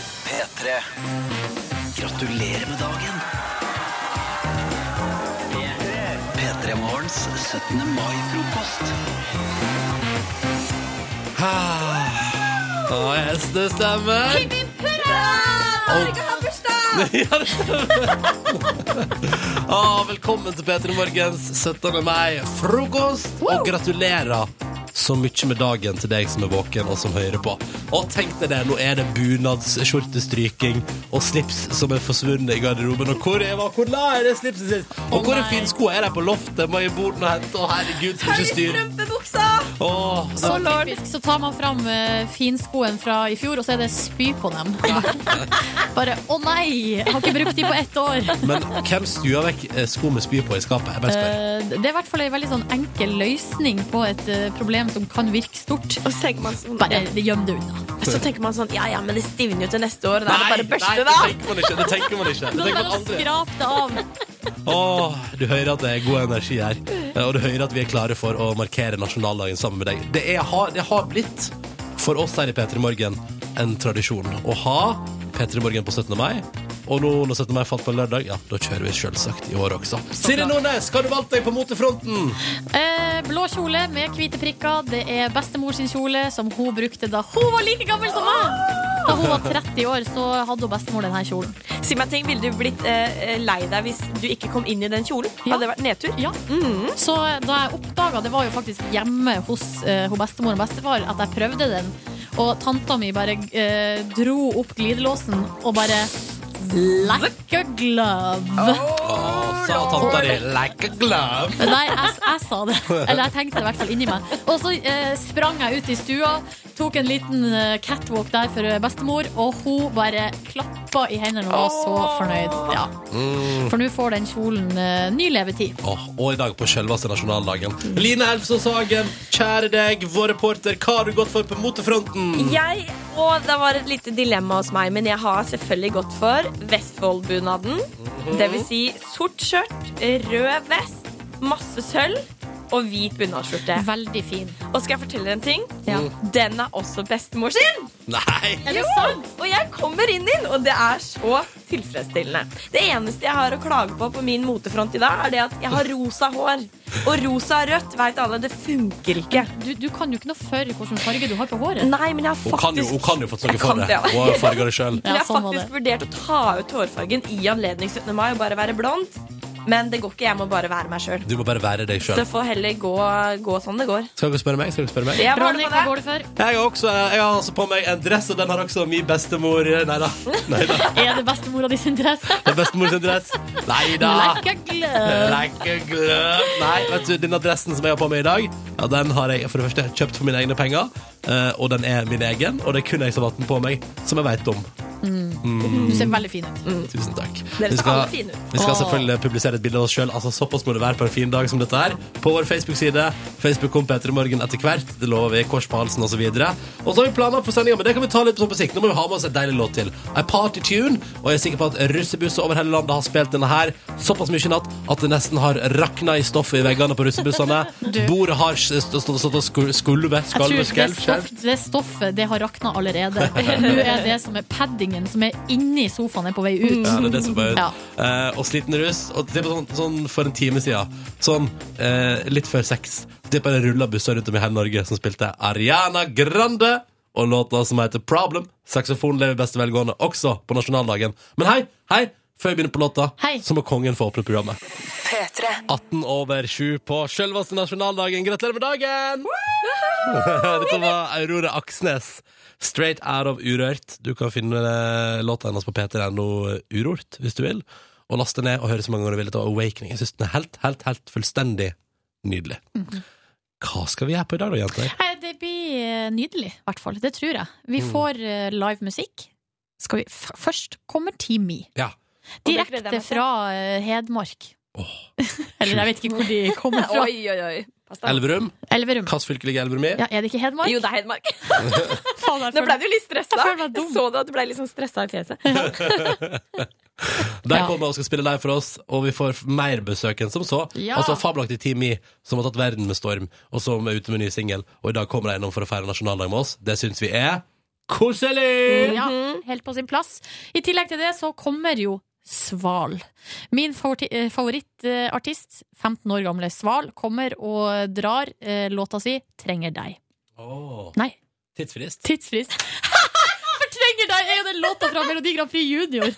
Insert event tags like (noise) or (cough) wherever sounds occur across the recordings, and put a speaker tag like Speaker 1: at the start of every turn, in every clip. Speaker 1: P3. Gratulerer med dagen! P3 Morgens 17. mai-frokost.
Speaker 2: Å, yes, det stemmer!
Speaker 3: Norge har bursdag!
Speaker 2: Ja, det stemmer. Å, velkommen til P3 Morgens 17. mai-frokost. Og gratulerer så mye med dagen til deg som er våken og som hører på. Og tenk deg det, nå er det bunadsskjortestryking og slips som er forsvunnet i garderoben. Og hvor er, hva- hvor la jeg det slipset sist? Og hvor er finskoa? Er de på loftet? Må jeg i borden og hente? Å, herregud, så mye styr.
Speaker 3: Strømpebuksa!
Speaker 2: Å,
Speaker 4: Så typisk, så tar man fram eh, finskoen fra i fjor, og så er det spy på dem. (laughs) Bare 'å nei, jeg har ikke brukt de på ett år'.
Speaker 2: men hvem stuer vekk eh, sko med spy på i skapet? Jeg bare spør.
Speaker 4: Eh, Det er i hvert fall en veldig sånn enkel løsning på et eh, problem som kan virke stort.
Speaker 3: Og så tenker man sånn,
Speaker 4: Bare gjem det unna.
Speaker 3: så tenker man sånn Ja ja, men det stivner jo til neste år. Da er det
Speaker 2: Nei,
Speaker 3: bare børste,
Speaker 2: nei,
Speaker 3: da.
Speaker 2: det tenker man ikke. Det tenker man
Speaker 4: (laughs)
Speaker 2: ikke. Det
Speaker 4: Da er
Speaker 2: tenker
Speaker 4: det
Speaker 2: man
Speaker 4: å
Speaker 2: aldri.
Speaker 4: skrape det av.
Speaker 2: Åh, du hører at det er god energi her. Eh, Og du hører at vi er klare for å markere nasjonaldagen sammen med deg. Det, er, har- det har blitt for oss her i P3 Morgen en tradisjon å ha P3 Morgen på 17. mai. Og nå når 17. mai falt på en lørdag, ja, da kjører vi selvsagt i år også. Siri Nordnes, hva har du valgt deg på motefronten?
Speaker 4: Eh, Blå kjole med hvite prikker. Det er bestemor sin kjole, som hun brukte da hun var like gammel som meg. Da hun var 30 år, så hadde hun bestemor denne kjolen.
Speaker 3: Si meg en ting, Ville du blitt eh, lei deg hvis du ikke kom inn i den kjolen?
Speaker 4: Ja.
Speaker 3: Hadde det vært nedtur?
Speaker 4: Ja. Så da jeg oppdaga det var jo faktisk hjemme hos eh, hun bestemor og bestefar at jeg prøvde den, og tanta mi bare eh, dro opp glidelåsen og bare Like a glove.
Speaker 2: Åh, sa tanta di. Like a glove.
Speaker 4: Nei, jeg, jeg sa det. Eller jeg tenkte det i hvert fall inni meg. Og så eh, sprang jeg ut i stua, tok en liten eh, catwalk der for eh, bestemor, og hun bare klappa i hendene og var så fornøyd. Ja.
Speaker 2: Mm.
Speaker 4: For nå får den kjolen eh, ny levetid.
Speaker 2: Åh, og i dag på selveste nasjonaldagen. Line Elfsås Hagen, kjære deg, vår reporter, hva har du gått for på motefronten?
Speaker 3: Jeg, og Det var et lite dilemma hos meg, men jeg har selvfølgelig gått for Vestfoldbunaden.
Speaker 4: Mhm.
Speaker 3: Det vil si sort skjørt, rød vest, masse sølv og hvit bunadsskjorte.
Speaker 4: Veldig fin.
Speaker 3: Og skal jeg fortelle dere en ting?
Speaker 4: Ja.
Speaker 3: Den er også bestemor sin!
Speaker 2: Nei!
Speaker 4: Er
Speaker 3: Jo!
Speaker 4: det sant?
Speaker 3: Og jeg kommer inn din, og det er så tilfredsstillende. Det eneste jeg har å klage på på min motefront i dag, er det at jeg har rosa hår. Og rosa og rødt veit alle, det funker ikke.
Speaker 4: Du, du kan jo ikke noe for hvilken farge du har på håret.
Speaker 3: Nei, men jeg har
Speaker 2: Hun kan jo,
Speaker 3: faktisk
Speaker 2: hun kan jo fått noe
Speaker 3: Jeg
Speaker 2: for
Speaker 3: kan
Speaker 2: det.
Speaker 3: det, ja.
Speaker 2: Hun har farga det sjøl.
Speaker 3: (laughs)
Speaker 4: (laughs) Ja,
Speaker 3: Men jeg har
Speaker 4: sånn var
Speaker 3: faktisk vurdert å ta ut hårfargen i anledning 17. mai og bare være blond. Men det går ikke. Jeg må bare være meg sjøl.
Speaker 2: Du må bare være deg
Speaker 3: Så
Speaker 2: sjøl.
Speaker 3: det får heller gå, gå sånn det går.
Speaker 2: Skal dere spørre meg? Skal dere spørre meg?
Speaker 3: Jeg var
Speaker 4: Ronny,
Speaker 3: det
Speaker 4: hva
Speaker 3: på det.
Speaker 4: går det for?
Speaker 2: Jeg har også jeg har altså på meg en dress, og den har også min bestemor Nei da. Nei da.
Speaker 4: (laughs) Er det bestemora di sin dress?
Speaker 2: Det er bestemor sin dress. Nei da.
Speaker 4: Like a glove.
Speaker 2: Lekke gløp. Nei, vet du, denne dressen som jeg har på meg i dag, ja, den har jeg for det første kjøpt for mine egne penger. eh, Og den er min egen, og det er kun jeg som har hatt den på meg, som jeg veit om.
Speaker 4: Mm.
Speaker 2: Mm.
Speaker 4: Du ser veldig fin ut.
Speaker 2: Tusen takk.
Speaker 3: Dere
Speaker 2: Vi
Speaker 3: ser alle
Speaker 2: skal,
Speaker 3: fine ut.
Speaker 2: vi skal
Speaker 4: Åh.
Speaker 2: selvfølgelig publisere et bilde av oss sjøl. Altså, såpass må det være på en fin dag som dette her. På vår Facebook-side. Facebook kom Peter i morgen etter hvert. Det lover vi. Kors på halsen osv. Og så har vi planer for sendinga, men det kan vi ta litt sånn på sikt. Nå må vi ha med oss en deilig låt til. A Party Tune. Og jeg er sikker på at russebusser over hele landet har spilt denne her såpass mye i natt at det nesten har rakna i stoffet i veggene på russebussene.
Speaker 4: (laughs) Du.
Speaker 2: Bordet har st- st- stått og skulvet, skulvet,
Speaker 4: Jeg tror
Speaker 2: skalvet,
Speaker 4: det,
Speaker 2: skjelv, skjelv.
Speaker 4: stoff, det stoffet det har rakna
Speaker 2: (laughs)
Speaker 4: allerede. Nå er det som er paddingen som er inni sofaen, er på vei ut.
Speaker 2: Ja, det er det som er ut.
Speaker 4: Ja.
Speaker 2: Eh, og sliten russ. Og det er sånn, sånn for en time siden. Sånn eh, litt før seks. Det er bare rulla busser rundt om i hele Norge som spilte Ariana Grande og låta som heter Problem. Saksofon lever i beste velgående også på nasjonaldagen. Men hei, hei! Før vi begynner på låta,
Speaker 4: Hei.
Speaker 2: så må kongen få åpne programmet. 18 over 7 på selveste nasjonaldagen. Gratulerer med dagen! (laughs) Dette var Aurora Aksnes. Straight out of Urørt. Du kan finne eh, låta hennes på p3.no Urort, hvis du vil. Og laste ned og høre så mange ganger du vil. Dette var Awakening. Jeg syns den er helt, helt, helt fullstendig nydelig. Hva skal vi gjøre på i dag, da, jenter?
Speaker 4: Nei, det blir eh, nydelig, i hvert fall. Det tror jeg. Vi
Speaker 2: Mm.
Speaker 4: får eh, live musikk. Skal vi, f først kommer Team Me.
Speaker 2: Ja.
Speaker 3: Og det gleder jeg meg
Speaker 4: Direkte
Speaker 3: til.
Speaker 4: fra eh, Hedmark.
Speaker 2: Åh.
Speaker 4: (laughs) Eller jeg vet ikke hvor de kommer fra.
Speaker 3: (laughs) (laughs) Oi, oi, oi. Pass deg.
Speaker 2: Elverum.
Speaker 4: Elverum.
Speaker 2: Hvilket fylke ligger Elverum i?
Speaker 4: Ja, er det ikke Hedmark?
Speaker 3: Jo, det er Hedmark.
Speaker 4: (laughs) Faen, jeg
Speaker 3: Nå ble
Speaker 4: føler-
Speaker 3: du litt stressa.
Speaker 4: Jeg føler meg
Speaker 3: Jeg
Speaker 4: dum.
Speaker 3: så det at du ble litt sånn stressa i fjeset.
Speaker 2: De
Speaker 4: Ja.
Speaker 2: kommer og skal spille live for oss, og vi får mer besøk enn som så.
Speaker 4: Ja.
Speaker 2: Altså Fabelaktig Team I, som har tatt verden med storm, og som er ute med ny singel. Og i dag kommer de innom for å feire nasjonaldag med oss. Det syns vi er koselig!
Speaker 4: Ja, helt på sin plass. I tillegg til det så kommer jo Sval. Min favorittartist, favoritt, eh, artist, 15 år gamle Sval, kommer og drar eh, låta si 'Trenger deg'.
Speaker 2: Åh,
Speaker 4: Nei,
Speaker 2: tidsfrist.
Speaker 4: tidsfrist. (laughs) For 'Trenger deg' er jo den låta fra Melodi Grand Prix Junior.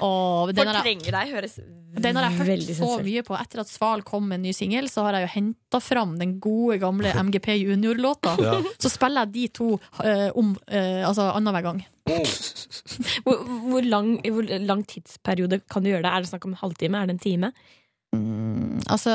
Speaker 4: Åh, den, har jeg,
Speaker 5: Fortrenger deg høres
Speaker 4: den har jeg hørt
Speaker 5: veldig
Speaker 4: så
Speaker 5: sensuelt.
Speaker 4: mye på. Etter at Sval kom med en ny singel, så har jeg jo henta fram den gode,
Speaker 2: (laughs)
Speaker 4: gamle MGP Junior-låta.
Speaker 2: Ja.
Speaker 4: Så spiller jeg de to eh, om eh, altså annenhver gang. (laughs)
Speaker 6: Hvor, hvor, lang, hvor lang tidsperiode kan du gjøre det? Er det snakk om en halvtime? Er det en time?
Speaker 4: Altså,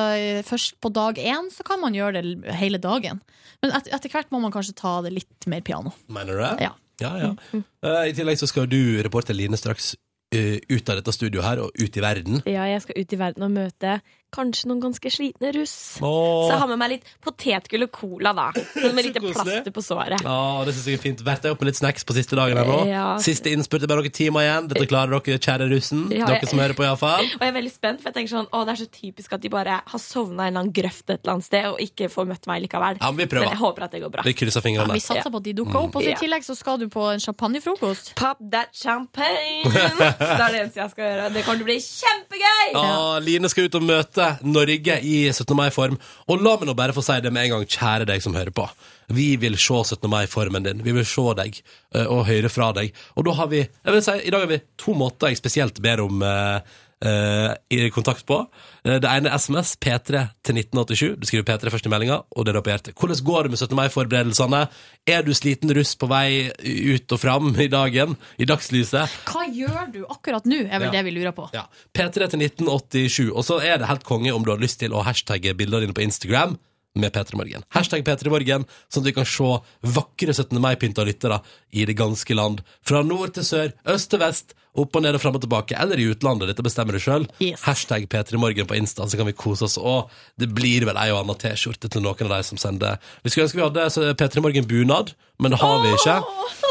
Speaker 4: først på dag én så kan man gjøre det hele dagen. Men et, etter hvert må man kanskje ta det litt mer piano.
Speaker 2: Mener du det?
Speaker 4: Ja.
Speaker 2: ja, ja. Eh, I tillegg så skal du, reporter Line, straks eh, ut av dette studioet her og ut i verden.
Speaker 6: Ja, jeg skal ut i verden og møte kanskje noen ganske slitne russ.
Speaker 2: Åh,
Speaker 5: Så jeg har med meg litt potetgull og cola, da. Sånn med
Speaker 2: Så
Speaker 4: (laughs)
Speaker 5: litt
Speaker 2: koselig.
Speaker 5: plaster på såret.
Speaker 2: Ja, det synes jeg er fint. Vært deg opp med litt snacks på siste dagen her nå.
Speaker 6: Ja.
Speaker 2: Siste innspurt er bare noen timer igjen. Dette klarer dere, kjære russen.
Speaker 5: Ja, jeg-
Speaker 2: Dere som hører på,
Speaker 3: (laughs)
Speaker 2: iallfall.
Speaker 5: Og jeg er veldig spent, for jeg tenker sånn, å, det er så typisk at de bare har sovna i en eller annen grøft et eller annet sted og ikke får møtt meg likevel.
Speaker 2: Ja, men vi prøver.
Speaker 5: Men jeg håper at det går bra.
Speaker 2: Vi krysser
Speaker 4: Ja,
Speaker 2: fingrene.
Speaker 4: vi Mm. satser på at de dukker opp. Og så
Speaker 5: Ja.
Speaker 4: i tillegg så skal du på en champagnefrokost.
Speaker 5: Pop that champagne! Det er det eneste jeg skal gjøre. Det kommer til å bli kjempegøy!
Speaker 2: Ja, Ah, Line skal ut og møte Norge i 17. mai-form. Og la meg nå bare få si det med en gang, kjære deg som hører på. Vi vil se 17. mai-formen din. Vi vil se deg eh, og høre fra deg. Og da har vi jeg vil si, I dag har vi to måter jeg spesielt ber om eh, eh, i kontakt på. Eh, det ene er SMS, P3 til 1987. Du skriver P3 først i meldinga, og det er da på hjertet. Hvordan går det med 17. mai-forberedelsene? Er du sliten russ på vei ut og fram i dagen? I dagslyset?
Speaker 4: Hva gjør du akkurat nå, er
Speaker 2: Ja.
Speaker 4: vel det vi lurer på.
Speaker 2: Ja. P3 til 1987. Og så er det helt konge om du har lyst til å hashtagge bildene dine på Instagram med P3morgen. Hashtag P3morgen, sånn at vi kan se vakre 17. mai-pynta lyttere i det ganske land. Fra nord til sør, øst til vest, opp og ned og fram og tilbake, eller i utlandet. Dette bestemmer du sjøl.
Speaker 4: Yes.
Speaker 2: Hashtag P3morgen på Insta, så kan vi kose oss. Og det blir vel ei og anna T-skjorte til noen av de som sender. Vi skulle ønske vi hadde eh, P3morgen-bunad, men det har vi ikke.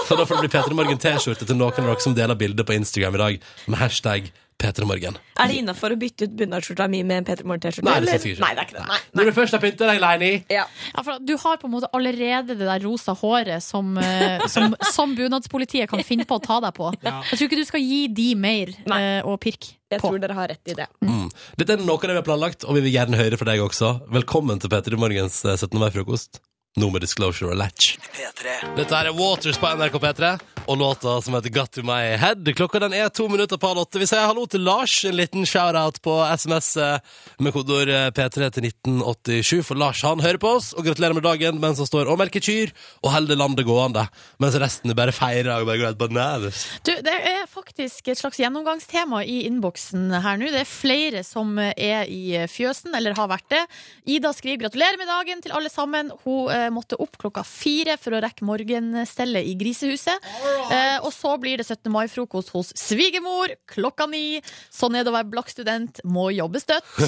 Speaker 2: Så da får det bli P3morgen-T-skjorte til noen av dere som deler bildet på Instagram i dag med hashtag P3morgen.
Speaker 5: Er det innafor å bytte ut bunadsskjorta mi med en Peter Morgen-T-skjorte?
Speaker 2: Nei, det
Speaker 5: eller?
Speaker 2: synes jeg ikke.
Speaker 5: Nei, det er ikke det. Nei.
Speaker 2: Når du først har pynta deg, Leini
Speaker 5: Ja.
Speaker 4: Ja, for du har på en måte allerede det der rosa håret som, eh, som, (laughs) som bunadspolitiet kan finne på å ta deg på. Jeg tror ikke du skal gi de mer
Speaker 5: Nei.
Speaker 4: eh, å pirke
Speaker 5: Jeg
Speaker 4: på.
Speaker 5: tror dere har rett i det.
Speaker 2: mm. Dette er noe av det vi har planlagt, og vi vil gjerne høre fra deg også. Velkommen til P3 Morgens eh, 17. mai-frokost. Nå med Disclosure og Latch.
Speaker 1: P3.
Speaker 2: Dette her er Waters på NRK P3, og låta som heter Got to my head. Klokka den er to minutter på halv åtte. Vi sier hallo til Lars. En liten shout-out på SMS eh, med kodeord eh, P3 til 1987. For Lars han hører på oss og gratulerer med dagen mens han står og melker kyr og holder landet gående. Mens resten bare feirer og bare går helt bananas.
Speaker 4: Du, det er faktisk et slags gjennomgangstema i innboksen her nå. Det er flere som er i fjøsen, eller har vært det. Ida skriver 'gratulerer med dagen' til alle sammen. Hun eh, måtte opp klokka fire for å rekke morgenstellet i grisehuset. Eh, og så blir det 17. mai-frokost hos svigermor klokka ni. Sånn er det å være blakk student, må jobbe støtt.
Speaker 2: (laughs)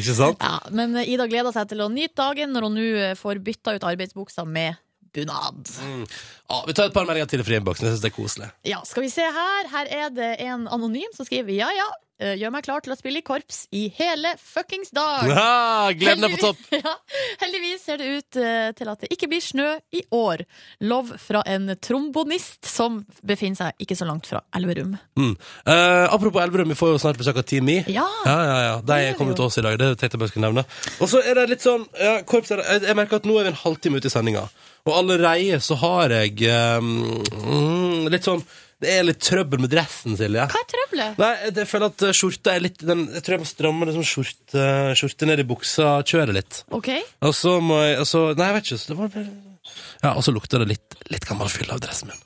Speaker 2: Ikke sant?
Speaker 4: Ja, men Ida gleder seg til å nyte dagen når hun nå eh, får bytta ut arbeidsbuksa med bunad.
Speaker 2: Mm. Ja, vi tar et par meldinger til i friinnboksen. Jeg syns det er koselig.
Speaker 4: Ja, skal vi se her. Her er det en anonym som skriver ja, ja. eh, Gjør meg klar til å spille i korps i hele fuckings dag.
Speaker 2: Ah, gleden er på topp!
Speaker 4: Heldigvis- (laughs) Ja, heldigvis ser det ut eh, til at det ikke blir snø i år. Love fra en trombonist som befinner seg ikke så langt fra Elverum.
Speaker 2: Mm. Eh, apropos Elverum, vi får jo snart besøk av Team Me.
Speaker 4: Ja.
Speaker 2: ja, ja, ja. De kommer til oss i dag. Det tenkte jeg bare skulle nevne. Og så er det litt sånn ja, korps, er- jeg, jeg merker at nå er vi en halvtime ute i sendinga, og allerede så har jeg eh, mm, litt sånn Det er litt trøbbel med dressen, Silje.
Speaker 4: Hva er trøbbelet?
Speaker 2: Nei, jeg- jeg føler at eh, skjorta er litt den, Jeg tror jeg må stramme liksom skjorte, skjorte ned i buksa, kjøre litt.
Speaker 4: OK.
Speaker 2: Og så må jeg og så- Nei, jeg vet ikke. Så det var bare ja, og så lukter det litt, litt gammel fyll av dressen min.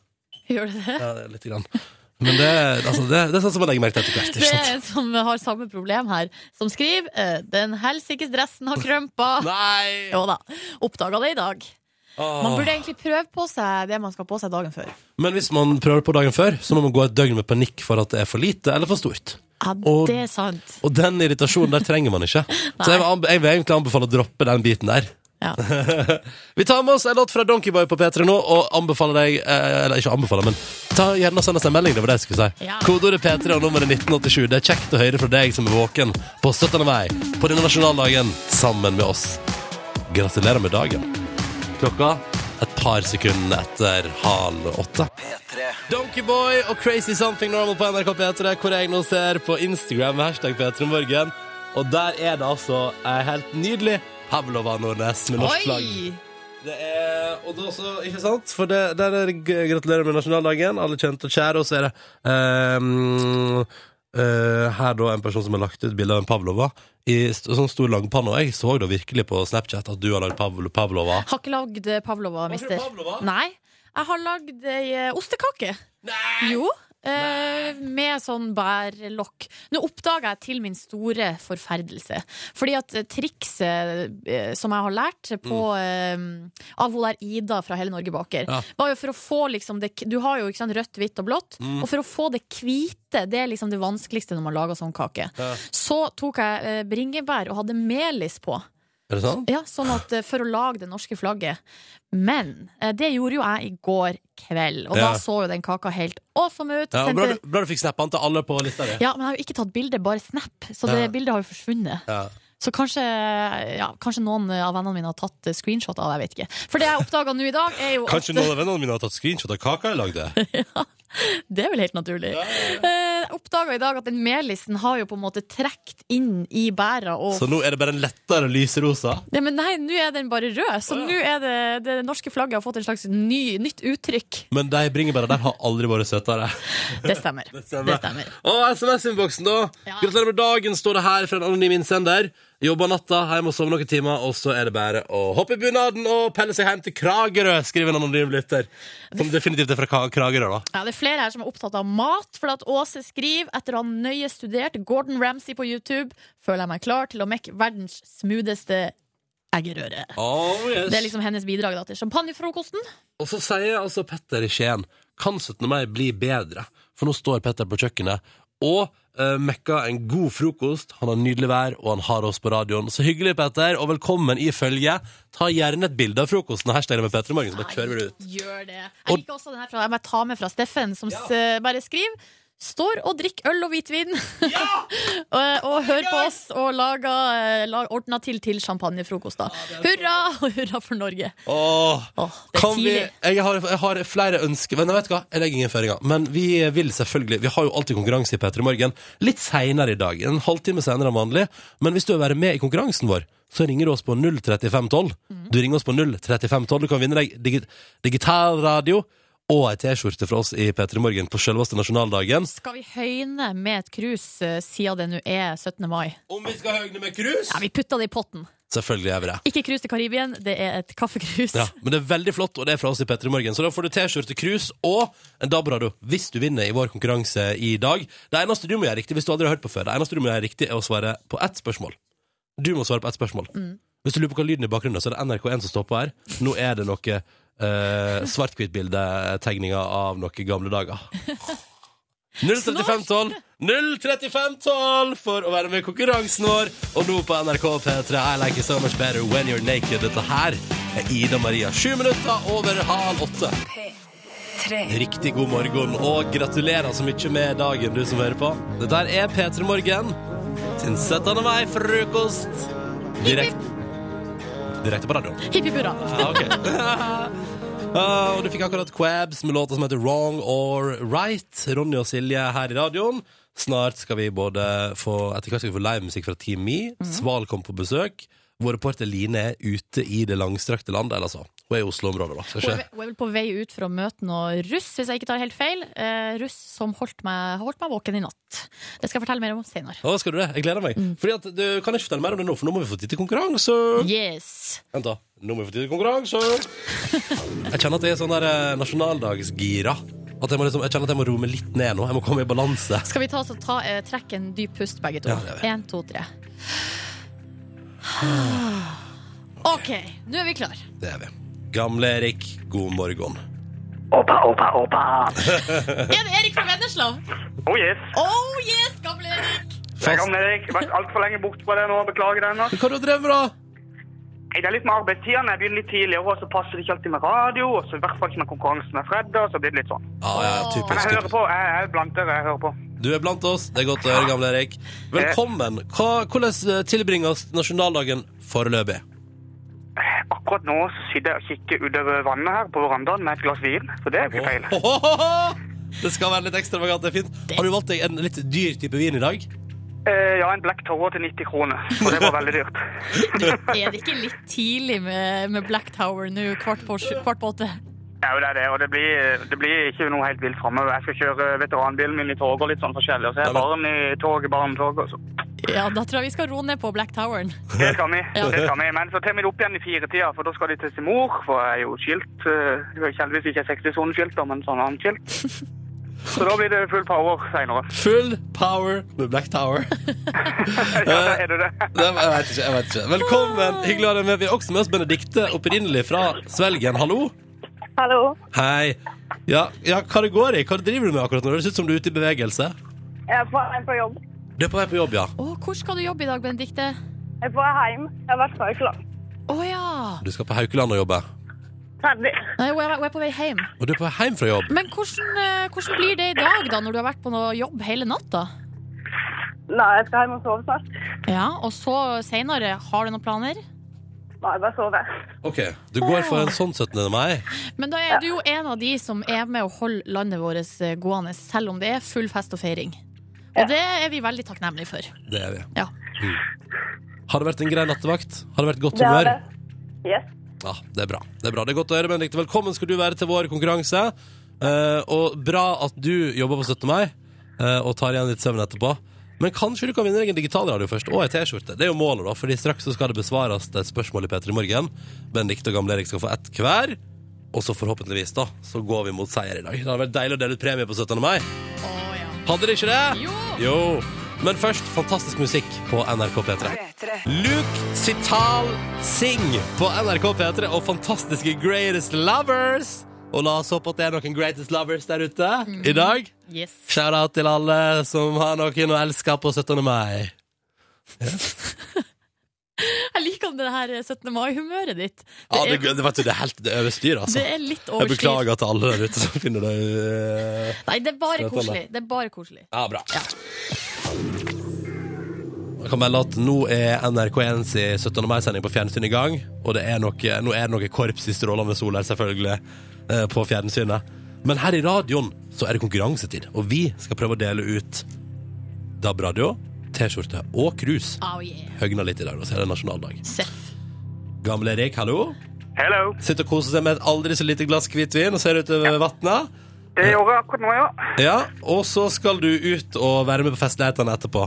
Speaker 4: Gjør det det?
Speaker 2: Ja, det er litt grann. Men det, altså, det, det er sånn som man legger merke til etter hvert.
Speaker 4: Det
Speaker 2: Ikke
Speaker 4: er
Speaker 2: sant?
Speaker 4: en som har samme problem her, som skriver eh, 'Den helsikes dressen har krømpa'.
Speaker 2: (laughs) Nei!
Speaker 4: Jo da. Oppdaga det i dag. Man
Speaker 2: Åh.
Speaker 4: burde egentlig prøve på seg det man skal ha på seg dagen før.
Speaker 2: Men hvis man prøver på dagen før, så må man gå et døgn med panikk for at det er for lite eller for stort.
Speaker 4: Ja,
Speaker 2: Og-
Speaker 4: det er sant.
Speaker 2: Og den irritasjonen der trenger man
Speaker 4: (laughs)
Speaker 2: ikke. Så jeg vil, anbe- jeg vil egentlig anbefale å droppe den biten der.
Speaker 4: Ja.
Speaker 2: (laughs) Vi tar med oss en låt fra Donkeyboy på P3 nå, og anbefaler deg eh, Eller ikke anbefaler, men ta gjerne og send oss en melding. Det var det jeg skulle si.
Speaker 4: Ja.
Speaker 2: Kodeordet P3 og nummeret 1987. Det er kjekt å høre fra deg som er våken på 17. mai på denne nasjonaldagen sammen med oss. Gratulerer med dagen. Klokka et par sekunder etter halv åtte.
Speaker 1: P3.
Speaker 2: Donkeyboy og Crazy Something Normal på NRK P3, hvor jeg nå ser på Instagram med hashtag P3morgen. Og der er det altså ei helt nydelig Havlova Nordnes med norsk flagg.
Speaker 4: Oi!
Speaker 2: Det er, og da så, ikke sant? For det, der er det g- gratulerer med nasjonaldagen, alle kjente og kjære, og så er det ehm, eh, her da en person som har lagt ut bilde av en Pavlova i st sånn stor langpanne. Og jeg så da virkelig på Snapchat at du har lagd Pavlo Pavlova.
Speaker 4: Har ikke lagd eh, Pavlova, mister.
Speaker 2: ikke Pavlova?
Speaker 4: Nei. Jeg har lagd ei eh, ostekake. Jo. eh, med sånn bærlokk. Nå oppdaga jeg til min store forferdelse. Fordi at eh, trikset eh, som jeg har lært på, eh, av hun der Ida fra Hele Norge baker,
Speaker 2: Mm. Ja.
Speaker 4: var jo for å få liksom det Du har jo ikke sant, rødt, hvitt og blått.
Speaker 2: Mm.
Speaker 4: Og for å få det hvite, det er liksom det vanskeligste når man lager sånn kake,
Speaker 2: Ja.
Speaker 4: så tok jeg eh, bringebær og hadde melis på.
Speaker 2: Er det sant?
Speaker 4: Ja, sånn at eh, for å lage det norske flagget. Men eh, det gjorde jo jeg i går kveld, og da
Speaker 2: Ja.
Speaker 4: så jo den kaka helt awesome ut.
Speaker 2: Ja, og
Speaker 4: Sendte-
Speaker 2: bra, du- bra du fikk snappene til alle på lista di.
Speaker 4: ja, men jeg har jo ikke tatt bilde, bare snap, så det
Speaker 2: Ja.
Speaker 4: bildet har jo forsvunnet.
Speaker 2: Ja.
Speaker 4: Så kanskje, ja, kanskje noen av vennene mine har tatt eh, screenshot av, jeg vet ikke. For det jeg oppdaga nå i dag, er jo
Speaker 2: Kanskje
Speaker 4: at
Speaker 2: noen av vennene mine har tatt screenshot av kaka jeg lagde?
Speaker 4: (laughs) Det er vel helt naturlig. Eh, Jeg oppdaga i dag at den melisen har jo på en måte trukket inn i bæra og
Speaker 2: Så nå er det bare en lettere lyserosa?
Speaker 4: Nei, men nei, nå er den bare rød, så
Speaker 2: Å, ja.
Speaker 4: nå er det, det norske flagget har fått en slags ny, nytt uttrykk.
Speaker 2: Men de bringebæra der har aldri vært søtere.
Speaker 4: Det
Speaker 2: (laughs)
Speaker 4: stemmer. Det
Speaker 2: stemmer.
Speaker 4: stemmer.
Speaker 2: Og SMS-innboksen, da.
Speaker 4: Ja.
Speaker 2: Gratulerer med dagen, står det her fra en anonym innsender. Jobba natta, hjemme og sove noen timer, og så er det bare å hoppe i bunaden og pelle seg hjem til Kragerø, skriver en anonym lytter. Som definitivt er fra Ka- Kragerø, da.
Speaker 4: Ja, det er flere her som er opptatt av mat. For at Åse skriver etter å ha nøye studert Gordon Ramsay på YouTube, føler jeg meg klar til å mekke verdens smootheste eggerøre.
Speaker 2: Oh, yes.
Speaker 4: Det er liksom hennes bidrag da, til champagnefrokosten.
Speaker 2: Og så sier altså Petter i Skien Kan 17. mai bli bedre? For nå står Petter på kjøkkenet og eh, mekker en god frokost. Han har nydelig vær, og han har oss på radioen. Så hyggelig, Petter, og velkommen i følget. Ta gjerne et bilde av frokosten og hashtag det med Petter i morgen, så bare kjører vi det ut.
Speaker 4: Gjør det.
Speaker 2: Og-
Speaker 4: Jeg liker også den her fra, jeg må ta med fra Steffen, som s- bare skriver Står og drikker øl og hvitvin (laughs) og, og hører på oss og lager, eh, lag, ordner til til champagnefrokost. da. Hurra og hurra for Norge!
Speaker 2: Åh,
Speaker 4: Åh, det er
Speaker 2: kan vi,
Speaker 4: tidlig.
Speaker 2: jeg, har, jeg har flere ønsker Men vet du hva, jeg legger ingen føringer Men vi vil selvfølgelig, vi har jo alltid konkurranse i Petter i morgen Litt senere i dag, en halvtime senere enn vanlig Men hvis du vil være med i konkurransen vår Så ringer du oss på 03512 Du ringer oss på 03512 Du kan vinne deg digi digital radio Og ei t-skjorte fra oss i Petter i morgen På selveste nasjonaldagen
Speaker 4: Skal vi høyne med et krus eh, siden det nå er 17. mai?
Speaker 2: Om vi skal høgne med krus
Speaker 4: Ja, vi putta det i potten.
Speaker 2: Selvfølgelig gjør vi det
Speaker 4: Ikke krus til Karibien, det er et kaffekrus.
Speaker 2: Ja, men det er veldig flott, og det er fra oss i Petter i morgen. Så da får du T-skjorte, krus og en DAB-radio hvis du vinner i vår konkurranse i dag. Det eneste du må gjøre riktig, hvis du aldri har hørt på før, det eneste du må gjøre riktig, er å svare på ett spørsmål. Du må svare på ett spørsmål.
Speaker 4: Mm.
Speaker 2: Hvis du lurer på hva lyden i bakgrunnen er, så er det NRK1 som står på her. Nå er det noe eh, svart-hvitt-bildetegninger av noen gamle dager. 03512 03512 for å være med i konkurransen vår. Og nå på NRK P3 I like it so much better when you're naked. Dette her er Ida Maria. Sju minutter over halv åtte. Riktig god morgen, og gratulerer så mye med dagen, du som hører på. Dette her er P3 Morgen. Sin 17. mai frokost. Direkte Direkte på radioen.
Speaker 4: Hipp hipp hurra.
Speaker 2: Ja, ok. (laughs) Ah, og du fikk akkurat Quabs med låta som heter Wrong or Right. Ronny og Silje her i radioen. Snart skal vi både få etter hvert skal vi få livemusikk fra Team Me.
Speaker 4: Mhm.
Speaker 2: Sval kom på besøk. Vår reporter Line er ute i det langstrakte landet. Eller altså, hun er i Oslo-området, da. Skal
Speaker 4: Hun
Speaker 2: skje.
Speaker 4: er hun er vel på vei ut for å møte noe russ, hvis jeg ikke tar helt feil. Eh, russ som holdt meg, holdt meg våken i natt. Det skal jeg fortelle mer om senere.
Speaker 2: Å, skal du det? Jeg gleder meg.
Speaker 4: Mm.
Speaker 2: Fordi at du kan ikke fortelle mer om det nå, for nå må vi få tid til konkurranse.
Speaker 4: Yes!
Speaker 2: Vent, da. Nå må vi få tid til
Speaker 4: (laughs)
Speaker 2: konkurranse. Jeg kjenner at jeg er sånn der eh, nasjonaldagsgira. At jeg, må liksom, jeg kjenner at jeg må roe meg litt ned nå. Jeg må komme i balanse.
Speaker 4: Skal vi ta, så ta, eh, trekke en dyp pust, begge to?
Speaker 2: Ja, det gjør vi.
Speaker 4: Én, to, tre.
Speaker 2: Ah.
Speaker 4: OK, nå er vi klar
Speaker 2: Det er vi. Gamle Erik, god morgen.
Speaker 4: (laughs) Er det Erik fra Vennesla?
Speaker 7: Oh yes.
Speaker 4: Oh yes, gamle Erik!
Speaker 7: Jeg har Erik. vært altfor lenge bort fra deg nå. Beklager deg. nå.
Speaker 2: Hva har du drevet med, da?
Speaker 7: Det er litt med arbeidstidene. Jeg begynner litt tidligere, og så passer det ikke alltid med radio. Og så i hvert fall ikke når konkurransen er fredag, og så blir det litt sånn.
Speaker 2: Ja, ja,
Speaker 7: Men jeg
Speaker 2: typisk.
Speaker 7: hører på. Jeg jeg er blant dere. Jeg hører på.
Speaker 2: Du er blant oss. Det er godt å høre, gamle Erik. eh, Velkommen. Hva, hvordan tilbringes nasjonaldagen foreløpig?
Speaker 7: Akkurat nå så sitter jeg og kikker utover vannet her på verandaen med et glass vin, så det er jo ikke feil.
Speaker 2: Ohohoho! Det skal være litt ekstravagant. Det er fint. Har du valgt deg en litt dyr type vin i dag?
Speaker 7: Eh, ja, en Black Tower til 90 kroner, så det var veldig dyrt.
Speaker 4: Er det ikke litt tidlig med, med Black Tower nå, kvart på, sju- kvart på åtte?
Speaker 7: Ja, det er det, og det blir, det blir ikke noe helt vilt framover. Jeg skal kjøre veteranbilen min i tog og litt sånn forskjellig, og så er jeg barn i tog, barnetog og så.
Speaker 4: Ja, da tror jeg vi skal roe ned på Black Toweren.
Speaker 7: Det skal vi, det skal vi. Men så tar vi det opp igjen i firetida, for da skal de til sin mor, for jeg er jo skilt. eh, Jeg er ikke heldigvis ikke 60-soneskilt, da, men sånn annen skilt. Så da blir det full power seinere.
Speaker 2: Full power med Black Tower.
Speaker 7: Ja, da er det
Speaker 2: (laughs)
Speaker 7: det.
Speaker 2: Det, jeg vet ikke, jeg vet ikke. Velkommen. Hyggelig å ha deg med. Vi har også med oss Benedikte, opprinnelig fra Svelgen. Hallo.
Speaker 3: Hallo.
Speaker 2: Hei. Ja, ja, hva det går i? Hva driver du med akkurat nå? Det ser ut som du er ute i bevegelse.
Speaker 3: Jeg er på vei på jobb.
Speaker 2: Du er på vei på jobb, ja.
Speaker 4: Å, hvor skal du jobbe i dag, Benedikte?
Speaker 3: Jeg er på vei hjem. Jeg har vært på Haukeland.
Speaker 4: Å ja.
Speaker 2: Du skal på Haukeland og jobbe.
Speaker 3: Ferdig.
Speaker 4: Nei, hun er hun er på vei hjem.
Speaker 2: Og du er på vei hjem fra jobb.
Speaker 4: Men hvordan, eh, hvordan blir det i dag, da, når du har vært på noe jobb hele natta?
Speaker 3: Nei, jeg skal hjem og sove snart.
Speaker 4: Ja, og så seinere, har du noen planer?
Speaker 3: Nei, bare sove.
Speaker 2: Ok, Du går for en sånn 17. mai.
Speaker 4: Men da er du jo en av de som er med og holder landet vårt eh, gående, selv om det er full fest og feiring. Og
Speaker 3: Ja.
Speaker 4: det er vi veldig takknemlige for.
Speaker 2: Det er vi.
Speaker 4: Ja.
Speaker 2: Mm. Har det vært en grei nattevakt? Har det vært godt
Speaker 3: Det er
Speaker 2: humør?
Speaker 3: det. Yes.
Speaker 2: Ja, det er bra. Det er bra. Det er godt å høre, Benedikte. Velkommen skal du være til vår konkurranse. Eh, og bra at du jobber på 17. mai eh, og tar igjen litt søvn etterpå. Men kanskje du kan vinne deg en digitalradio først, og ei T-skjorte. Det er jo målet, da, fordi straks så skal det besvares et spørsmål i P3 Morgen. Benedikte og Gamle Erik skal få ett hver. Og så forhåpentligvis, da, så går vi mot seier i dag. Det hadde vært deilig å dele ut premie på 17. mai. Hadde det ikke det?
Speaker 4: Jo!
Speaker 2: Jo. Men først fantastisk musikk på NRK P3. Luke Sital Sing på NRK P3 og fantastiske Greatest Lovers. Og la oss håpe at det er noen Greatest Lovers der ute
Speaker 4: Mm.
Speaker 2: i dag.
Speaker 4: Yes.
Speaker 2: Shout-out til alle som har noen å elske på 17. mai.
Speaker 4: Jeg liker det her 17. mai-humøret ditt.
Speaker 2: Ja,
Speaker 4: Det
Speaker 2: det,
Speaker 4: er,
Speaker 2: det, vet du, det er helt det er over styr, altså.
Speaker 4: det er litt
Speaker 2: Jeg
Speaker 4: overstyr.
Speaker 2: beklager til alle der ute som finner det øh,
Speaker 4: Nei, det er bare
Speaker 2: Støtende.
Speaker 4: koselig. Det er bare koselig.
Speaker 2: Ja, bra. Jeg kan melde at nå er NRK1 sin 17. mai-sending på fjernsyn i gang. Og det er noe, nå er det noe korps i strålende sol her, selvfølgelig, eh, på fjernsynet. Men her i radioen så er det konkurransetid, og vi skal prøve å dele ut DAB-radio, T-skjorte og krus.
Speaker 4: Oh, yeah.
Speaker 2: Høgna litt i dag, da, så er det nasjonaldag.
Speaker 4: Seff.
Speaker 2: Gamle Erik, hallo.
Speaker 7: Hello.
Speaker 2: Sitter og koser seg med et aldri så lite glass hvitvin og ser utover vatnet.
Speaker 7: Det gjør jeg akkurat nå, ja.
Speaker 2: Ja, og så skal du ut og være med på festlighetene etterpå.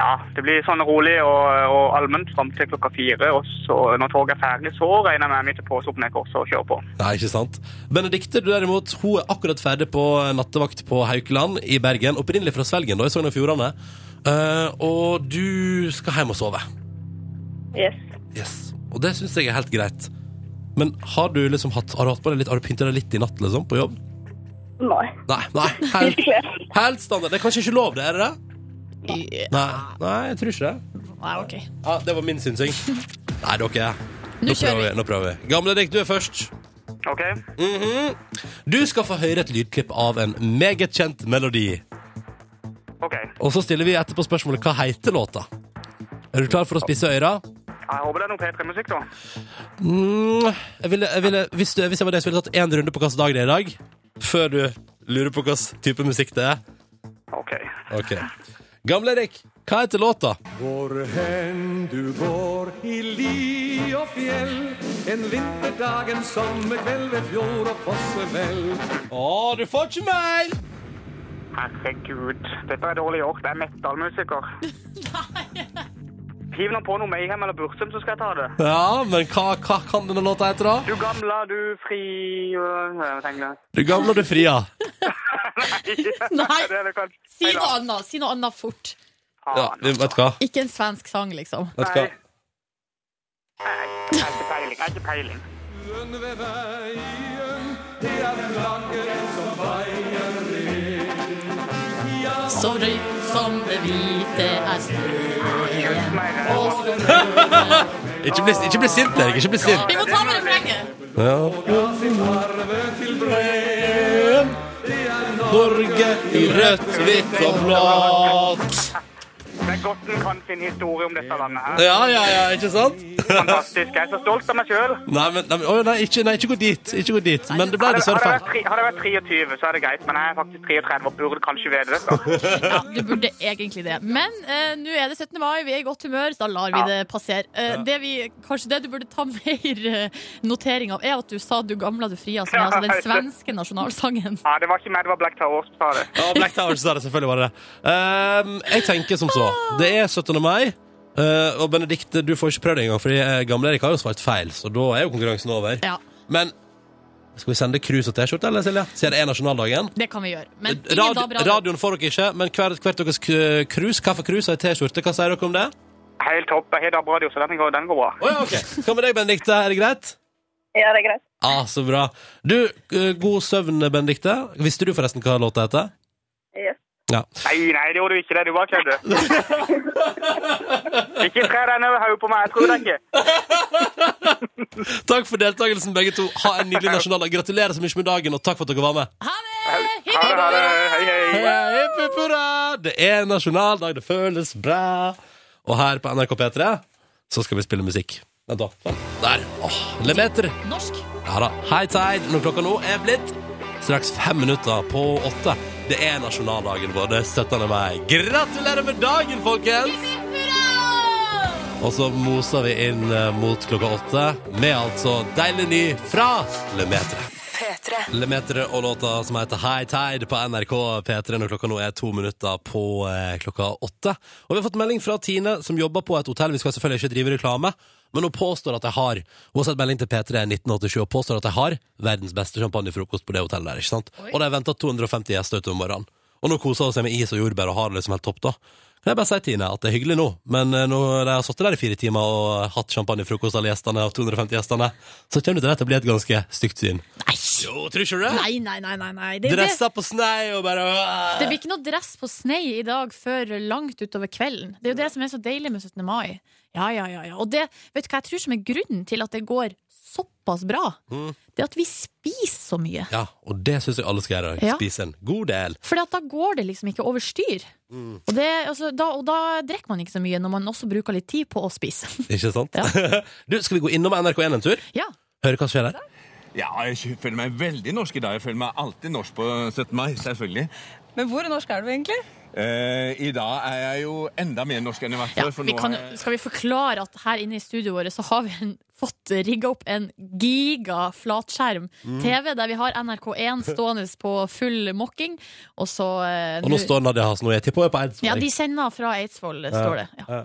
Speaker 7: Ja, det blir sånn rolig og, og allment fram til klokka fire. Og så når toget er ferdig, så regner jeg med midt på opp ned korset og kjører på.
Speaker 2: Nei, ikke sant. Benedikte, du derimot, hun er akkurat ferdig på nattevakt på Haukeland i Bergen. Opprinnelig fra Svelgen, da, i Sogn og Fjordane. Eh, og du skal hjem og sove.
Speaker 3: Yes.
Speaker 2: Yes. Og det syns jeg er helt greit. Men har du liksom hatt, har du hatt på deg litt, har du pyntet deg litt i natt, liksom, på jobb?
Speaker 3: Nei.
Speaker 2: Nei, nei, helt,
Speaker 3: Ikke klær.
Speaker 2: helt standard. Det er kanskje ikke lov, det, er det det? Nei, nei jeg tror ikke det.
Speaker 4: Nei, ok.
Speaker 2: Ja, det var min synsing. (laughs) Nei, dere. Nå,
Speaker 4: kjører
Speaker 2: prøver vi. Nå prøver vi. Gamle Dick, du er først. Mhm.
Speaker 7: OK?
Speaker 2: Du skal få høre et lydklipp av en meget kjent melodi.
Speaker 7: OK.
Speaker 2: Og så stiller vi etterpå spørsmålet hva heter låta. Er du klar for å spisse øyra?
Speaker 7: Jeg håper det er noe P3-musikk, da.
Speaker 2: Mm, jeg ville, jeg ville, hvis, du, hvis jeg var deg, så ville jeg tatt én runde på hvilken dag det er i dag. Før du lurer på hvilken type musikk det er.
Speaker 7: OK.
Speaker 2: Ok. Gamle Erik, hva heter låta?
Speaker 8: Hvor hen du går i li og fjell, en vinterdag, en sommerkveld ved fjord og fossevel.
Speaker 2: Å, du får ikke mer!
Speaker 7: Herregud, dette er dårlig gjort. Jeg
Speaker 2: (laughs)
Speaker 7: er metalmusiker. Hiv nå på noe Mayhem eller Bursum, så skal jeg ta det.
Speaker 2: Ja, men hva, hva kan denne låta hete, da?
Speaker 7: Du gamla, du fri øh, jeg
Speaker 2: (laughs)
Speaker 7: tenker-
Speaker 2: Du gamle, du fria.
Speaker 4: Nei,
Speaker 7: Det er det kanskje.
Speaker 4: si noe annet. Si noe annet fort.
Speaker 2: Ja,
Speaker 7: Faen,
Speaker 2: vi- vet du hva?
Speaker 4: Ikke en svensk sang, liksom.
Speaker 2: Vet du hva?
Speaker 7: Nei. Jeg har ikke peiling. Jeg har ikke peiling.
Speaker 8: Sjøen ved veien, det er den lange som veien
Speaker 4: Så rødt som det hvite er snøen.
Speaker 7: Nei, det er-
Speaker 2: Ikke bli, ikke bli sint, Erik. Ikke bli sint.
Speaker 4: Vi må ta med refrenget!
Speaker 2: Ja.
Speaker 8: ga sin arve til brød.
Speaker 2: Norge i rødt, hvitt og blått.
Speaker 7: Det er godt en kan sin historie om dette landet her.
Speaker 2: Ja, ja, ja, ikke sant?
Speaker 7: Fantastisk. Jeg er så stolt av meg sjøl.
Speaker 2: Nei, men, nei, men, å, nei, ikke, nei, ikke gå dit. Ikke gå dit. Men det ble
Speaker 7: Hadde
Speaker 2: dessverre
Speaker 7: hadde jeg
Speaker 2: feil.
Speaker 7: vært tre- hadde jeg vært 23, så er det greit, men jeg er faktisk 33 og burde kanskje vite
Speaker 2: (laughs)
Speaker 7: det. da.
Speaker 4: Ja, du burde egentlig det. Men eh, nå er det 17. mai, vi er i godt humør, så da lar vi
Speaker 7: Ja.
Speaker 4: det passere. Eh, det vi, kanskje det du burde ta (laughs) mer eh, notering av, er at du sa 'du gamla, du fria', som er altså den svenske nasjonalsangen.
Speaker 7: Ja, det var ikke meg, det var Black Tower som sa det.
Speaker 2: Ja, Black Tower sa det, selvfølgelig var det det. Ehm, jeg tenker som så. Det er 17. mai. eh, og Benedikte, du får ikke prøvd det engang, fordi eh, Gamle-Erik har jo svart feil. Så da er jo konkurransen over.
Speaker 4: Ja,
Speaker 2: Men skal vi sende krus og T-skjorte, eller, Silje? Siden det er nasjonaldagen.
Speaker 4: det kan vi gjøre. Men ingen
Speaker 2: Radio,
Speaker 4: da bra.
Speaker 2: radioen får dere ikke, men hver, hvert deres k- krus, kaffekrus og ei T-skjorte, hva sier dere om det?
Speaker 7: Helt topp. Jeg har DAB-radio, så den går, den går bra.
Speaker 2: Å ja, ok. Hva med deg, Benedikte? Er det greit?
Speaker 3: Ja, det er greit.
Speaker 2: Ah, så bra. Du, eh, god søvn, Benedikte. Visste du forresten hva låta heter?
Speaker 3: Yes.
Speaker 2: Ja.
Speaker 7: Nei, nei, det gjorde du ikke det. Du bare kødder. ikke tre deg nedover hodet på meg. Jeg tror det ikke.
Speaker 2: Takk for deltakelsen, begge to. Ha en nydelig nasjonaldag. Gratulerer så mye med dagen, og takk for at dere var med.
Speaker 4: Ha det!
Speaker 7: Ha det, ha det. Hei, hei.
Speaker 2: Hei, hipp, hipp, hurra! Det er nasjonaldag, det føles bra. Og her på NRK P3 så skal vi spille musikk. Vent, da. Sånn. Der. Åh, Lemeter.
Speaker 4: Norsk.
Speaker 2: Ja da. High tide når klokka nå er blitt straks fem minutter på åtte. Det er nasjonaldagen vår. Det støtter meg. Gratulerer med dagen, folkens! Og så moser vi inn eh, mot klokka åtte med altså deilig ny fra Lemetre. Lemetre og låta som heter High Tide på NRK P3 når klokka nå er to minutter på eh, klokka åtte. Og vi har fått melding fra Tine som jobber på et hotell. Vi skal selvfølgelig ikke drive reklame, men hun påstår at jeg har Hun har sett melding til P3 i 1987 og påstår at jeg har verdens beste champagnefrokost på det hotellet der. ikke sant? Og de venter 250 gjester utover morgenen. Og nå koser hun seg med is og jordbær og har det liksom helt topp, da. Kan jeg bare si, Tine, at det er hyggelig nå, men eh, når de har sittet der i fire timer og hatt champagnefrokost, alle gjestene, og 250 gjestene, så kommer det til å bli et ganske stygt syn.
Speaker 4: Nei.
Speaker 2: Jo, tror
Speaker 6: (laughs)
Speaker 2: ikke du det?
Speaker 4: Nei, nei, nei, nei, nei. Det, det,
Speaker 2: Dressa på snei og bare
Speaker 4: det blir ikke noe dress på snei i dag før langt utover kvelden. Det er jo det som er så deilig med 17. mai. Ja, ja, ja, ja. Og det, vet du hva jeg tror som er grunnen til at det går såpass bra?
Speaker 2: Mm.
Speaker 4: Det er at vi spiser så mye.
Speaker 2: Ja, og det syns jeg alle skal gjøre.
Speaker 4: Ja.
Speaker 2: Spise en god del. Mm.
Speaker 4: For da går det liksom ikke over styr. Og, det, altså, da, og da drikker man ikke så mye når man også bruker litt tid på å spise.
Speaker 2: Ikke sant? (laughs) Du, skal vi gå innom NRK1 en tur?
Speaker 4: ja.
Speaker 2: Høre hva som skjer der?
Speaker 9: Ja, jeg føler meg veldig norsk i dag. Jeg føler meg alltid norsk på 17. mai, selvfølgelig.
Speaker 10: Men hvor norsk er du egentlig?
Speaker 9: Eh, I dag er jeg jo enda mer norsk enn jeg har vært
Speaker 4: Ja,
Speaker 9: før. for
Speaker 4: vi
Speaker 9: nå
Speaker 4: kan,
Speaker 9: har
Speaker 2: eh,
Speaker 9: jeg-
Speaker 4: skal vi forklare at her inne i studioet vårt så har vi en, (laughs) fått rigga opp en giga flatskjerm
Speaker 2: Mm.
Speaker 4: TV der vi har NRK1 stående på full mokking, og så eh,
Speaker 2: Og nå
Speaker 4: nu-
Speaker 2: står Nadia Hasen og jeg tipper hun er på Eidsvoll.
Speaker 4: Ja, de sender fra Eidsvoll, eh, står det. Ja.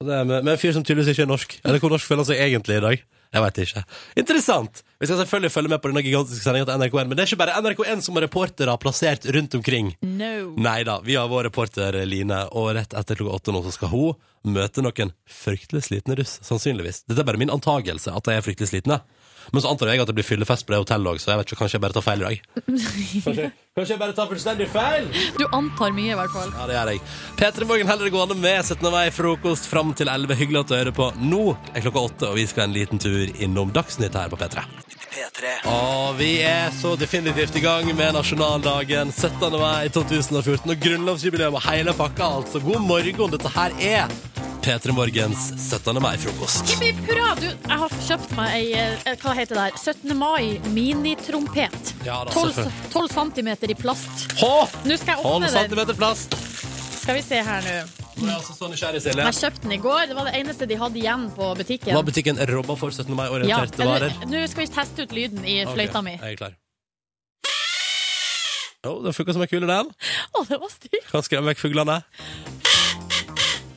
Speaker 2: Og Det er med, med en fyr som tydeligvis ikke er norsk. Eller hvor norsk føler han seg egentlig i dag? Jeg vet ikke. Interessant! Vi skal selvfølgelig følge med på denne gigantiske sendinga til NRK1, men det er ikke bare NRK1 som har reportere plassert rundt omkring.
Speaker 4: No.
Speaker 2: Nei da, vi har vår reporter Line, og rett etter klokka åtte nå så skal hun møte noen fryktelig slitne russ, sannsynligvis. Dette er bare min antagelse at de er fryktelig slitne. Men så antar jeg at det blir fyllefest på det hotellet òg, så jeg vet ikke, kanskje jeg bare tar feil i dag. Kanskje, kanskje jeg bare tar fullstendig feil?
Speaker 4: (laughs) Du antar mye, i hvert fall.
Speaker 2: Ja, det gjør jeg. P3 Morgen heller det gående med 17. mai-frokost fram til 11. Hyggelig at du hører på. Nå er klokka åtte, og vi skal en liten tur innom Dagsnytt her på P3.
Speaker 1: P3.
Speaker 2: Og vi er så definitivt i gang med nasjonaldagen 17. mai 2014 og grunnlovsjubileum og hele pakka, altså. God morgen, dette her er P3 Morgens 17. mai-frokost.
Speaker 4: Jippi hurra! Du, jeg har kjøpt meg ei eh, Hva heter det der? 17. mai minitrompet.
Speaker 2: Ja da,
Speaker 4: 12,
Speaker 2: selvfølgelig.
Speaker 4: 12 centimeter i plast.
Speaker 2: Hå!
Speaker 4: Nå skal jeg
Speaker 2: 12
Speaker 4: åpne den.
Speaker 2: centimeter plast.
Speaker 4: Skal vi se her nå.
Speaker 2: Nå er jeg altså så nysgjerrig, Silje.
Speaker 4: Jeg kjøpte den i går. Det var det eneste de hadde igjen på butikken.
Speaker 2: Var butikken robba for 17.
Speaker 4: Ja,
Speaker 2: mai-orienterte varer?
Speaker 4: eller- Nå skal vi teste ut lyden i fløyta
Speaker 2: Ok,
Speaker 4: mi.
Speaker 2: Jeg er klar. Jo, den funka som ei kule, den.
Speaker 4: Å, det var stygt!
Speaker 2: Kan skremme vekk fuglene.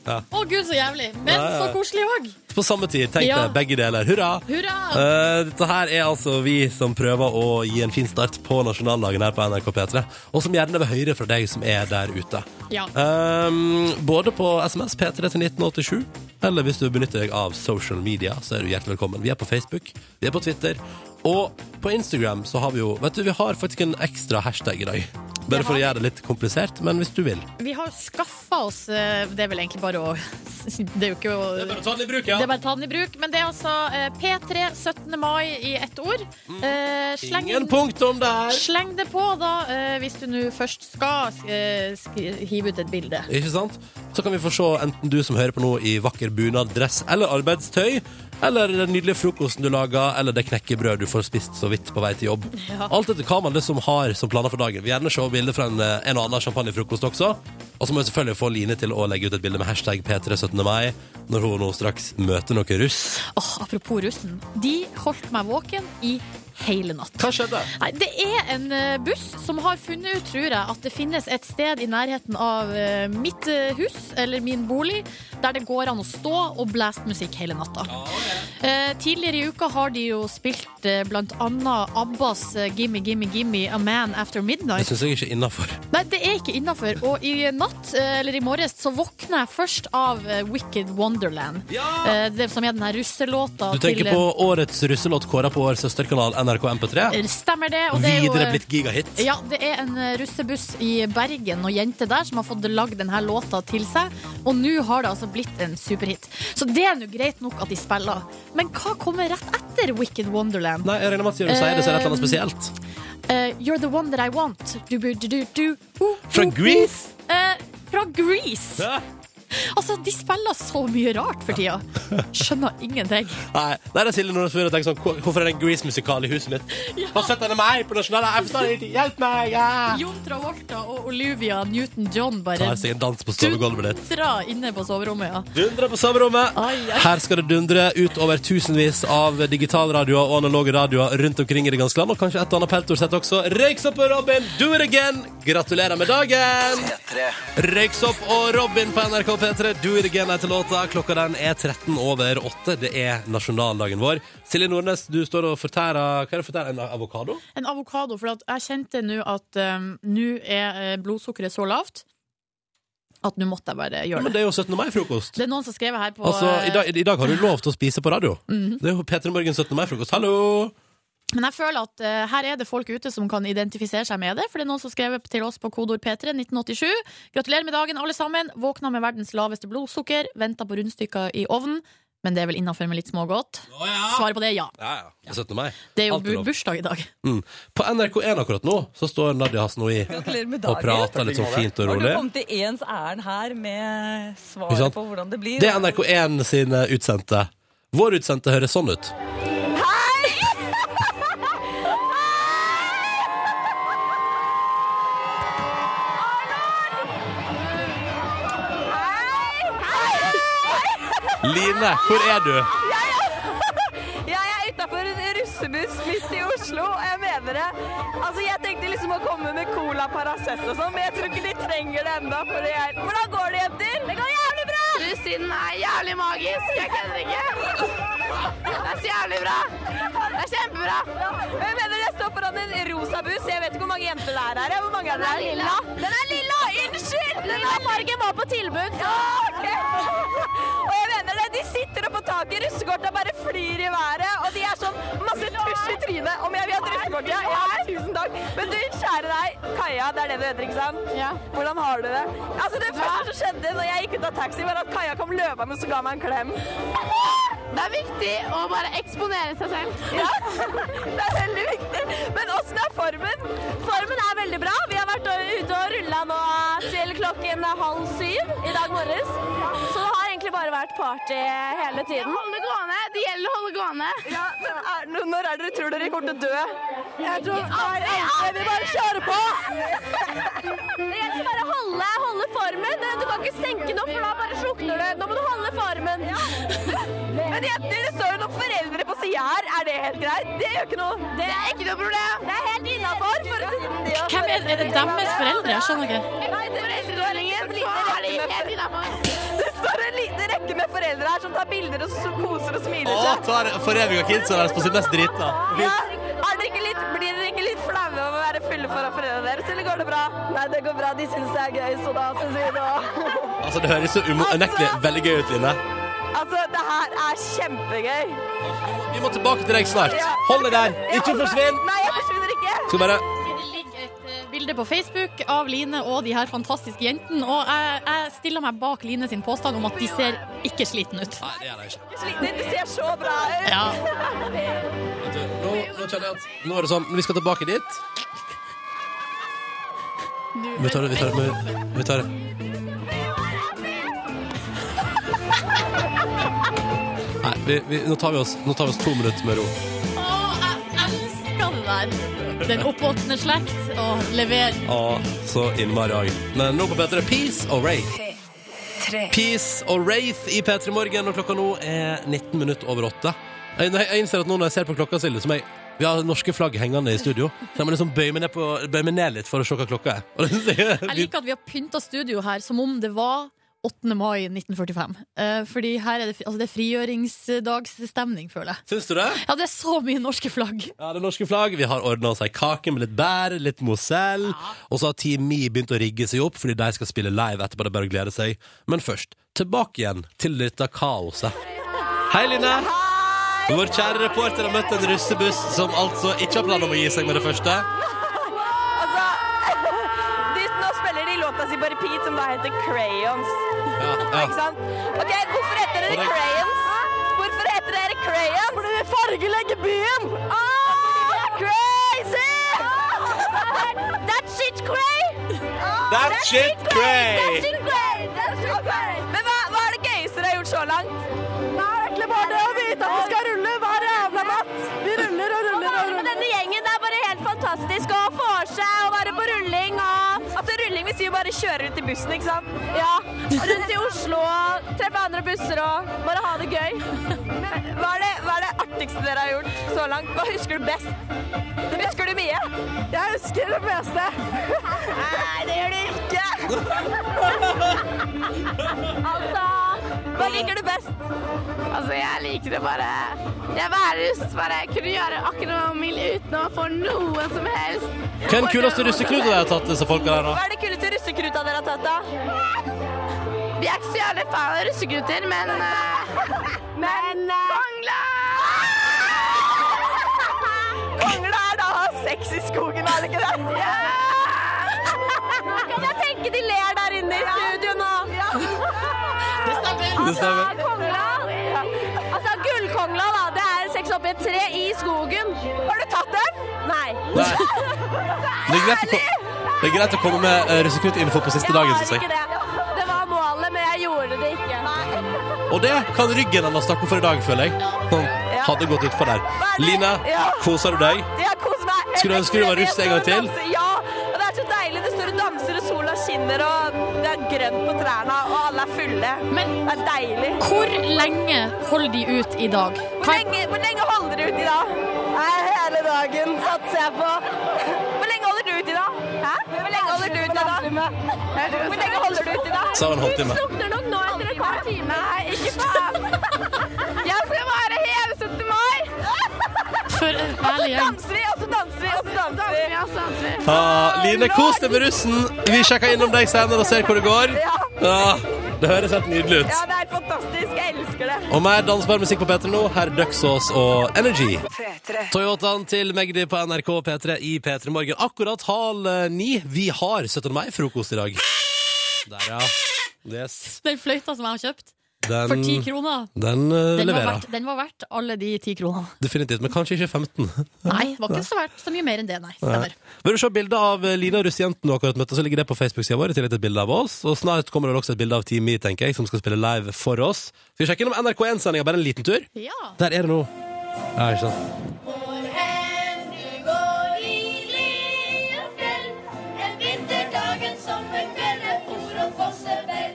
Speaker 4: Å gud, så jævlig! Men
Speaker 2: Ja, ja.
Speaker 4: så koselig òg!
Speaker 2: På samme tid. Tenk
Speaker 4: Ja.
Speaker 2: det. Begge deler. Hurra!
Speaker 4: Hurra!
Speaker 2: Eh, dette her er altså vi som prøver å gi en fin start på nasjonaldagen her på NRK P3, og som gjerne vil høre fra deg som er der ute.
Speaker 4: Ja.
Speaker 2: Ehm, både på SMS P3 til 1987, eller hvis du benytter deg av social media, så er du hjertelig velkommen. Vi er på Facebook, vi er på Twitter, og på Instagram så har vi jo Vet du, vi har faktisk en ekstra hashtag i dag. Bare
Speaker 4: Det
Speaker 2: for å gjøre
Speaker 4: har
Speaker 2: det litt komplisert, men hvis du vil.
Speaker 4: Vi har skaffa oss eh, Det er vel egentlig bare å (laughs) Det er jo ikke å-
Speaker 2: Det er bare å ta den i bruk, ja.
Speaker 4: Det er bare å ta den i bruk. Men det er altså eh, P3 17. mai i ett ord. Eh, sleng,
Speaker 2: Mm. Ingen punktum der.
Speaker 4: sleng det på, da, eh, hvis du nå først skal eh, skri- hive ut et bilde.
Speaker 2: Ikke sant? Så kan vi få se enten du som hører på nå i vakker bunad, dress eller arbeidstøy, eller den nydelige frokosten du lager, eller det knekkebrød du får spist så vidt på vei til jobb.
Speaker 4: Ja.
Speaker 2: Alt etter hva man liksom har som planer for dagen. Vi vil gjerne se bilder fra en, eh, en og annen champagnefrokost også. Og så må vi selvfølgelig få Line til å legge ut et bilde med hashtag P3 17. mai, når hun nå straks møter noen russ.
Speaker 4: Åh, apropos russen. De holdt meg våken i hele natt.
Speaker 2: Hva skjedde?
Speaker 4: Nei, det er en eh, buss som har funnet ut, tror jeg, at det finnes et sted i nærheten av eh, mitt eh, hus, eller min bolig, der det går an å stå og blæste musikk hele natta. Eh, Tidligere i uka har de jo spilt eh, blant annet Abbas eh, Gimme, Gimme, Gimme, A Man After
Speaker 2: Det
Speaker 4: Midnight.
Speaker 2: syns jeg ikke er innafor.
Speaker 4: Nei, det er ikke innafor. Og i natt, eh, eller i morges, så våkna jeg først av eh, Wicked Wonderland. Eh, Det som er den her russelåta
Speaker 2: Du tenker på årets russelåt kåra på vår søsterkanal NRK MP3?
Speaker 4: Eh, Stemmer det. Og det er jo,
Speaker 2: Videre
Speaker 4: eh,
Speaker 2: blitt gigahit.
Speaker 4: Ja, det er en eh, russebuss i Bergen og jenter der som har fått lagd denne låta til seg. Og nå har det altså blitt en superhit. Så det er nå greit nok at de spiller. Men hva kommer rett etter Wicked Wonderland?
Speaker 2: Nei, jeg regner med at siden du sier det, så er det et eller annet
Speaker 4: Eh,
Speaker 2: spesielt.
Speaker 4: eh, you're the one that I want. Du, bu, du, du, du, oh,
Speaker 2: Fra
Speaker 4: oh,
Speaker 2: Grease?
Speaker 4: oh. Eh, fra Grease.
Speaker 2: Hæ?
Speaker 4: Altså, de spiller så mye rart for tida. Skjønner ingenting.
Speaker 2: Nei, nei, det er Silje Nordnes Furre. Tenk sånn, hvor- hvorfor er det en Grease-musikal i huset mitt? Hva setter den meg på nasjonale? Jeg forstår ikke. Hjelp meg! Ja.
Speaker 4: Jon Travolta og Olivia Newton-John bare
Speaker 2: Tar seg en dans på sovegulvet ditt.
Speaker 4: drar inne på soverommet, ja.
Speaker 2: Dundre på soverommet.
Speaker 4: Ai, ai.
Speaker 2: Her skal det dundre utover tusenvis av digitalradioer og analoge radioer rundt omkring i det ganske land, og kanskje et eller annet peltorsett også. Røyks opp og Robin, do it again! Gratulerer med dagen!
Speaker 1: P3.
Speaker 2: Røyks opp og Robin på NRK P3. Do it again heter låta. Klokka den er 13 over 8. Det er nasjonaldagen vår. Silje Nordnes, du står og fortærer Hva er det du fortærer? En avokado?
Speaker 4: En avokado, for at jeg kjente nå at um, nå er eh, blodsukkeret så lavt at nå måtte jeg bare
Speaker 2: Ja,
Speaker 4: gjøre
Speaker 2: men
Speaker 4: det.
Speaker 2: det er jo 17. mai-frokost.
Speaker 4: Det er noen som skrev her på
Speaker 2: Altså, i dag,
Speaker 4: eh, Mhm.
Speaker 2: I dag har du lov til å spise på radio. Det er jo P3 Morgen 17. mai-frokost. Hallo!
Speaker 4: Men jeg føler at eh, her er det folk ute som kan identifisere seg med det, for det er noen som skrev til oss på kodord P3 1987. Gratulerer med dagen, alle sammen. Våkna med verdens laveste blodsukker, venta på rundstykker i ovnen. Men det er vel innafor med litt smågodt? Svaret på det er ja.
Speaker 2: Ja, ja. Det er 17. mai.
Speaker 4: Det er jo
Speaker 2: Alt
Speaker 4: bu
Speaker 2: lov.
Speaker 4: bursdag i dag.
Speaker 2: Mm. På NRK1 akkurat nå så står Nadia Hasnoi
Speaker 10: Gratulerer med
Speaker 2: og
Speaker 10: dagen.
Speaker 2: prater litt sånn fint og
Speaker 10: Har du
Speaker 2: rolig.
Speaker 10: kommet til ens ærend her med
Speaker 2: Ikke
Speaker 10: svaret
Speaker 2: sant?
Speaker 10: på hvordan det blir?
Speaker 2: Det er NRK1 sine utsendte. Vår utsendte høres sånn ut.
Speaker 5: (laughs)
Speaker 2: Line, hvor er du?
Speaker 3: Jeg er utafor en russebuss midt i Oslo, og jeg mener det. Altså, Jeg tenkte liksom å komme med Cola Paracet og sånn, men jeg tror ikke de trenger det ennå. Hvordan går det, jenter? Det går jævlig bra! Russinen er jævlig magisk. Jeg kødder ikke. Det er så jævlig bra. Det er kjempebra. Og jeg mener jeg står foran en rosa buss. Jeg vet ikke hvor mange jenter det er her. jeg. Hvor mange er det? Den er lilla. Den er lilla! Unnskyld! Lilla Margen var på tilbud. Ja, ok. Og jeg mener det, de sitter oppå taket, russekorta bare flyr i været, og de er sånn masse tusj i trynet. Om jeg vil ha et russekort, ja. ja, tusen takk. Men du, kjære deg, Kaja, det er det du heter, ikke sant? Hvordan har du det? Altså, det første som skjedde når jeg gikk ut av taxi, var at Kaja kom løpende og så ga meg en klem. Det er viktig å bare eksponere seg selv. Ja, (laughs) det er veldig viktig. Men åssen er formen? Formen er veldig bra. Vi har vært ute og rulla nå til klokken halv syv i dag morges. Så det har egentlig bare vært party hele tiden. Holde gående. Det gjelder å holde gående. Ja, men er, nå- når er dere tror dere kommer til å dø? Jeg tror Nei, jeg vil bare kjøre på. (laughs) Det gjelder bare å holde, holde formen. Du kan ikke senke noe, for da bare slukner du. Nå må du holde formen. Men jenter, det står jo noen foreldre på sida her. Er det helt greit? Det gjør ikke noe. Det er ikke noe problem. Det er helt innafor.
Speaker 4: Hvem er, er det deres foreldre? Jeg skjønner ikke.
Speaker 3: sånn. Nei, det er foreldreordningen. Det står en liten rekke med foreldre her som tar bilder og så koser og smiler
Speaker 2: Å,
Speaker 3: seg.
Speaker 2: tar foreviga kidsa deres altså på sitt mest drita.
Speaker 3: Ja. Er dere ikke litt, blir dere ikke litt flaue av å være fulle foran foreldrene deres, eller går det bra? Nei, det går bra. De syns det er gøy, så da syns vi det òg.
Speaker 2: Altså, det høres så umo- unektelig veldig gøy ut, Line.
Speaker 3: (laughs) Altså, det her er kjempegøy.
Speaker 2: Vi må tilbake til deg snart.
Speaker 3: Ja.
Speaker 2: Hold deg der.
Speaker 3: Jeg
Speaker 2: Ikke
Speaker 3: holder meg-
Speaker 2: forsvinn.
Speaker 3: Nei, jeg forsvinner ikke.
Speaker 2: Skal bare
Speaker 4: Det ligger et eh, bilde bilde på Facebook av Line og de her fantastiske jentene. Og jeg, jeg stiller meg bak Line sin påstand om at de ser ikke sliten ut.
Speaker 2: Nei, det er det ikke.
Speaker 3: Det ser så bra ut!
Speaker 4: Ja.
Speaker 2: Vet du, Nå, nå kjenner jeg at Nå er det sånn, vi skal tilbake dit. Vi tar det, vi tar det. Vi, vi tar det. Nei, vi, vi, nå, tar vi oss, nå tar vi oss to minutter med ro.
Speaker 4: Å, jeg elsker det der. Den oppvoksende slekt. Og lever.
Speaker 2: Ja, så innmari òg. Men nå på P3 Peace og Wraith. Peace og Wraith i P3 Morgen, og klokka nå er 19 minutter over åtte. Jeg, jeg jeg innser at nå når jeg ser på klokka, så er det som jeg vi har norske flagg hengende i studio. Så jeg må liksom bøye meg ned, på, bøye meg ned litt for å se hva klokka er. Og det er
Speaker 4: Jeg liker at vi har pynta studio her som om det var 8. mai 1945. Eh, fordi her er det, fri- altså det er frigjøringsdagsstemning, føler jeg.
Speaker 2: Syns du det?
Speaker 4: Ja, det er så mye norske flagg.
Speaker 2: Ja, det er norske flagg. Vi har ordna oss ei kake med litt bær, litt mosell. Og så har Team Me begynt å rigge seg opp, fordi de skal spille live etterpå. Det er bare å glede seg. Men først, tilbake igjen til dette kaoset. Hei, Line. Vår kjære reporter har møtt en russebuss som altså ikke har planer om å gi seg med det første.
Speaker 3: (laughs) Altså, (laughs) de, nå spiller de låta si på repeat, som da heter Crayons.
Speaker 2: ja.
Speaker 3: Ikke sant? Ok, Hvorfor
Speaker 2: Og
Speaker 3: heter dere
Speaker 2: det-
Speaker 3: Crayons? Hvorfor heter dere Crayons? Fordi vi fargelegger byen! crazy! Ah! (laughs) That shit cray!
Speaker 2: That shit cray!
Speaker 3: That shit cray! That shit cray! Men hva, hva er det gøyeste dere har gjort så langt? Det er egentlig bare det å vite at vi skal rulle hver jævla natt. Vi ruller og ruller og ruller. Men denne gjengen det er bare helt fantastisk å få seg og være på rulling og Altså rulling vil si jo bare kjøre rundt i bussen, ikke sant? Ja. Rundt i Oslo og treffe andre busser og bare ha det gøy. Men hva er det, hva er det artigste dere har gjort så langt? Hva husker du best? Husker du mye? Jeg husker det meste. Nei, det gjør du ikke. altså Hva liker du best? Altså, jeg liker det bare Jeg bare lyst bare kunne gjøre akkurat noe mild uten å få noe som helst.
Speaker 2: Hva er den kuleste russeknuta de har tatt, disse folka der, da?
Speaker 3: Hva er det kuleste russekruta dere har tatt, da? Vi er ikke så jævlig fan av russekruter, men eh, Men eh, Kongla! Kongla er da å ha sex i skogen, er det ikke det? Kan jeg tenke de ler der inne i studio nå? Det stemmer.
Speaker 2: Det stemmer.
Speaker 3: Kongla Altså, gullkongla, da, det er sex oppi et tre i skogen. Har du tatt den? Nei.
Speaker 2: Nei. Det er greit å, ko- det er greit å komme med eh, russeknutinfo på siste dagen, syns
Speaker 3: ikke
Speaker 2: jeg.
Speaker 3: det. Det var målet, men jeg gjorde det ikke.
Speaker 2: Og det kan ryggen hennes takke for i dag, føler jeg. Sånn, hadde gått utfor der. Line,
Speaker 3: Ja.
Speaker 2: koser du deg?
Speaker 3: Jeg koser meg.
Speaker 2: Skulle du ønske du var russ en gang til?
Speaker 3: Ja, og det er så deilig. Du står og danser, og sola skinner, og det er grønt på trærne, og alle er fulle. det er deilig.
Speaker 4: Hvor lenge holder de ut i dag?
Speaker 3: Hvor lenge, hvor lenge holder du ut i dag? Nei, hele dagen satser jeg på. Hvor lenge holder du ut i dag? Hæ? Hvor lenge holder du ut i dag? Hvor lenge holder du ut i dag?
Speaker 2: Sa hun halvtime.
Speaker 3: slukner nok nå etter et par timer. Nei, ikke faen. Jeg skal være hele 17. mai.
Speaker 4: For en ærlig gjeng.
Speaker 3: Og så danser vi, og så danser vi, og så danser vi. Ja, så danser vi.
Speaker 2: Ah, Line, kos deg med russen. Vi sjekker innom deg senere og ser hvor det går.
Speaker 3: Ja.
Speaker 2: Ah, det høres helt nydelig
Speaker 3: Ja,
Speaker 2: ut.
Speaker 3: det er fantastisk. Jeg elsker det.
Speaker 2: Og mer dansbar musikk på P3 nå. Her er Duxås og Energy. Toyotaen til Magdi på NRK P3 i P3 Morgen. Akkurat halv eh, ni. Vi har 17. mai-frokost i dag. Der, ja. Yes.
Speaker 4: Den fløyta som jeg har kjøpt
Speaker 2: Den,
Speaker 4: for ti kroner,
Speaker 2: Den eh,
Speaker 4: den var,
Speaker 2: leverer.
Speaker 4: verdt, den var verdt alle de ti kronene.
Speaker 2: Definitivt. Men kanskje ikke 15.
Speaker 4: Nei, det var ikke så verdt så mye mer enn det, nei.
Speaker 2: Nei.
Speaker 4: (laughs) Stemmer.
Speaker 2: Vil du se bilde av eh, Lina og russejenten du akkurat møtte, så ligger det på Facebook-sida vår. I tillegg til et bilde av oss. Og snart kommer det vel også et bilde av Team Me, tenker jeg, som skal spille live for oss. Skal vi sjekke innom NRK1-sendinga, bare en liten tur?
Speaker 4: Ja.
Speaker 2: Der er det nå. Ja, ikke sant.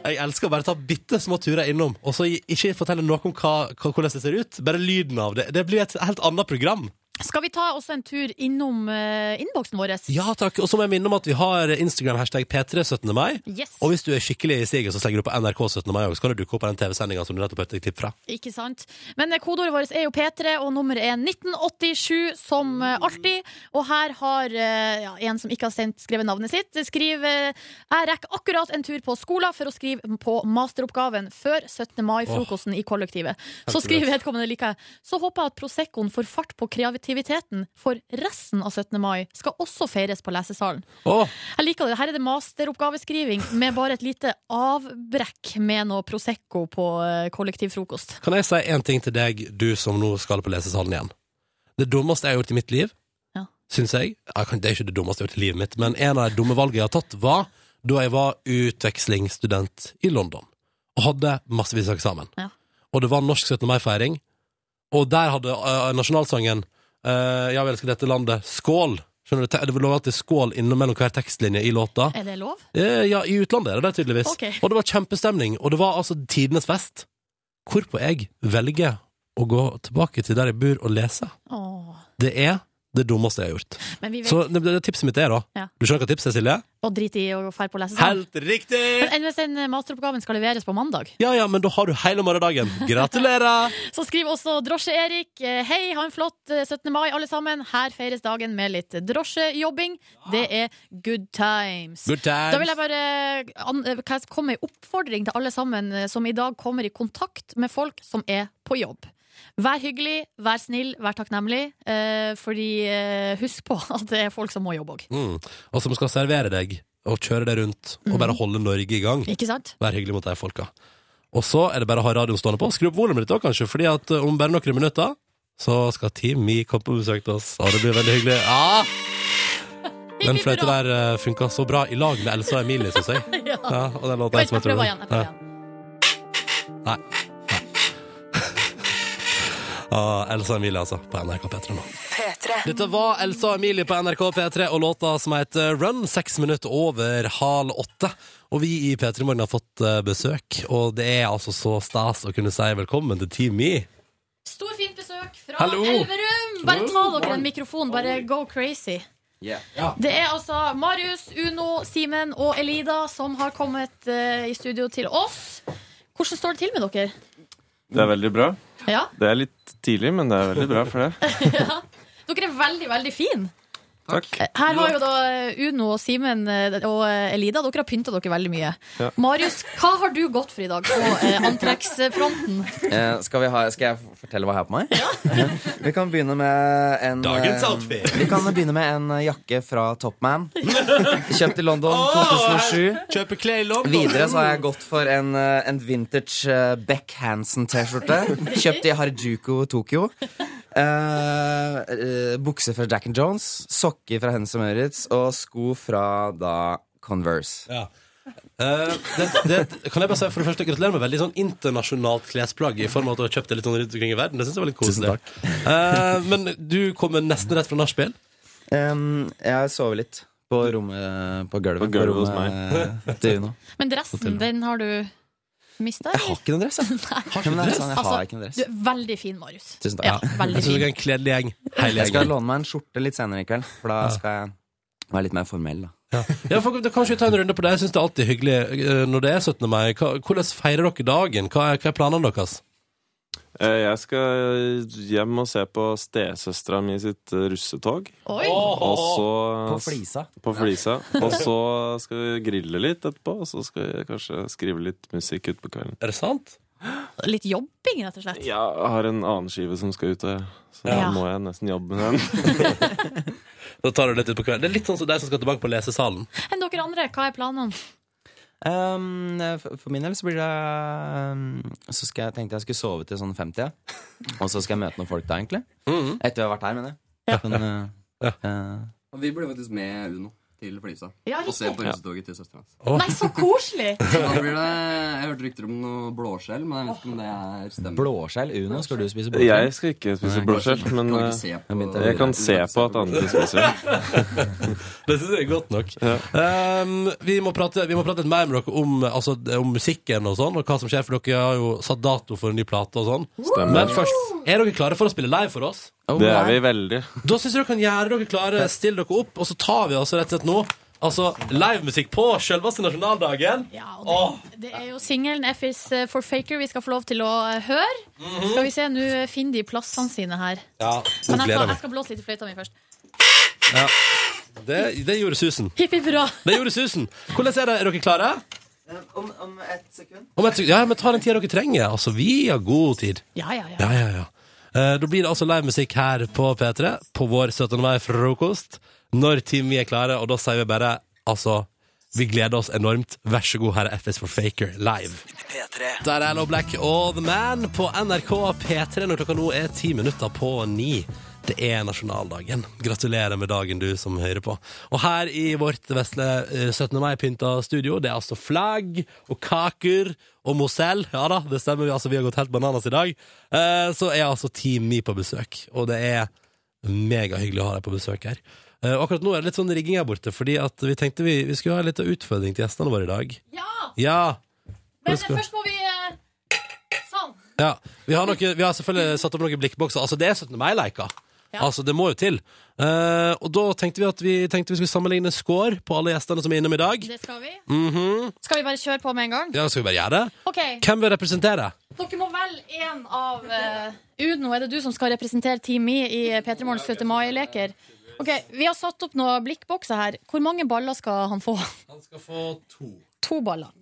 Speaker 2: Jeg elsker å bare ta bitte små turer innom, og så i- ikke fortelle noe om hva, hva, hvordan det ser ut. Bare lyden av det. Det blir et helt annet program.
Speaker 4: Skal vi ta også en tur innom eh, innboksen vår?
Speaker 2: Ja takk. Og så må jeg minne om at vi har Instagram-hashtag P3 17. mai.
Speaker 4: Yes.
Speaker 2: Og hvis du er skikkelig i siget, så slenger du på NRK 17. mai òg, så kan du dukke opp på den TV-sendinga som du nettopp hørte et klipp fra.
Speaker 4: Ikke sant? Men eh, kodeordet vårt er jo P3, og nummeret er 1987, som eh, alltid. Og her har eh, ja, en som ikke har sendt, skrevet navnet sitt, skriver Jeg rekker akkurat en tur på skolen for å skrive skrive på masteroppgaven før 17. mai-frokosten i kollektivet. Så
Speaker 11: Takk for det.
Speaker 4: skriver vedkommende liker jeg. Så håper jeg at Proseccoen får fart på kreativiteten, for resten av 17. mai skal også feires på lesesalen.
Speaker 2: Åh.
Speaker 4: Jeg liker det. Her er det masteroppgaveskriving med bare et lite avbrekk med noe Prosecco på eh, kollektivfrokost.
Speaker 2: Kan jeg si en ting til deg, du som nå skal på lesesalen igjen? Det dummeste jeg har gjort i mitt liv,
Speaker 4: Ja.
Speaker 2: synes jeg ja, kan- Det er ikke det dummeste jeg har gjort i livet mitt, men en av de dumme valgene jeg har tatt, var da jeg var utvekslingsstudent i London og hadde massevis av eksamen.
Speaker 4: Ja.
Speaker 2: Og det var norsk 17. mai-feiring, og der hadde eh, nasjonalsangen eh, 'Jeg elsker dette landet', 'Skål'. Skjønner du, te- Det var lov at det er 'skål' innimellom hver tekstlinje i låta.
Speaker 4: Er det lov?
Speaker 2: Eh, Ja, i utlandet er det det, tydeligvis.
Speaker 4: Ok.
Speaker 2: Og det var kjempestemning, og det var altså tidenes fest. Hvorpå jeg velger å gå tilbake til der jeg bor og lese.
Speaker 4: Åh.
Speaker 2: Det er det dummeste jeg har gjort.
Speaker 4: Men vi vet-
Speaker 2: Så det, det tipset mitt er, da
Speaker 4: Ja.
Speaker 2: Du skjønner hva tipset er, Silje?
Speaker 4: Og drit i å dra på lesesalen.
Speaker 2: Helt riktig!
Speaker 4: Men enn hvis den eh, masteroppgaven skal leveres på mandag?
Speaker 2: Ja ja, men da har du hele morgendagen. Gratulerer!
Speaker 4: Så skriver også Drosje-Erik eh, Hei, ha en flott eh, 17. mai, alle sammen. Her feires dagen med litt drosjejobbing. Det er good times.
Speaker 2: Good times.
Speaker 4: Da vil jeg bare eh, an eh, hva- komme med en oppfordring til alle sammen eh, som i dag kommer i kontakt med folk som er på jobb. Vær hyggelig, vær snill, vær takknemlig. Eh, fordi eh, husk på (laughs) at det er folk som må jobbe òg.
Speaker 2: Mm. Og som skal servere deg og kjøre deg rundt og bare
Speaker 4: Mm.
Speaker 2: holde Norge i gang.
Speaker 4: Ikke sant?
Speaker 2: Vær hyggelig mot de folka. Og så er det bare å ha radioen stående på. Skru opp volumet ditt òg, kanskje, fordi at eh, om bare noen minutter så skal Team Me komme på besøk til oss, og det blir veldig hyggelig.
Speaker 4: (laughs)
Speaker 2: Ja! Den fløyta der eh, funka så bra i lag med Elsa og Emilie, syns jeg.
Speaker 4: (laughs) Ja.
Speaker 2: og den låta
Speaker 4: Vent,
Speaker 2: jeg som
Speaker 4: jeg prøver igjen, jeg prøver
Speaker 2: Ja. Nei. Nei. ah, Elsa og Emilie, altså, på NRK P3 nå. Dette var Elsa og Emilie på NRK P3 og låta som heter Run, seks minutter over halv åtte. Og vi i P3 Morgen har fått eh, besøk, og det er altså så stas å kunne si velkommen til Team Me.
Speaker 4: Stor, fint besøk fra
Speaker 2: Hallo.
Speaker 4: Elverum! Bare ta dere en mikrofon, bare go crazy. Det er altså Marius, Uno, Simen og Elida som har kommet eh, i studio til oss. Hvordan står det til med dere?
Speaker 12: Det er veldig bra.
Speaker 4: Ja,
Speaker 12: Det er litt tidlig, men det er veldig bra for det.
Speaker 4: Dere er veldig, veldig fine.
Speaker 12: Takk.
Speaker 4: Her har jo da eh, Uno, og Simen eh, og eh, Elida Dere har pynta dere veldig mye.
Speaker 13: Ja.
Speaker 4: Marius, hva har du gått for i dag på eh, antrekksfronten?
Speaker 13: Eh, skal, vi ha, skal jeg f- fortelle hva jeg har på meg? (laughs) vi kan begynne med en
Speaker 14: Dagens
Speaker 13: eh,
Speaker 14: outfit.
Speaker 13: Vi kan begynne med en eh, jakke fra
Speaker 2: (laughs)
Speaker 13: Topman. Kjøpt i London 2007.
Speaker 2: Kjøper klær i London.
Speaker 13: Videre så har jeg gått for en, eh, en vintage eh, Beck Hansen-T-skjorte. Kjøpt i Harajuku, Tokyo. Eh, eh, bukse fra Jack and Jones, sokker fra Hennes og Maurits og sko fra da Converse.
Speaker 2: Eh, det, det, kan jeg bare si for det første Gratulerer med veldig sånn internasjonalt klesplagg i form av at du har kjøpt det litt sånn rundt omkring i verden. Det synes jeg var litt koselig. Eh, men du kommer nesten rett fra nachspiel.
Speaker 13: Em, jeg sover litt på rommet på gulvet.
Speaker 12: På gulvet hos
Speaker 13: rommet
Speaker 12: meg.
Speaker 13: til Uno.
Speaker 4: Men dressen, den har du mista?
Speaker 13: Jeg har ikke noen dress, jeg.
Speaker 4: (laughs) Nei.
Speaker 13: Men det er sånn, jeg har
Speaker 4: Altså,
Speaker 13: ikke noen dress.
Speaker 4: Du er veldig fin, Marius.
Speaker 13: Tusen
Speaker 4: Ja,
Speaker 13: takk.
Speaker 4: veldig fin.
Speaker 2: en kledelig gjeng.
Speaker 4: hele
Speaker 13: Jeg skal
Speaker 2: gjengen.
Speaker 13: låne meg en skjorte litt senere i kveld, for da skal jeg være litt mer formell. Da.
Speaker 2: Ja, for, da, kanskje vi tar en runde på det. Jeg syns det er alltid hyggelig eh, når det er 17. mai. Hva, hvordan feirer dere dagen? Hva er, hva er planene deres?
Speaker 12: Eh, Jeg skal hjem og se på stesøstera mi sitt eh, russetog.
Speaker 4: Oi!
Speaker 12: Og så
Speaker 13: På Flisa.
Speaker 12: På
Speaker 13: (laughs)
Speaker 12: flisa. Og så skal vi grille litt etterpå, og så skal jeg kanskje skrive litt musikk utpå kvelden.
Speaker 2: Er det sant?
Speaker 4: Litt jobbing, rett og slett.
Speaker 12: Ja, jeg har en annen skive som skal ut, og- så da
Speaker 4: Ja.
Speaker 12: må jeg nesten jobbe med den.
Speaker 2: (laughs) da tar du litt ut på kvelden. Det er litt sånn som de som skal tilbake på lesesalen.
Speaker 4: Enn dere andre, hva er planene?
Speaker 13: Em, Ehm, for for min del så blir det em, Så skal jeg tenkte jeg skulle sove til sånn 50, og så skal jeg møte noen folk da, egentlig.
Speaker 15: Mhm.
Speaker 13: Etter vi har vært her, mener jeg. Men, eh, eh,
Speaker 15: Og vi ble faktisk med Uno til Flisa.
Speaker 4: Ja,
Speaker 15: og se
Speaker 4: riktig.
Speaker 15: på russetoget til søstera hans.
Speaker 4: Nei, så koselig!
Speaker 15: Da blir (laughs) det, jeg hørte rykter om noe blåskjell, men jeg vet ikke om det er stemmer.
Speaker 13: Blåskjell? Uno, skal du spise blåskjell?
Speaker 12: Jeg skal ikke spise
Speaker 13: Nei.
Speaker 12: blåskjell, men
Speaker 13: Kan ikke se på-
Speaker 12: eh, jeg kan se på at andre spiser det.
Speaker 2: (laughs)
Speaker 15: (laughs)
Speaker 2: Det syns jeg er godt nok. Um, vi, må prate, vi må prate litt mer med dere om, altså, om musikken og sånn, og hva som skjer, for dere har jo satt dato for en ny plate og sånn.
Speaker 12: Stemmer. Oh,
Speaker 2: Men først, er dere klare for å spille live for oss?
Speaker 12: Det er vi veldig.
Speaker 2: Da syns jeg dere kan gjøre dere klare, stille dere opp, og så tar vi altså rett og slett nå altså, livemusikk på selveste nasjonaldagen.
Speaker 4: Ja,
Speaker 2: Åh.
Speaker 4: Det er jo singelen F is eh, for faker vi skal få lov til å eh, høre. Skal vi se, nå eh, finner de plassene sine her.
Speaker 2: Ja,
Speaker 4: Men
Speaker 2: Mhm. nå
Speaker 4: jeg,
Speaker 2: gleder
Speaker 4: skal,
Speaker 2: jeg
Speaker 4: jeg
Speaker 2: meg.
Speaker 4: skal blåse litt i fløyta mi først.
Speaker 2: Ja. Det, det gjorde susen.
Speaker 4: Hipp hipp hurra.
Speaker 2: Det gjorde susen. Hvordan er det? Er dere klare?
Speaker 13: Om, om ett sekund.
Speaker 2: Om et, sek- ja, men ta den tida dere trenger. Altså, vi har god tid.
Speaker 13: Ja, ja, ja.
Speaker 2: ja, ja. Eh, da blir det altså livemusikk her på P3 på vår 17. mai-frokost. Når Team Vi er klare, og da sier vi bare altså Vi gleder oss enormt. Vær så god, her er FS for Faker live. Der er Low Black og The Man på NRK P3 når klokka nå er ti minutter på ni. Det er nasjonaldagen. Gratulerer med dagen, du som hører på. Og her i vårt vesle eh, 17. mai-pynta studio, det er altså flagg og kaker og Mosell. Ja da, det stemmer. vi, Altså, vi har gått helt bananas i dag. Eh, Så er altså Team Mi på besøk, og det er megahyggelig å ha deg på besøk her. Eh, Og akkurat nå er det litt sånn rigging her borte, fordi at vi tenkte vi, vi skulle ha litt av utfordring til gjestene våre i dag.
Speaker 4: Ja!
Speaker 2: Ja!
Speaker 4: Men
Speaker 2: Husker-
Speaker 4: først må vi eh, Sånn.
Speaker 2: Ja, vi har, noe, vi har selvfølgelig satt opp noen blikkbokser. Altså, det er 17. mai-leika.
Speaker 4: Ja.
Speaker 2: Altså, det må jo til. Eh, og da tenkte vi at vi, tenkte vi skulle sammenligne score på alle gjestene som er innom i dag.
Speaker 4: Det skal vi.
Speaker 2: Mhm.
Speaker 4: Skal vi bare kjøre på med en gang?
Speaker 2: Ja, skal vi bare gjøre det?
Speaker 4: OK.
Speaker 2: Hvem vil representere?
Speaker 4: Dere må velge en av eh, Uno, er det du som skal representere Team Mi i P3 Morgens 17. mai-leker? Ok, Vi har satt opp noen blikkbokser her. Hvor mange baller skal han få? (laughs)
Speaker 2: Han skal få to.
Speaker 4: To baller.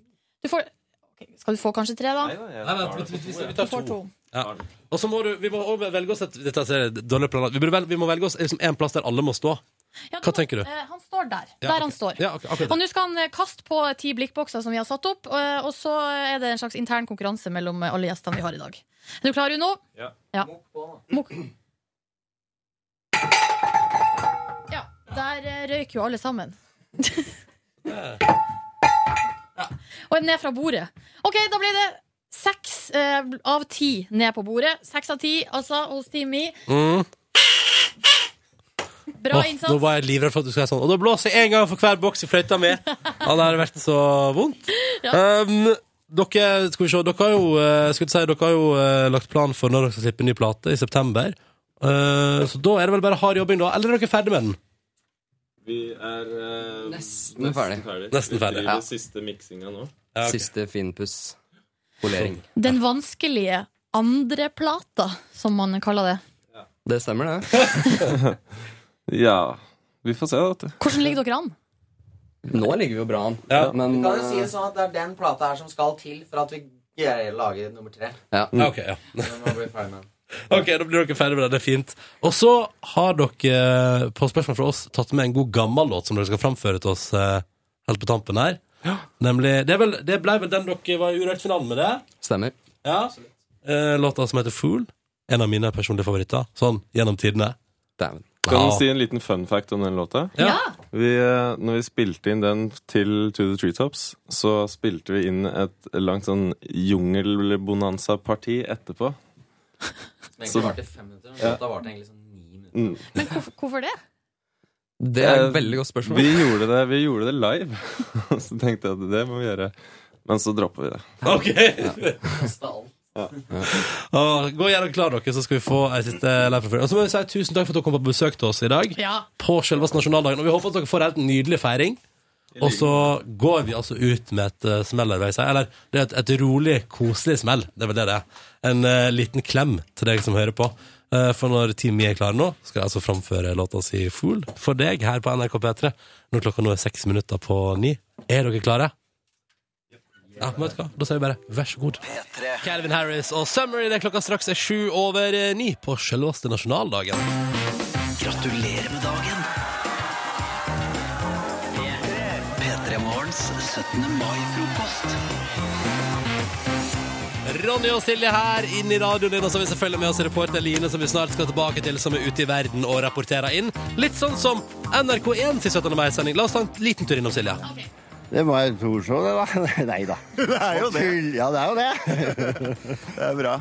Speaker 4: Du får, ok, skal du få kanskje tre, da? Nei,
Speaker 2: Nei, vent, vent, vi, vi tar
Speaker 4: Du får
Speaker 2: to.
Speaker 4: to.
Speaker 2: Ja. Og så må du, vi må også velge oss et, dette er dårlig planlagt. Vi, burde vel- vi må velge oss liksom, en plass der alle må stå.
Speaker 4: Ja,
Speaker 2: Hva tenker du?
Speaker 4: Eh, han står der.
Speaker 2: Ja,
Speaker 4: der
Speaker 2: ok.
Speaker 4: han står.
Speaker 2: Ja, ok, akkurat.
Speaker 4: Og nå skal han eh, kaste på ti blikkbokser som vi har satt opp, eh, og så er det en slags intern konkurranse mellom eh, alle gjestene vi har i dag. Er du klar, Uno?
Speaker 12: Ja.
Speaker 4: Ja. Mok. Ja, der eh, røyk jo alle sammen. Og ned fra bordet. OK, da blir det seks eh, av ti ned på bordet. Seks av ti, altså, hos Team Mi.
Speaker 2: Mm.
Speaker 4: Bra
Speaker 2: Åh,
Speaker 4: innsats.
Speaker 2: Nå var jeg livredd for at du skulle si sånn. Og da blåser jeg en gang for hver boks i fløyta
Speaker 4: (laughs)
Speaker 2: mi. Ja, det har vært så vondt. Um, dere, skal vi se, dere har jo, eh, skulle si, dere har jo eh, lagt plan for når dere skal slippe en ny plate, i september. Eh, så da er det vel bare hard jobbing, da. Eller er dere ferdig med den?
Speaker 12: Vi er eh, nesten,
Speaker 15: ferdig.
Speaker 2: Nesten ferdig.
Speaker 12: Vi
Speaker 2: Ja.
Speaker 12: driver siste miksinga nå.
Speaker 15: Siste finpuss. Polering.
Speaker 4: Den vanskelige andreplata, som man kaller det.
Speaker 15: Det stemmer, det.
Speaker 12: (laughs) ja. Vi får se, da.
Speaker 4: Hvordan ligger dere an?
Speaker 15: Nå ligger vi jo bra an. Men
Speaker 13: Du kan jo si det
Speaker 15: eh,
Speaker 13: sånn at det er den plata her som skal til for at vi greier å lage nummer tre.
Speaker 15: ja.
Speaker 2: Ja, ok, ja.
Speaker 13: Men man blir ferdig med den.
Speaker 2: Ok, da blir dere ferdig med det. Det er fint. Og så har dere, eh, på spørsmål fra oss, tatt med en god gammel låt som dere skal framføre til oss eh, helt på tampen her. Nemlig Det, er vel, det ble vel den dere var i Urørt-finalen med, det?
Speaker 15: Stemmer.
Speaker 2: Ja. Eh, låta som heter Fool. En av mine personlige favoritter. Sånn gjennom tidene.
Speaker 12: Kan
Speaker 2: Ja.
Speaker 12: du si en liten fun fact om den låta?
Speaker 2: Ja.
Speaker 12: Vi, eh, når vi spilte inn den til To The Treetops, så spilte vi inn et langt sånn jungelbonanza-parti etterpå.
Speaker 13: Som
Speaker 12: Så-
Speaker 13: egentlig varte i fem minutter. men
Speaker 12: Ja.
Speaker 13: Låta varte egentlig sånn ni minutter.
Speaker 12: Mm.
Speaker 4: Men hvorfor, hvorfor det?
Speaker 15: Det er et
Speaker 12: Eh,
Speaker 15: veldig godt spørsmål.
Speaker 12: Vi gjorde det, vi gjorde det live. (laughs) så tenkte jeg at det må vi gjøre. Men så dropper vi det.
Speaker 2: Ok!
Speaker 12: Ja.
Speaker 2: Åh, gå gjennom klar dere, så skal vi få ei siste liveforføring. Og så må vi si tusen takk for at dere kom på besøk til oss i dag.
Speaker 4: Ja.
Speaker 2: På selveste nasjonaldagen. Og vi håper at dere får en helt nydelig feiring. Og så går vi altså ut med et uh, smell, eller hva jeg sier. Eller det er et, et rolig, koselig smell. Det er vel det det er. En eh, liten klem til deg som hører på. Eh, for når Team Mi er klare nå, skal jeg altså framføre låta si Fool for deg her på NRK P3. Når klokka nå er seks minutter på ni. Er dere klare? Ja, men vet du hva? Da sier vi bare vær så god. Calvin Harris og Summer i det klokka straks er sju over eh, ni på selveste nasjonaldagen.
Speaker 1: Gratulerer med dagen. P3 Morgens 17. mai-frokost.
Speaker 2: Ronny og Silje her inn i radioen din, og så har vi selvfølgelig med oss reporter Line, som vi snart skal tilbake til, som er ute i verden og rapporterer inn. Litt sånn som NRK1 til 17. mai-sending. La oss ta en liten tur innom, Silje.
Speaker 11: Det var et morshow, det, da. (laughs) Nei da.
Speaker 14: (laughs)
Speaker 13: (laughs)
Speaker 14: Det er jo det.
Speaker 11: Ja, det er jo det.
Speaker 14: (laughs) Det er bra.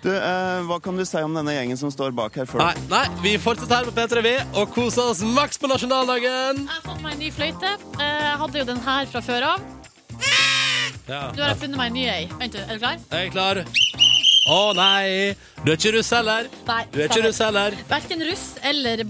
Speaker 14: Du, eh, hva kan du si om denne gjengen som står bak her? Før?
Speaker 2: Nei, nei, vi fortsetter her på P3 Vi og koser oss maks på nasjonaldagen.
Speaker 4: Jeg har fått meg en ny fløyte. Eh, Jeg hadde jo den her fra før av.
Speaker 2: Ja.
Speaker 4: Nå har jeg funnet meg en ny ei. Vent, er du klar?
Speaker 2: Jeg er klar. Å, Å nei! Du er ikke russ heller.
Speaker 4: Nei,
Speaker 2: Du er ikke russ heller.
Speaker 4: Verken russ eller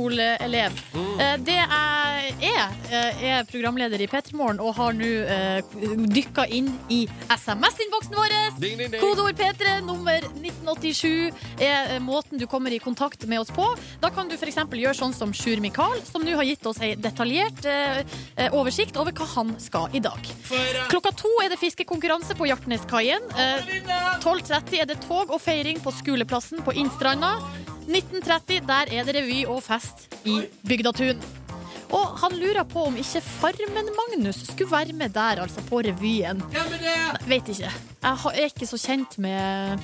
Speaker 4: barneskoleelev.
Speaker 2: Mm.
Speaker 4: Eh, Det jeg er, eh, er programleder i Petermorgen og har nå eh, dykka inn i SMS-innboksen vår.
Speaker 2: Ding, ding, ding.
Speaker 4: Kodeord P3 nummer 1987 er eh, måten du kommer i kontakt med oss på. Da kan du f.eks. gjøre sånn som Sjur Mikael, som nå har gitt oss ei detaljert eh, eh, oversikt over hva han skal i dag.
Speaker 2: eh,
Speaker 4: Klokka to er det fiskekonkurranse på Hjartneskaien. Eh, 12.30 er det tog og feiring på skoleplassen på Innstranda. 19.30 der er det revy og fest i Bygdatun. Og han lurer på om ikke Farmen-Magnus skulle være med der, altså på revyen. Nei, Vet ikke. Jeg har- er ikke så kjent med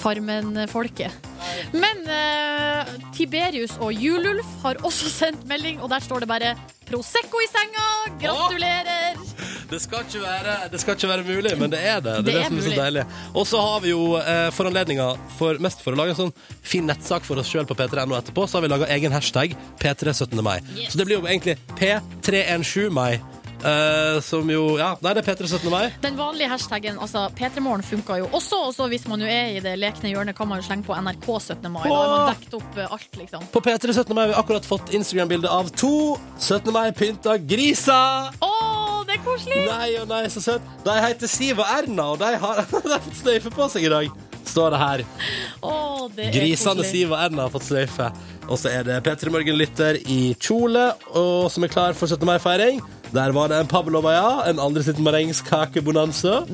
Speaker 4: Farmen-folket. Men eh, Tiberius og Jululf har også (laughs) sendt melding, og der står det bare 'Prosecco i senga'! Gratulerer!
Speaker 2: Det skal, ikke være, det skal ikke være mulig, men det er det. Det,
Speaker 4: Det
Speaker 2: er det
Speaker 4: er
Speaker 2: som er så
Speaker 4: mulig.
Speaker 2: deilig. Og så har vi jo eh, for anledninga, for, mest for å lage en sånn fin nettsak for oss sjøl på p3.no etterpå, så har vi laga egen hashtag P317. mai. Så det blir jo egentlig P317 mai. eh, som jo Ja, nei, det er P317. mai.
Speaker 4: Den vanlige hashtaggen altså P3morgen funka jo også, og så hvis man jo er i det lekne hjørnet, kan man jo slenge på NRK 17. mai. Da har man dekket opp eh, alt, liksom.
Speaker 2: På P3 17. mai har vi akkurat fått Instagram-bilde av to 17. mai-pynta griser.
Speaker 4: Å, det er koselig!
Speaker 2: Nei og nei, så søt. De heter Siv og Erna, og de har, (laughs) de har fått sløyfe på seg i dag, står det her.
Speaker 4: Å, det er
Speaker 2: Grisene
Speaker 4: koselig.
Speaker 2: Siv og Erna har fått sløyfe. Og så er det P3 Morgen-lytter i kjole, og som er klar for 17. mai-feiring. Der var det en pavlova, ja. En andre sitt marengskakebonanza.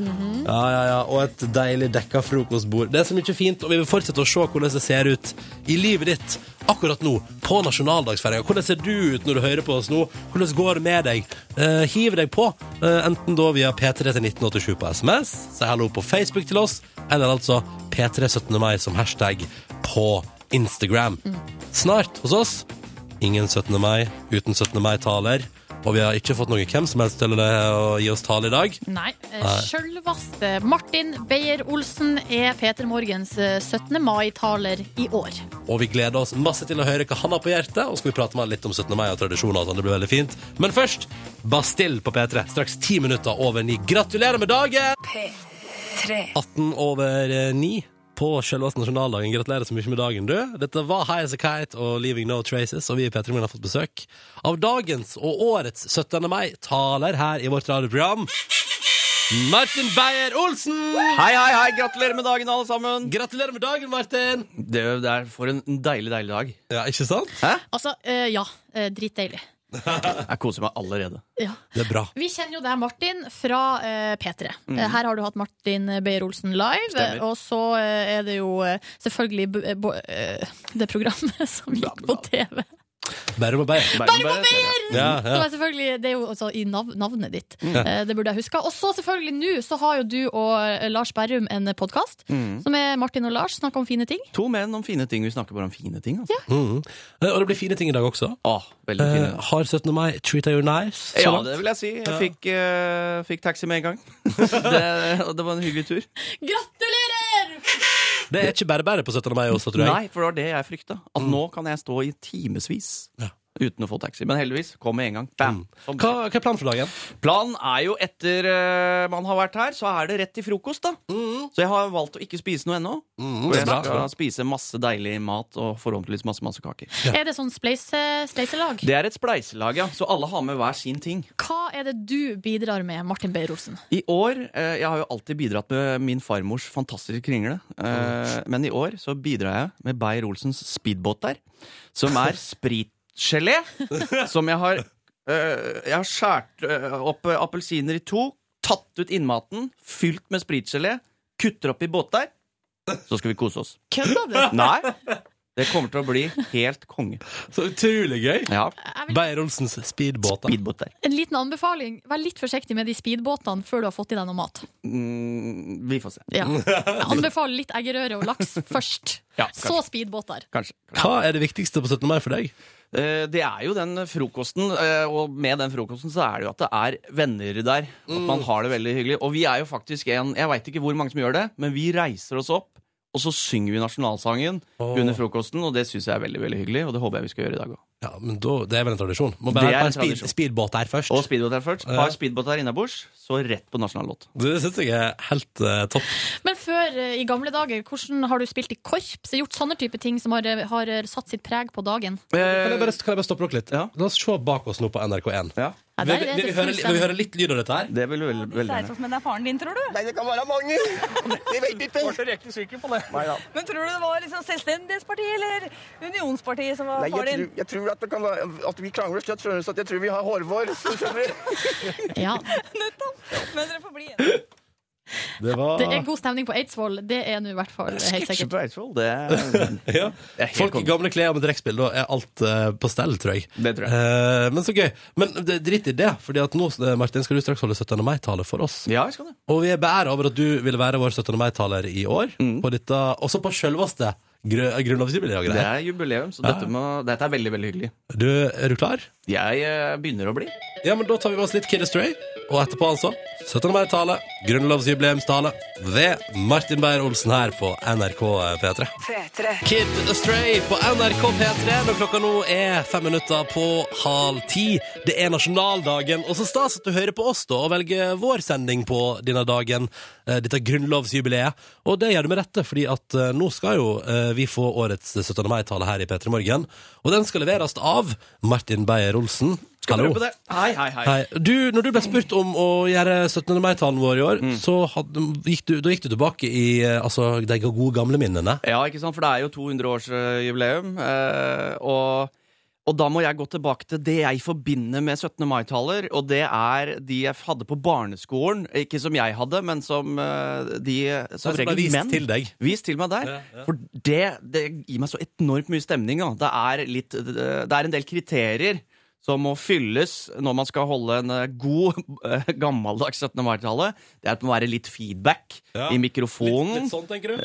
Speaker 2: Ja, ja, ja. Og et deilig dekka frokostbord. Det er så mye fint, og vi vil fortsette å se hvordan det ser ut i livet ditt akkurat nå, på nasjonaldagsfeiringa. Hvordan ser du ut når du hører på oss nå? Hvordan går det med deg? Eh, hiv deg på, eh, enten da via P3 til 1987 på SMS, si hallo på Facebook til oss, eller altså P3 17. mai som hashtag på Instagram. Snart hos oss. Ingen 17. mai uten 17. mai-taler. Og vi har ikke fått noe hvem som helst til å gi oss tale i dag.
Speaker 4: Nei. eh,
Speaker 2: Nei.
Speaker 4: Sjølvaste Martin Beyer-Olsen er Peter Morgens eh, 17. mai-taler i år.
Speaker 2: Og vi gleder oss masse til å høre hva han har på hjertet. Og så skal vi prate med han litt om 17. mai og tradisjoner. og sånn. Det blir veldig fint. Men først Bastille på P3. Straks ti minutter over ni. Gratulerer med dagen!
Speaker 16: P3.
Speaker 2: 18 over eh, ni på selveste nasjonaldagen. Gratulerer så mye med dagen, du. Dette var High as a Kite og Leaving No Traces, og vi i P3 Morgen har fått besøk av dagens og årets 17. mai-taler her i vårt radioprogram. Martin Beyer-Olsen!
Speaker 17: Hei, hei, hei! Gratulerer med dagen, alle sammen.
Speaker 2: Gratulerer med dagen, Martin!
Speaker 17: Det, det er for en deilig, deilig dag.
Speaker 2: Ja, ikke sant?
Speaker 17: Hæ?
Speaker 4: Altså, eh, ja. eh, Dritdeilig.
Speaker 17: Jeg koser meg allerede.
Speaker 4: Ja.
Speaker 2: Det er bra.
Speaker 4: Vi kjenner jo deg, Martin, fra eh, P3.
Speaker 17: Mhm.
Speaker 4: Eh, Her har du hatt Martin Beyer-Olsen live.
Speaker 17: Stemmer.
Speaker 4: Og så eh, er det jo eh, selvfølgelig b bo eh, det programmet (laughs) som gikk på TV.
Speaker 2: Bærum og Beyer.
Speaker 4: Bærum og Beyer!
Speaker 2: Ja,
Speaker 4: Som
Speaker 2: ja.
Speaker 4: er selvfølgelig, det er jo altså i nav navnet ditt.
Speaker 2: Mhm.
Speaker 4: Eh, det burde jeg huske. Og så selvfølgelig nå så har jo du og eh, Lars Berrum en podkast
Speaker 17: Mhm.
Speaker 4: som er Martin og Lars snakker om fine ting.
Speaker 17: To menn om fine ting. Vi snakker bare om fine ting. Altså. Ah,
Speaker 2: Mhm. Eh, Og det blir fine ting i dag også.
Speaker 17: veldig fine.
Speaker 2: Eh, har 17. mai treata you nice? så
Speaker 17: Ja,
Speaker 2: langt?
Speaker 17: det vil jeg si. Jeg
Speaker 2: Ja.
Speaker 17: fikk, eh, fikk taxi med en gang. det, og det var en hyggelig tur.
Speaker 4: Gratulerer!
Speaker 2: Det er ikke bare bare på 17. mai også, tror jeg. Mm.
Speaker 17: Nei, for det var det jeg frykta. At nå kan jeg stå i timevis uten å få taxi. Men heldigvis kom med en gang. Bam. Som-
Speaker 2: Mm. Hva, hva er planen for dagen?
Speaker 17: Planen er jo etter eh, man har vært her, så er det rett til frokost, da. Så jeg har valgt å ikke spise noe ennå.
Speaker 2: Mm,
Speaker 17: og
Speaker 2: det er
Speaker 17: jeg
Speaker 2: bra.
Speaker 17: skal spise masse deilig mat og forhåpentligvis masse masse kaker.
Speaker 4: Er det sånn spleise- spleiselag?
Speaker 17: Det er et spleiselag, ja. Så alle har med hver sin ting.
Speaker 4: Hva er det du bidrar med, Martin Beyer-Olsen?
Speaker 17: I år eh, Jeg har jo alltid bidratt med min farmors fantastiske kringle. eh, Men i år så bidrar jeg med Beyer-Olsens speedbåt der, som er spritgelé. Som jeg har eh, Jeg har skåret opp eh, appelsiner i to, tatt ut innmaten, fylt med spritgelé, kutter opp i båtdeig. Så skal vi kose oss.
Speaker 4: Kødder du?
Speaker 17: (laughs) Nei. Det kommer til å bli helt konge.
Speaker 2: Så utrolig gøy.
Speaker 17: Ja.
Speaker 2: Beyer-Olsens speedbåt.
Speaker 17: Speedbåt der.
Speaker 4: En liten anbefaling. Vær litt forsiktig med de speedbåtene før du har fått i deg noe mat.
Speaker 17: Mm, vi får se.
Speaker 4: Ja. Jeg anbefaler litt eggerøre og laks
Speaker 18: (laughs)
Speaker 4: først.
Speaker 17: Ja, kanskje.
Speaker 4: så speedbåter.
Speaker 17: Kanskje. Eh,
Speaker 2: Hva er det viktigste på 17. mai for deg?
Speaker 17: Det er jo den frokosten, eh, og med den frokosten så er det jo at det er venner der. At
Speaker 2: Mm.
Speaker 17: man har det veldig hyggelig. Og vi er jo faktisk en Jeg veit ikke hvor mange som gjør det, men vi reiser oss opp, og så synger vi nasjonalsangen under frokosten, og det syns jeg er veldig veldig hyggelig, og det håper jeg vi skal gjøre i dag òg.
Speaker 2: (laughs) Ja, men da, Det er vel en tradisjon? Må bare
Speaker 18: Det er
Speaker 2: ha
Speaker 18: en
Speaker 2: en speed,
Speaker 18: tradisjon.
Speaker 2: speedbåt der først.
Speaker 18: Og speedbåt her først.
Speaker 2: Ja.
Speaker 18: Par speedbåter her innabords, så rett på nasjonallåt.
Speaker 2: Det syns jeg er helt eh, topp.
Speaker 4: Men før, eh, i gamle dager, hvordan har du spilt i korps? Gjort sånne type ting som har, eh, har eh, satt sitt preg på dagen?
Speaker 2: Eh,
Speaker 17: Eh,
Speaker 2: Kan jeg, bare, kan jeg bare stoppe dere litt? La oss se bak oss nå på NRK1.
Speaker 4: Ja,
Speaker 2: Vil,
Speaker 4: der er
Speaker 2: vil, vi høre,
Speaker 4: det full
Speaker 2: vil vi høre litt lyd av dette her?
Speaker 18: Det vil vi veldig,
Speaker 3: sånn
Speaker 10: Men det er faren din, tror du?
Speaker 11: Nei, det kan være mange. Jeg vet ikke. Var så riktig sikker på det. Nei da.
Speaker 10: Men tror du det var liksom Selvstendighetspartiet eller Unionspartiet som var
Speaker 11: Nei, jeg,
Speaker 10: faren din?
Speaker 11: tror, jeg tror at, det kan være, at vi krangler slett, skjønner du, så at jeg tror vi har hårvår. Skjønner du?
Speaker 4: Ja.
Speaker 10: (laughs) Men dere får bli
Speaker 2: Det var
Speaker 4: Det er god stemning på Eidsvoll, det er nå i hvert fall eh, helt
Speaker 18: Sketsjer
Speaker 4: sikkert.
Speaker 18: på Eidsvoll, det er
Speaker 2: (laughs) ja. Folk i gamle klær med trekkspill, da er alt eh, på stell, tror jeg. Eh, men så gøy. Men det, drit i det, Fordi at nå eh, Martin, skal du straks holde 17. mai-tale for oss.
Speaker 18: Ja, jeg skal det
Speaker 2: Og vi er beæra over at du ville være vår 17. mai-taler i år.
Speaker 18: Mm.
Speaker 2: På dette, også på sjølveste grø grunnlovsjubileet. og
Speaker 18: Det
Speaker 2: greier.
Speaker 18: er jubileum, så
Speaker 2: Ja.
Speaker 18: dette, må, dette er veldig, veldig hyggelig.
Speaker 2: Du, er du klar?
Speaker 18: Jeg eh, begynner å bli.
Speaker 2: Ja, men Da tar vi med oss litt Kid Astray. Og etterpå, altså, 17. mai-tale, grunnlovsjubileumstale ved Martin Beyer-Olsen her på NRK P3. Kid Astray på NRK P3 når klokka nå er fem minutter på halv ti. Det er nasjonaldagen, og så stas at du hører på oss da og velger vår sending på denne dagen. eh, Dette grunnlovsjubileet. Og det gjør du med rette, fordi at eh, nå skal jo eh, vi få årets 17. mai-tale her i P3 Morgen. Og den skal leveres av Martin Beyer-Olsen.
Speaker 18: Skal
Speaker 2: Hallo.
Speaker 18: prøve på det. Hei, hei, hei.
Speaker 2: Hei. Du, når du ble spurt om å gjøre 17. mai-talen vår i år,
Speaker 18: Mm.
Speaker 2: så hadde, gikk, du, da gikk du tilbake i eh, altså, de gode gamle minnene.
Speaker 18: Ja, ikke sant, for det er jo 200-årsjubileum. Eh, og, og da må jeg gå tilbake til det jeg forbinder med 17. mai-taler, og det er de jeg hadde på barneskolen. Ikke som jeg hadde, men som eh, de
Speaker 2: Som
Speaker 18: som
Speaker 2: ble
Speaker 18: regel
Speaker 2: vist
Speaker 18: menn.
Speaker 2: til deg.
Speaker 18: Vist til meg der.
Speaker 2: Ja, ja.
Speaker 18: For det, det gir meg så enormt mye stemning. Da. Det, er litt, det er en del kriterier. Som må fylles når man skal holde en eh, god, eh, gammeldags 17. mai-tale. Det er at det må være litt feedback
Speaker 2: Ja.
Speaker 18: i mikrofonen.
Speaker 2: Litt sånn, tenker du?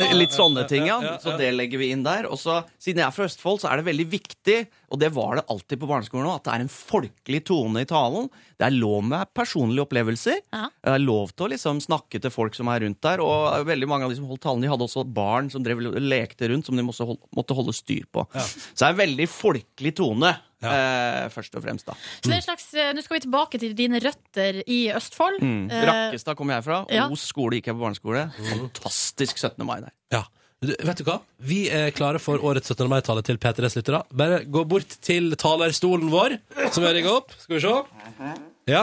Speaker 18: Eh, Litt sånne ting,
Speaker 2: Ja, ja,
Speaker 18: ja.
Speaker 2: ja.
Speaker 18: Så det legger vi inn der. Og så, siden jeg er fra Østfold, så er det veldig viktig, og det var det alltid på barneskolen òg, at det er en folkelig tone i talen. Det er lov med personlige opplevelser. Det er lov til å liksom snakke til folk som er rundt der. Og veldig mange av de som holdt talen, de hadde også barn som drev og lekte rundt, som de måtte holde, måtte holde styr på. Så det er en veldig folkelig tone, eh, først og fremst, da.
Speaker 4: Så det er en slags, eh, Nå skal vi tilbake til dine røtter i Østfold.
Speaker 18: Mm.
Speaker 4: Eh,
Speaker 18: Rakkestad kom jeg fra.
Speaker 4: ja.
Speaker 18: Os skole gikk jeg på barneskole. Fantastisk 17. mai der.
Speaker 2: Ja. Du, vet du hva? Vi er klare for årets 17. mai-tale til P3s lyttere. Bare gå bort til talerstolen vår, som vi har rigga opp. Skal vi se. Ja.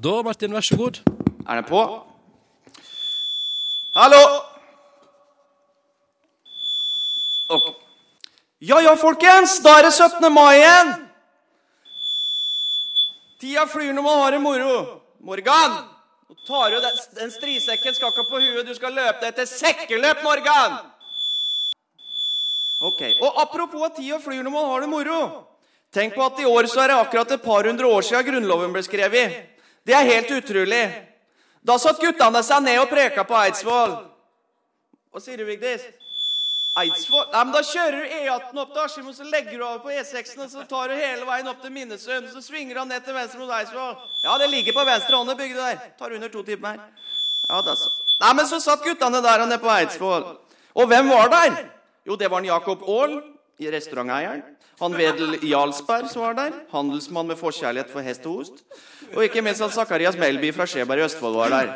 Speaker 2: Da, Martin, vær så god.
Speaker 18: Er den på?
Speaker 17: Hallo! Ok. Ja ja, folkens, da er det 17. mai igjen! Tida flyr når man har det moro. Morgan! Nå tar du den, den strisekken skal ikke på huet, du skal løpe deg etter sekkeløp, Morgan! Ok, Og apropos at tida flyr når man har det moro. Tenk på at i år så er det akkurat et par hundre år siden Grunnloven ble skrevet. Det er helt utrolig. Da satt guttene seg ned og preka på Eidsvoll. Hva sier du, Vigdis? Eidsvoll? Nei, men da kjører du E18 opp til Askim, og så legger du over på E6, og så tar du hele veien opp til Minnesund, og så svinger han ned til venstre mot Eidsvoll. Ja, det ligger på venstre hånd i bygda der. Tar under to timer her. Ja, da så. Nei, men så satt guttene der og nede på Eidsvoll. Og hvem var der? Jo, det var en Jakob Aall, restauranteieren. Han Vedel Jarlsberg som var der. Handelsmann med forkjærlighet for hest og ost. Og ikke minst at Zakarias Melby fra Skjeberg i Østfold var der.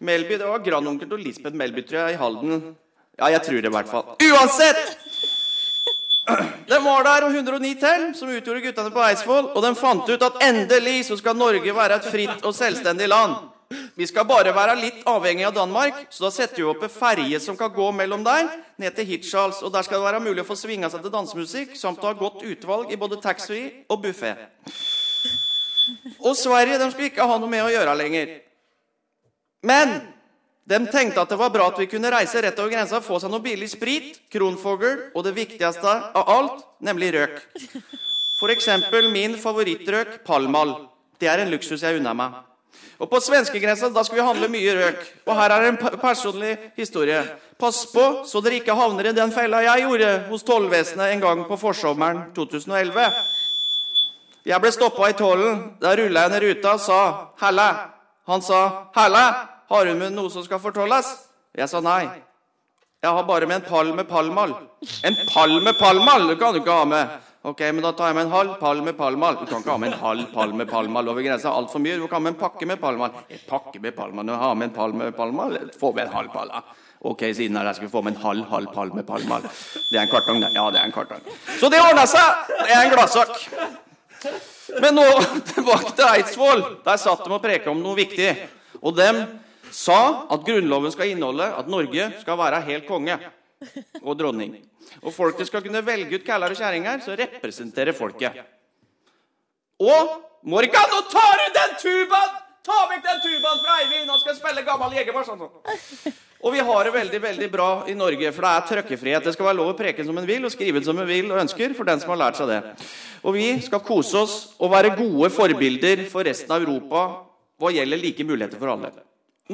Speaker 17: Melby, det var grandonkelen til Lisbeth Melby, tror jeg, i Halden. Ja, jeg tror det i hvert fall. Uansett! Den var der, og 109 til, som utgjorde guttene på Eidsvoll. Og den fant ut at endelig så skal Norge være et fritt og selvstendig land. Vi skal bare være litt avhengig av Danmark, så da setter vi opp en ferje som kan gå mellom der, ned til Hirtshals. Og der skal det være mulig å få svinga seg til dansemusikk, samt å ha godt utvalg i både taxfree og buffé. Og Sverige de skulle ikke ha noe med å gjøre lenger. Men de tenkte at det var bra at vi kunne reise rett over grensa og få seg noe billig sprit, kronfogl og det viktigste av alt, nemlig røk. For eksempel min favorittrøk, Palmal. Det er en luksus jeg unner meg. Og på svenskegrensa da skal vi handle mye røk. Og her er en pe- personlig historie. Pass på så dere ikke havner i den fella jeg gjorde hos tollvesenet en gang på forsommeren 2011. Jeg ble stoppa i tollen. Da rulla jeg ned ruta og sa 'hælla'. Han sa 'hælla, har du med noe som skal fortolles?' Jeg sa nei. Jeg har bare med en pall med palmal. En pall med palmal, det kan du ikke ha med. Ok, men da tar jeg med en halv pall med palmal. Du kan ikke ha med en halv pall med palmal over grensa. Altfor mye. Du kan ha med en pakke med palmal. En pakke med palmal? Når jeg har med en pall med palmal, få med en halv pall. da. Ok, siden av jeg skulle få med en halv, halv pall med palmal. Det er en kartong, det. Ja, det er en kartong. Så det ordna seg! Det er en gladsak. Men nå (laughs) tilbake til Eidsvoll. Der satt de og preka om noe viktig. Og dem sa at Grunnloven skal inneholde at Norge skal være helt konge og dronning. Og folket skal kunne velge ut kæller og kjerringer som representerer folket. Og Morgan, nå tar du den tubaen! Ta vekk den tubaen fra Eivind! Han skal spille gammel jegerbar. Sånn, sånn. Og vi har det veldig veldig bra i Norge, for det er trøkkefrihet. Det skal være lov å preke som en vil, og skrive som en vil og ønsker, for den som har lært seg det. Og vi skal kose oss og være gode forbilder for resten av Europa hva gjelder like muligheter for alle.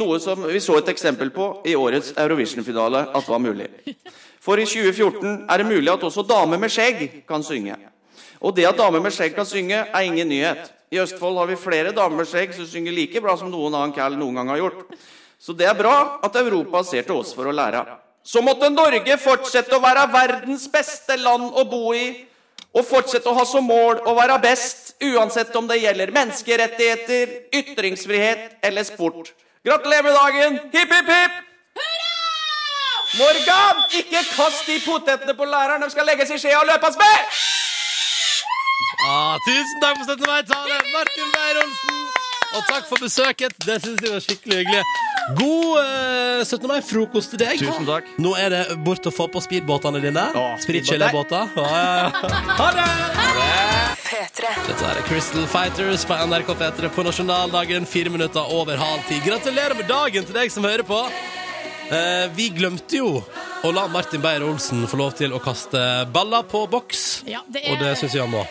Speaker 17: Noe som vi så et eksempel på i årets Eurovision-finale at var mulig. For i 2014 er det mulig at også damer med skjegg kan synge. Og det at damer med skjegg kan synge, er ingen nyhet. I Østfold har vi flere damer med skjegg som synger like bra som noen annen cal noen gang har gjort. Så det er bra at Europa ser til oss for å lære. Så måtte Norge fortsette å være verdens beste land å bo i. Og fortsette å ha som mål å være best, uansett om det gjelder menneskerettigheter, ytringsfrihet eller sport. Gratulerer med dagen! Hipp, hipp, hipp! Morgan, ikke kast de potetene på læreren! De skal legges i skjea og løpes med!
Speaker 2: Ah, tusen takk for støtten meg, Tale! Martin Beyer-Olsen! Og takk for besøket. Det syns jeg var skikkelig hyggelig. God eh, 17. mai-frokost til deg.
Speaker 18: Tusen takk.
Speaker 2: Nå er det bort og få på speedbåtene dine. Spritgelébåter. Ja, ja, ja. Ha det! Dette er Crystal Fighters på NRK P3 på nasjonaldagen, fire minutter over halv ti. Gratulerer med dagen til deg som hører på. Eh, vi glemte jo å la Martin Beyer-Olsen få lov til å kaste baller på boks,
Speaker 4: Ja, det
Speaker 2: og det syns jeg han må.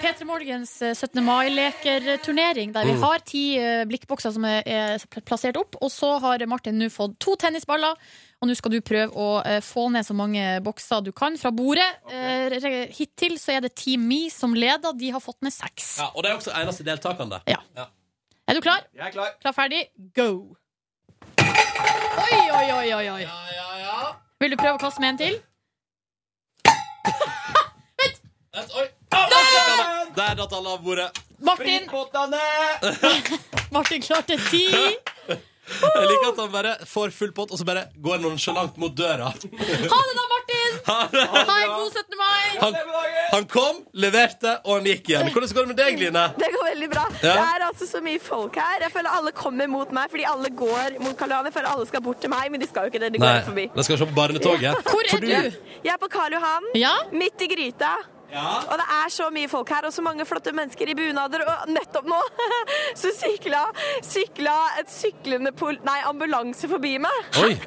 Speaker 4: P3 Morgens eh, 17. mai-lekerturnering, der vi
Speaker 2: Mm.
Speaker 4: har ti eh, blikkbokser som er, er pl- plassert opp. Og så har Martin nå fått to tennisballer, og nå skal du prøve å eh, få ned så mange bokser du kan fra bordet. Eh, re- Hittil så er det Team Me som leder, de har fått ned seks.
Speaker 2: Ja, og det er også eneste deltakende. Ja.
Speaker 4: Er du klar?
Speaker 17: Jeg er klar.
Speaker 4: Klar, ferdig, go! Oi, oi, oi, oi, oi. Vil du prøve å kaste med en til?
Speaker 2: Der datt alle av bordet.
Speaker 4: Martin! Martin klarte ti.
Speaker 2: (laughs) Jeg liker at han bare får full pott, og så bare går nonsjalant mot døra.
Speaker 4: Ha det da, Martin!
Speaker 2: Ha det.
Speaker 4: Ha en god 17. mai!
Speaker 2: Han, han kom, leverte, og han gikk igjen. Hvordan går det med deg, Line?
Speaker 3: Det går veldig bra.
Speaker 2: Ja.
Speaker 3: Det er altså så mye folk her. Jeg føler alle kommer mot meg fordi alle går mot Karl Johan. Jeg føler alle skal bort til meg, men de skal jo ikke det. De går rett forbi.
Speaker 2: da skal vi se på barnetoget. For
Speaker 3: Jeg er på Karl Johan, midt i gryta. Og det er så mye folk her, og så mange flotte mennesker i bunader. Og nettopp nå (laughs) så sykla, sykla et syklende pol... Nei, ambulanse forbi meg. (laughs)
Speaker 2: Oi!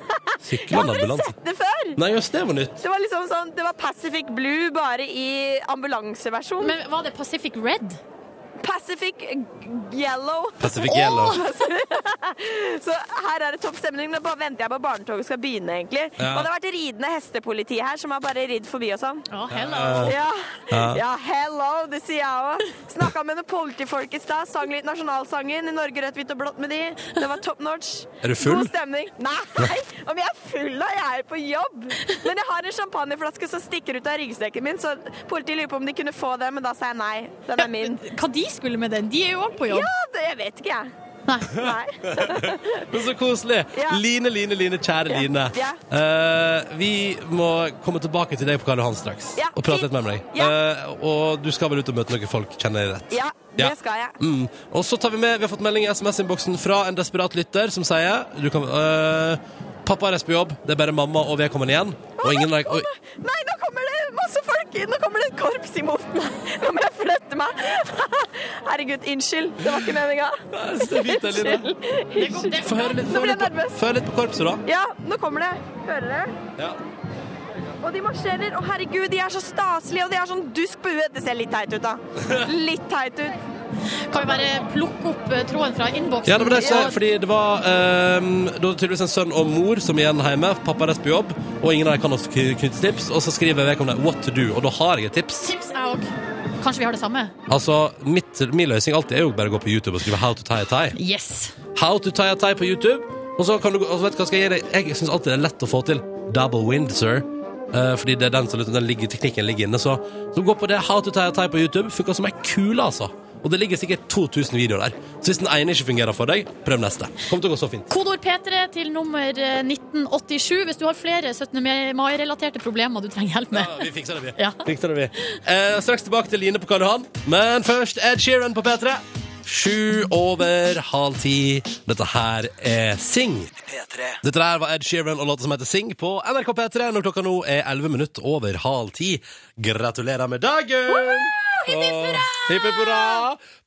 Speaker 2: Syklende ambulanse.
Speaker 3: Det før.
Speaker 2: Nei, jøss, det var nytt.
Speaker 3: Det var liksom sånn, det var Pacific Blue bare i ambulanseversjon.
Speaker 4: Men var det Pacific Red?
Speaker 3: Pacific Yellow.
Speaker 2: Pacific Yellow.
Speaker 3: Så her er det topp stemning. Nå bare venter jeg på at barnetoget skal begynne, egentlig.
Speaker 2: Ja.
Speaker 3: Og det har vært ridende hestepoliti her, som har bare ridd forbi og sånn.
Speaker 2: hello.
Speaker 3: Ja.
Speaker 2: Eh, Ja.
Speaker 3: ja, hello, det sier jeg òg. Snakka med noen politifolk i stad. Sang litt nasjonalsangen i Norge rødt, hvitt og blått med de. Det var top notch.
Speaker 2: Er du full?
Speaker 3: God stemning. Nei, om jeg er full da, jeg er på jobb. Men jeg har en champagneflaske som stikker ut av ryggsekken min, så politiet lurer på om de kunne få den, men da sa jeg nei. Den er min.
Speaker 4: Hva de skulle med den? De er jo òg på jobb.
Speaker 3: Ja, det, jeg vet ikke, jeg.
Speaker 2: Men så koselig.
Speaker 3: Ja.
Speaker 2: Line, Line, Line, kjære Line.
Speaker 3: Ja.
Speaker 2: Eh, vi må komme tilbake til deg på Karl Johan straks
Speaker 3: Ja,
Speaker 2: og prate litt med deg. Eh, og du skal vel ut og møte noen folk, kjenner jeg rett?
Speaker 3: Ja, det skal jeg.
Speaker 2: Mm. Og så tar vi med Vi har fått melding i SMS-innboksen fra en desperat lytter som sier du kan, øh, Pappa reiser på jobb, det er bare mamma og vedkommende igjen. Og ingen lag, oi,
Speaker 3: (laughs) Nei, nå kommer det masse folk inn! Nå kommer det et korps imot meg! Nå må jeg flytte meg! (laughs) Herregud, unnskyld. Det var ikke meninga.
Speaker 2: jeg synes det er fint, det er litt, Få høre litt,
Speaker 3: Nå
Speaker 2: få høre
Speaker 3: ble jeg
Speaker 2: litt, på-
Speaker 3: nervøs.
Speaker 2: få høre litt på korpset, da.
Speaker 3: Ja, nå kommer det. Hører dere?
Speaker 2: Ja.
Speaker 3: Og de marsjerer. Å, herregud, de er så staselige, og de har sånn dusk bue. Det ser litt teit
Speaker 4: (laughs)
Speaker 3: ut, da. Litt teit ut.
Speaker 4: Kan vi bare plukke opp eh, tråden fra innboksen?
Speaker 2: Ja, det var det jeg sa,
Speaker 4: Ja.
Speaker 2: fordi det var ehm, Det var tydeligvis en sønn og mor som er igjen hjemme. Pappa reiser på jobb, og ingen av dem kan også kny- knytte tips. Og så skriver vedkommende 'what to do', og da har jeg et tips.
Speaker 4: Tips er òg Kanskje vi har det samme?
Speaker 2: Altså, mitt, Min løsning alltid er jo bare å gå på YouTube og skrive 'how to tie a tie'.
Speaker 4: Yes.
Speaker 2: How to tie a tie på YouTube. Og så kan du, og så vet du hva skal jeg gi deg? Jeg syns alltid det er lett å få til. Double wind, sir. Eh, fordi det er den som liksom, den ligger, teknikken ligger inne. Så, så gå på det How to tie a tie på YouTube. Funker som ei kule, altså. Og det ligger sikkert 2000 videoer der. Så hvis den ene ikke fungerer for deg, prøv neste. Kommer til å gå så fint.
Speaker 4: Kodord P3 til nummer eh, 1987 hvis du har flere 17. mai-relaterte problemer du trenger hjelp med.
Speaker 2: vi fikser det, vi. Riktig det vi. Eh, straks tilbake til Line på Karl Johan, men først Ed Sheeran på P3. Sju over halv ti. Dette her er Sing. Dette der var Ed Sheeran og låta som heter Sing på NRK P3 når klokka nå er 11 minutter over halv ti. Gratulerer med dagen! Og Hipp hipp hurra!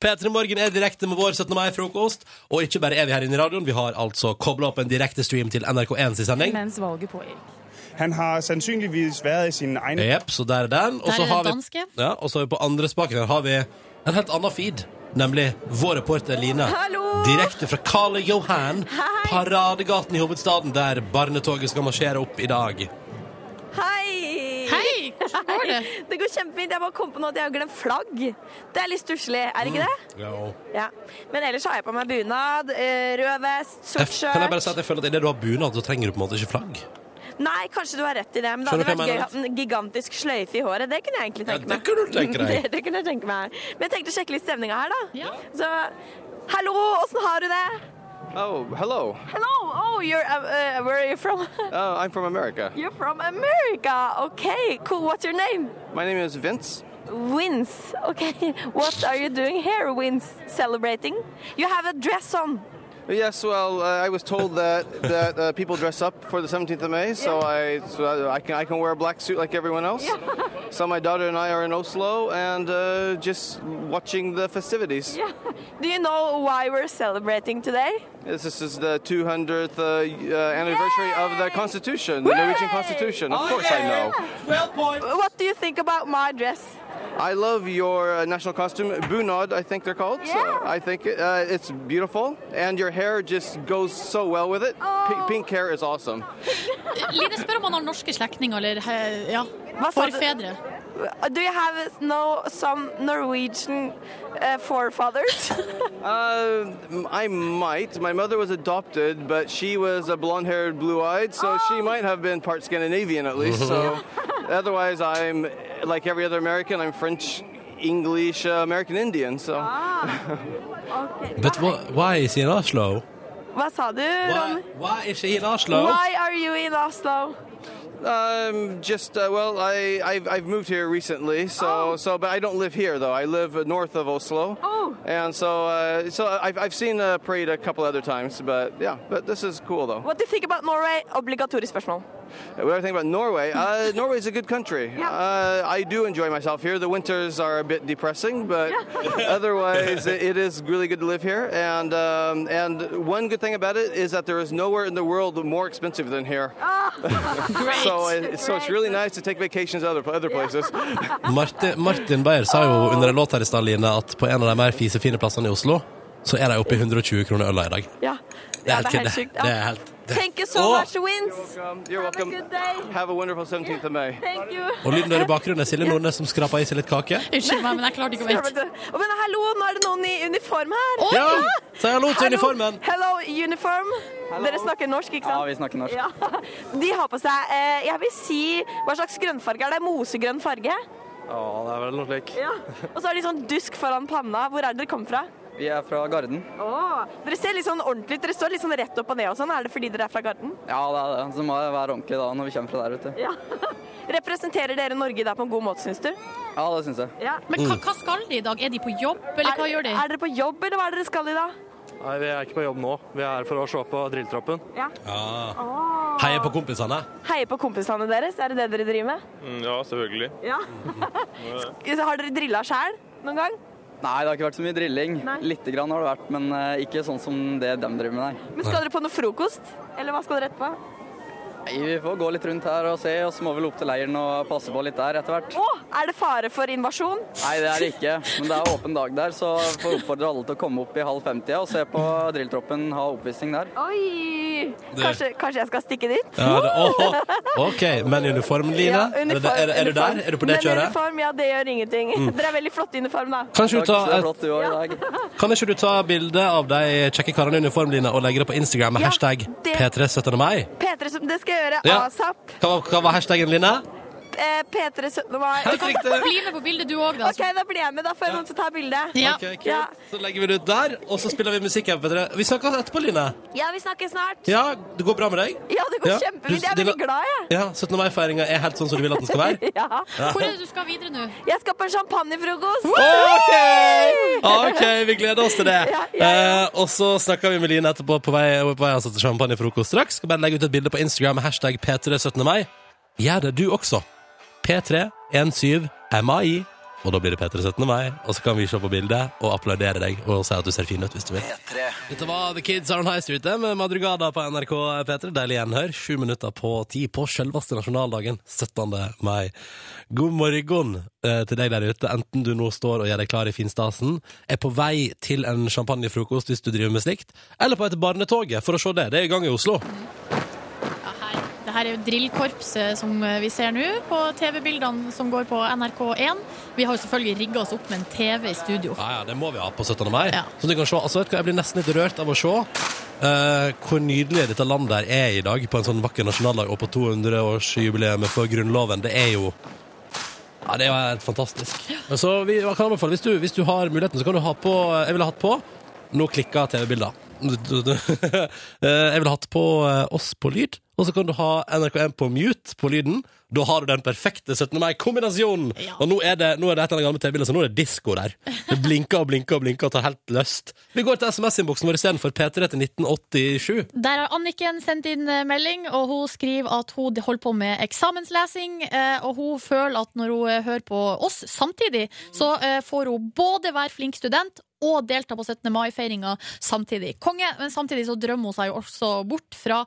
Speaker 2: P3 Morgen er direkte med vår 17. mai-frokost. Og ikke bare er vi her inne i radioen, vi har altså kobla opp en direktestream til NRK1 sin sending.
Speaker 19: Mens valget pågikk. Han har sannsynligvis vært i sin egen
Speaker 2: Jepp, så der er den. Og
Speaker 19: Der
Speaker 2: så
Speaker 19: er
Speaker 2: har
Speaker 19: den
Speaker 2: vi,
Speaker 19: danske.
Speaker 2: ja, og så har vi på andre spaken her har vi en helt annen feed, nemlig vår reporter Line.
Speaker 3: Hallo!
Speaker 2: Direkte fra Karl Johan, Paradegaten i hovedstaden, der barnetoget skal marsjere opp i dag.
Speaker 3: Hei!
Speaker 4: Hei! Hvordan går det?
Speaker 3: (laughs) det går kjempefint. Jeg bare kom på nå at jeg har glemt flagg. Det er litt stusslig, er
Speaker 2: Mm.
Speaker 3: det ikke det? Ja. Men ellers har jeg på meg bunad, eh, rød vest,
Speaker 2: Jeg,
Speaker 3: sort
Speaker 2: kan jeg bare si at
Speaker 3: skjørt.
Speaker 2: jeg føler at idet du har bunad, så trenger du på en måte ikke flagg.
Speaker 3: Nei, kanskje du har rett i det, men det
Speaker 2: Skjønner du
Speaker 3: hadde
Speaker 2: hva jeg
Speaker 3: vært gøy å
Speaker 2: mener?
Speaker 3: ha en gigantisk sløyfe i håret. Det kunne jeg egentlig tenke meg.
Speaker 2: kunne du tenke deg.
Speaker 3: (laughs) det, det kunne jeg tenke meg. Men jeg tenkte å sjekke litt stemninga her, da. Så hallo, åssen har du det?
Speaker 20: Oh, hello.
Speaker 3: Hello, oh, you're, uh, uh, where are you from? (laughs)
Speaker 20: Uh, I'm from America.
Speaker 3: You're from America. Okay, cool. What's your name?
Speaker 20: My name is Vince.
Speaker 3: Wins. Okay. What are you doing here, Wins? Celebrating? You have a dress on.
Speaker 20: Yes, well, uh, I was told
Speaker 3: (laughs)
Speaker 20: that that uh, people dress up for the 17th of May, so I so uh, I can I can wear a black suit like everyone else. (laughs) So my daughter and I are in Oslo and uh, just watching the festivities.
Speaker 3: Yeah. Do you know why we're celebrating today?
Speaker 20: This, this is the 200th uh, uh, anniversary of the Constitution, the Norwegian Constitution.
Speaker 3: Oh,
Speaker 20: Of course, I know.
Speaker 3: Well point. What do you think about my dress?
Speaker 20: I love your uh, national costume, bunad. I think they're called. So I think uh, it's beautiful, and your hair just goes so well with it. P- pink hair is awesome.
Speaker 4: (laughs) Line spør om han har norske slektninger eller eh, ja,
Speaker 3: Hva sa du?
Speaker 4: forfedre.
Speaker 3: Uh, Do you have no some Norwegian uh, forefathers? (laughs)
Speaker 20: Uh, m- I might. My mother was adopted, but she was a blonde-haired, blue-eyed, so she might have been part Scandinavian at least. so otherwise, I'm uh, like every other American. I'm French, English, uh, American Indian. So. (laughs)
Speaker 2: But wh- why is he in Oslo?
Speaker 3: Hva sa du, Ronny?
Speaker 2: Why is she in Oslo?
Speaker 3: Why are you in Oslo?
Speaker 20: Um, just uh, well, I I've, I've moved here recently, so so but I don't live here though. I live uh, north of Oslo.
Speaker 3: Oh.
Speaker 20: And so uh, so I've I've seen uh, parade a couple other times, but yeah, but this is cool though.
Speaker 3: What do you think about Norway? Obligatorisk spørsmål.
Speaker 20: What I think about Norway?
Speaker 3: (laughs)
Speaker 20: Uh, Norway's a good country. Uh, I do enjoy myself here. The winters are a bit depressing, but (laughs) otherwise, it, it is really good to live here. And um, and one good thing about it is that there is nowhere in the world more expensive than
Speaker 3: (laughs)
Speaker 20: here.
Speaker 3: Oh,
Speaker 20: (laughs)
Speaker 3: Great.
Speaker 20: So it, so it's really nice to take vacations other other
Speaker 3: (laughs)
Speaker 20: places.
Speaker 2: Martin, Martin Beyer sa jo under en låt her i stad, Line, at på en av de mer fisefine plassene i Oslo, så er de oppe i 120 kroner øla i dag.
Speaker 20: (laughs)
Speaker 3: Ja.
Speaker 2: Det er
Speaker 3: Ja,
Speaker 2: helt
Speaker 3: det er
Speaker 2: kødde.
Speaker 3: helt sjukt. Ja.
Speaker 2: Det er helt
Speaker 3: Thank you so
Speaker 2: Åh.
Speaker 3: much, Wins.
Speaker 20: You're welcome. Have a wonderful 17th of May.
Speaker 3: Thank you.
Speaker 2: Og lyden der i
Speaker 3: (laughs)
Speaker 2: bakgrunnen er Silje Nordnes som skraper i seg litt kake.
Speaker 4: Unnskyld meg, men jeg klarte ikke å vente.
Speaker 3: (laughs) Å, men hallo, nå er det noen i uniform her.
Speaker 2: Oi! Ja, si hallo til uniformen.
Speaker 3: Hello, uniform. Dere snakker norsk, ikke sant?
Speaker 21: Ja, vi snakker norsk.
Speaker 3: Ja. (laughs) De har på seg eh, Jeg vil si Hva slags grønnfarge er det? Mosegrønn farge?
Speaker 21: Ja, det er vel noe slik.
Speaker 3: Ja. Og så har de sånn dusk foran panna. Hvor er det dere kommer fra?
Speaker 21: Vi er fra Garden.
Speaker 3: Åh, Dere ser litt sånn ordentlig ut. Dere står litt sånn rett opp og ned og sånn. Er det fordi dere er fra Garden?
Speaker 21: Ja, det er det. Så må jeg være ordentlig da når vi kommer fra der, vet du.
Speaker 3: Ja. Representerer dere Norge der på en god måte, syns du?
Speaker 21: Ja, det syns jeg.
Speaker 3: Ja.
Speaker 4: Men hva, hva skal de i dag? Er de på jobb, eller hva gjør de?
Speaker 3: Er dere på jobb, eller hva er det dere skal i dag?
Speaker 21: Nei, vi er ikke på jobb nå. Vi er her for å se på drilltroppen.
Speaker 3: Ja.
Speaker 2: Ja.
Speaker 3: Åh.
Speaker 2: Heier på kompisene.
Speaker 3: Heier på kompisene deres, er det det dere driver med?
Speaker 21: mm, Ja, selvfølgelig. (laughs)
Speaker 3: Ja. Har dere drilla sjæl noen gang?
Speaker 21: Nei, det har ikke vært så mye drilling.
Speaker 3: Nei.
Speaker 21: Lite grann har det vært, men eh, ikke sånn som det de driver med, nei.
Speaker 3: Men skal dere på noe frokost? Eller hva skal dere etterpå?
Speaker 21: Nei, vi får gå litt rundt her og se, og så må vi vel opp til leiren og passe på litt der etter hvert.
Speaker 3: Å, er det fare for invasjon?
Speaker 21: Nei, det er det ikke, men det er åpen dag der, så jeg får oppfordre alle til å komme opp i halv fem-tida og se på drilltroppen ha oppvisning der.
Speaker 3: Oi! Kanskje, kanskje jeg skal stikke dit?
Speaker 2: Ja, det, åhå. OK, men uniform, Line?
Speaker 3: Ja,
Speaker 2: er, det,
Speaker 3: uniform,
Speaker 2: er, er du
Speaker 3: uniform.
Speaker 2: der? Er du på det
Speaker 3: Men
Speaker 2: kjøret?
Speaker 3: uniform, ja, det gjør ingenting.
Speaker 2: Mm.
Speaker 3: (laughs) Dere er veldig flotte i uniform, da.
Speaker 2: Kanskje du tar et- Takk, så
Speaker 21: et
Speaker 3: (laughs)
Speaker 2: Kan ikke du ta bilde av de kjekke karene i uniform, Line, og legge det på Instagram med
Speaker 3: Ja,
Speaker 2: hashtag
Speaker 3: det-
Speaker 2: P3 17. mai?
Speaker 3: P3, som- det skal jeg gjøre
Speaker 2: Ja.
Speaker 3: asap.
Speaker 2: Hva, var- hva var hashtagen, Line?
Speaker 3: eh, P3 17. mai.
Speaker 2: Helt
Speaker 3: (laughs)
Speaker 2: riktig. Bli
Speaker 3: med på bildet, du òg, da. Ok, da blir jeg med. Da får jeg noen til å ta bilde.
Speaker 2: Ok, kult. Så legger vi det ut der, og så spiller vi musikk her. Petre. Vi snakkes etterpå, Line.
Speaker 3: ja, vi snakkes snart.
Speaker 2: Ja, det går bra med deg?
Speaker 3: Ja, det går kjempefint. Jeg er veldig
Speaker 2: Dina-
Speaker 3: glad, jeg.
Speaker 2: Ja, 17. mai-feiringa er helt sånn som du vil at den skal være?
Speaker 3: (laughs) ja.
Speaker 2: Ja. Hvor er
Speaker 3: det du skal videre nå? Jeg skal på en champagnefrokost.
Speaker 2: Ok! OK, vi gleder oss til det.
Speaker 3: (laughs) Ja,
Speaker 2: Eh, og så snakker vi med Line etterpå på vei, på vei altså, til champagnefrokost straks. Skal bare legge ut et bilde på Instagram med hashtag P317. mai. Gjør det du også. P317MAI. Og da blir det P317. mai, og så kan vi se på bildet og applaudere deg og si at du ser fin ut hvis du vil. Dette var The Kids Are On High Street det, med Madrugada på NRK P3. Deilig gjenhør. Sju minutter på ti på selveste nasjonaldagen, 17. mai. God morgen eh, til deg der ute, enten du nå står og gjør deg klar i finstasen, er på vei til en champagnefrokost hvis du driver med slikt, eller på et barnetoget for å se det. Det er i gang i Oslo.
Speaker 4: Det her er jo drillkorpset som eh, vi ser nå på TV-bildene som går på NRK1. Vi har jo selvfølgelig rigga oss opp med en TV i studio.
Speaker 2: Ja, ja, det må vi ha på 17. mai. Så du kan se, altså, vet du hva, jeg blir nesten litt rørt av å se eh, hvor nydelig dette landet her er i dag, på en sånn vakker nasjonaldag og på 200-årsjubileet for Grunnloven. Det er jo Ja, det er jo helt fantastisk. Men så vi, jeg kan anbefale, hvis du, hvis du har muligheten, så kan du ha på eh, Jeg ville hatt på Nå klikka TV-bilder. (laughs) Eh, jeg ville hatt på eh, oss på lyd, og så kan du ha NRK1 på mute på lyden. Da har du den perfekte 17. mai-kombinasjonen! Og nå er det, nå er det et eller annet gammelt TV-bilde, så nå er det disko der. Det blinker og blinker og blinker og tar helt løst. Vi går til SMS-innboksen vår istedenfor P3 til 1987.
Speaker 4: Der har Anniken sendt inn eh, melding, og hun skriver at hun holder på med eksamenslesing. eh, Og hun føler at når hun eh, hører på oss samtidig, så eh, får hun både være flink student og delta på 17. mai-feiringa samtidig. Konge, men samtidig så drømmer hun seg jo også bort fra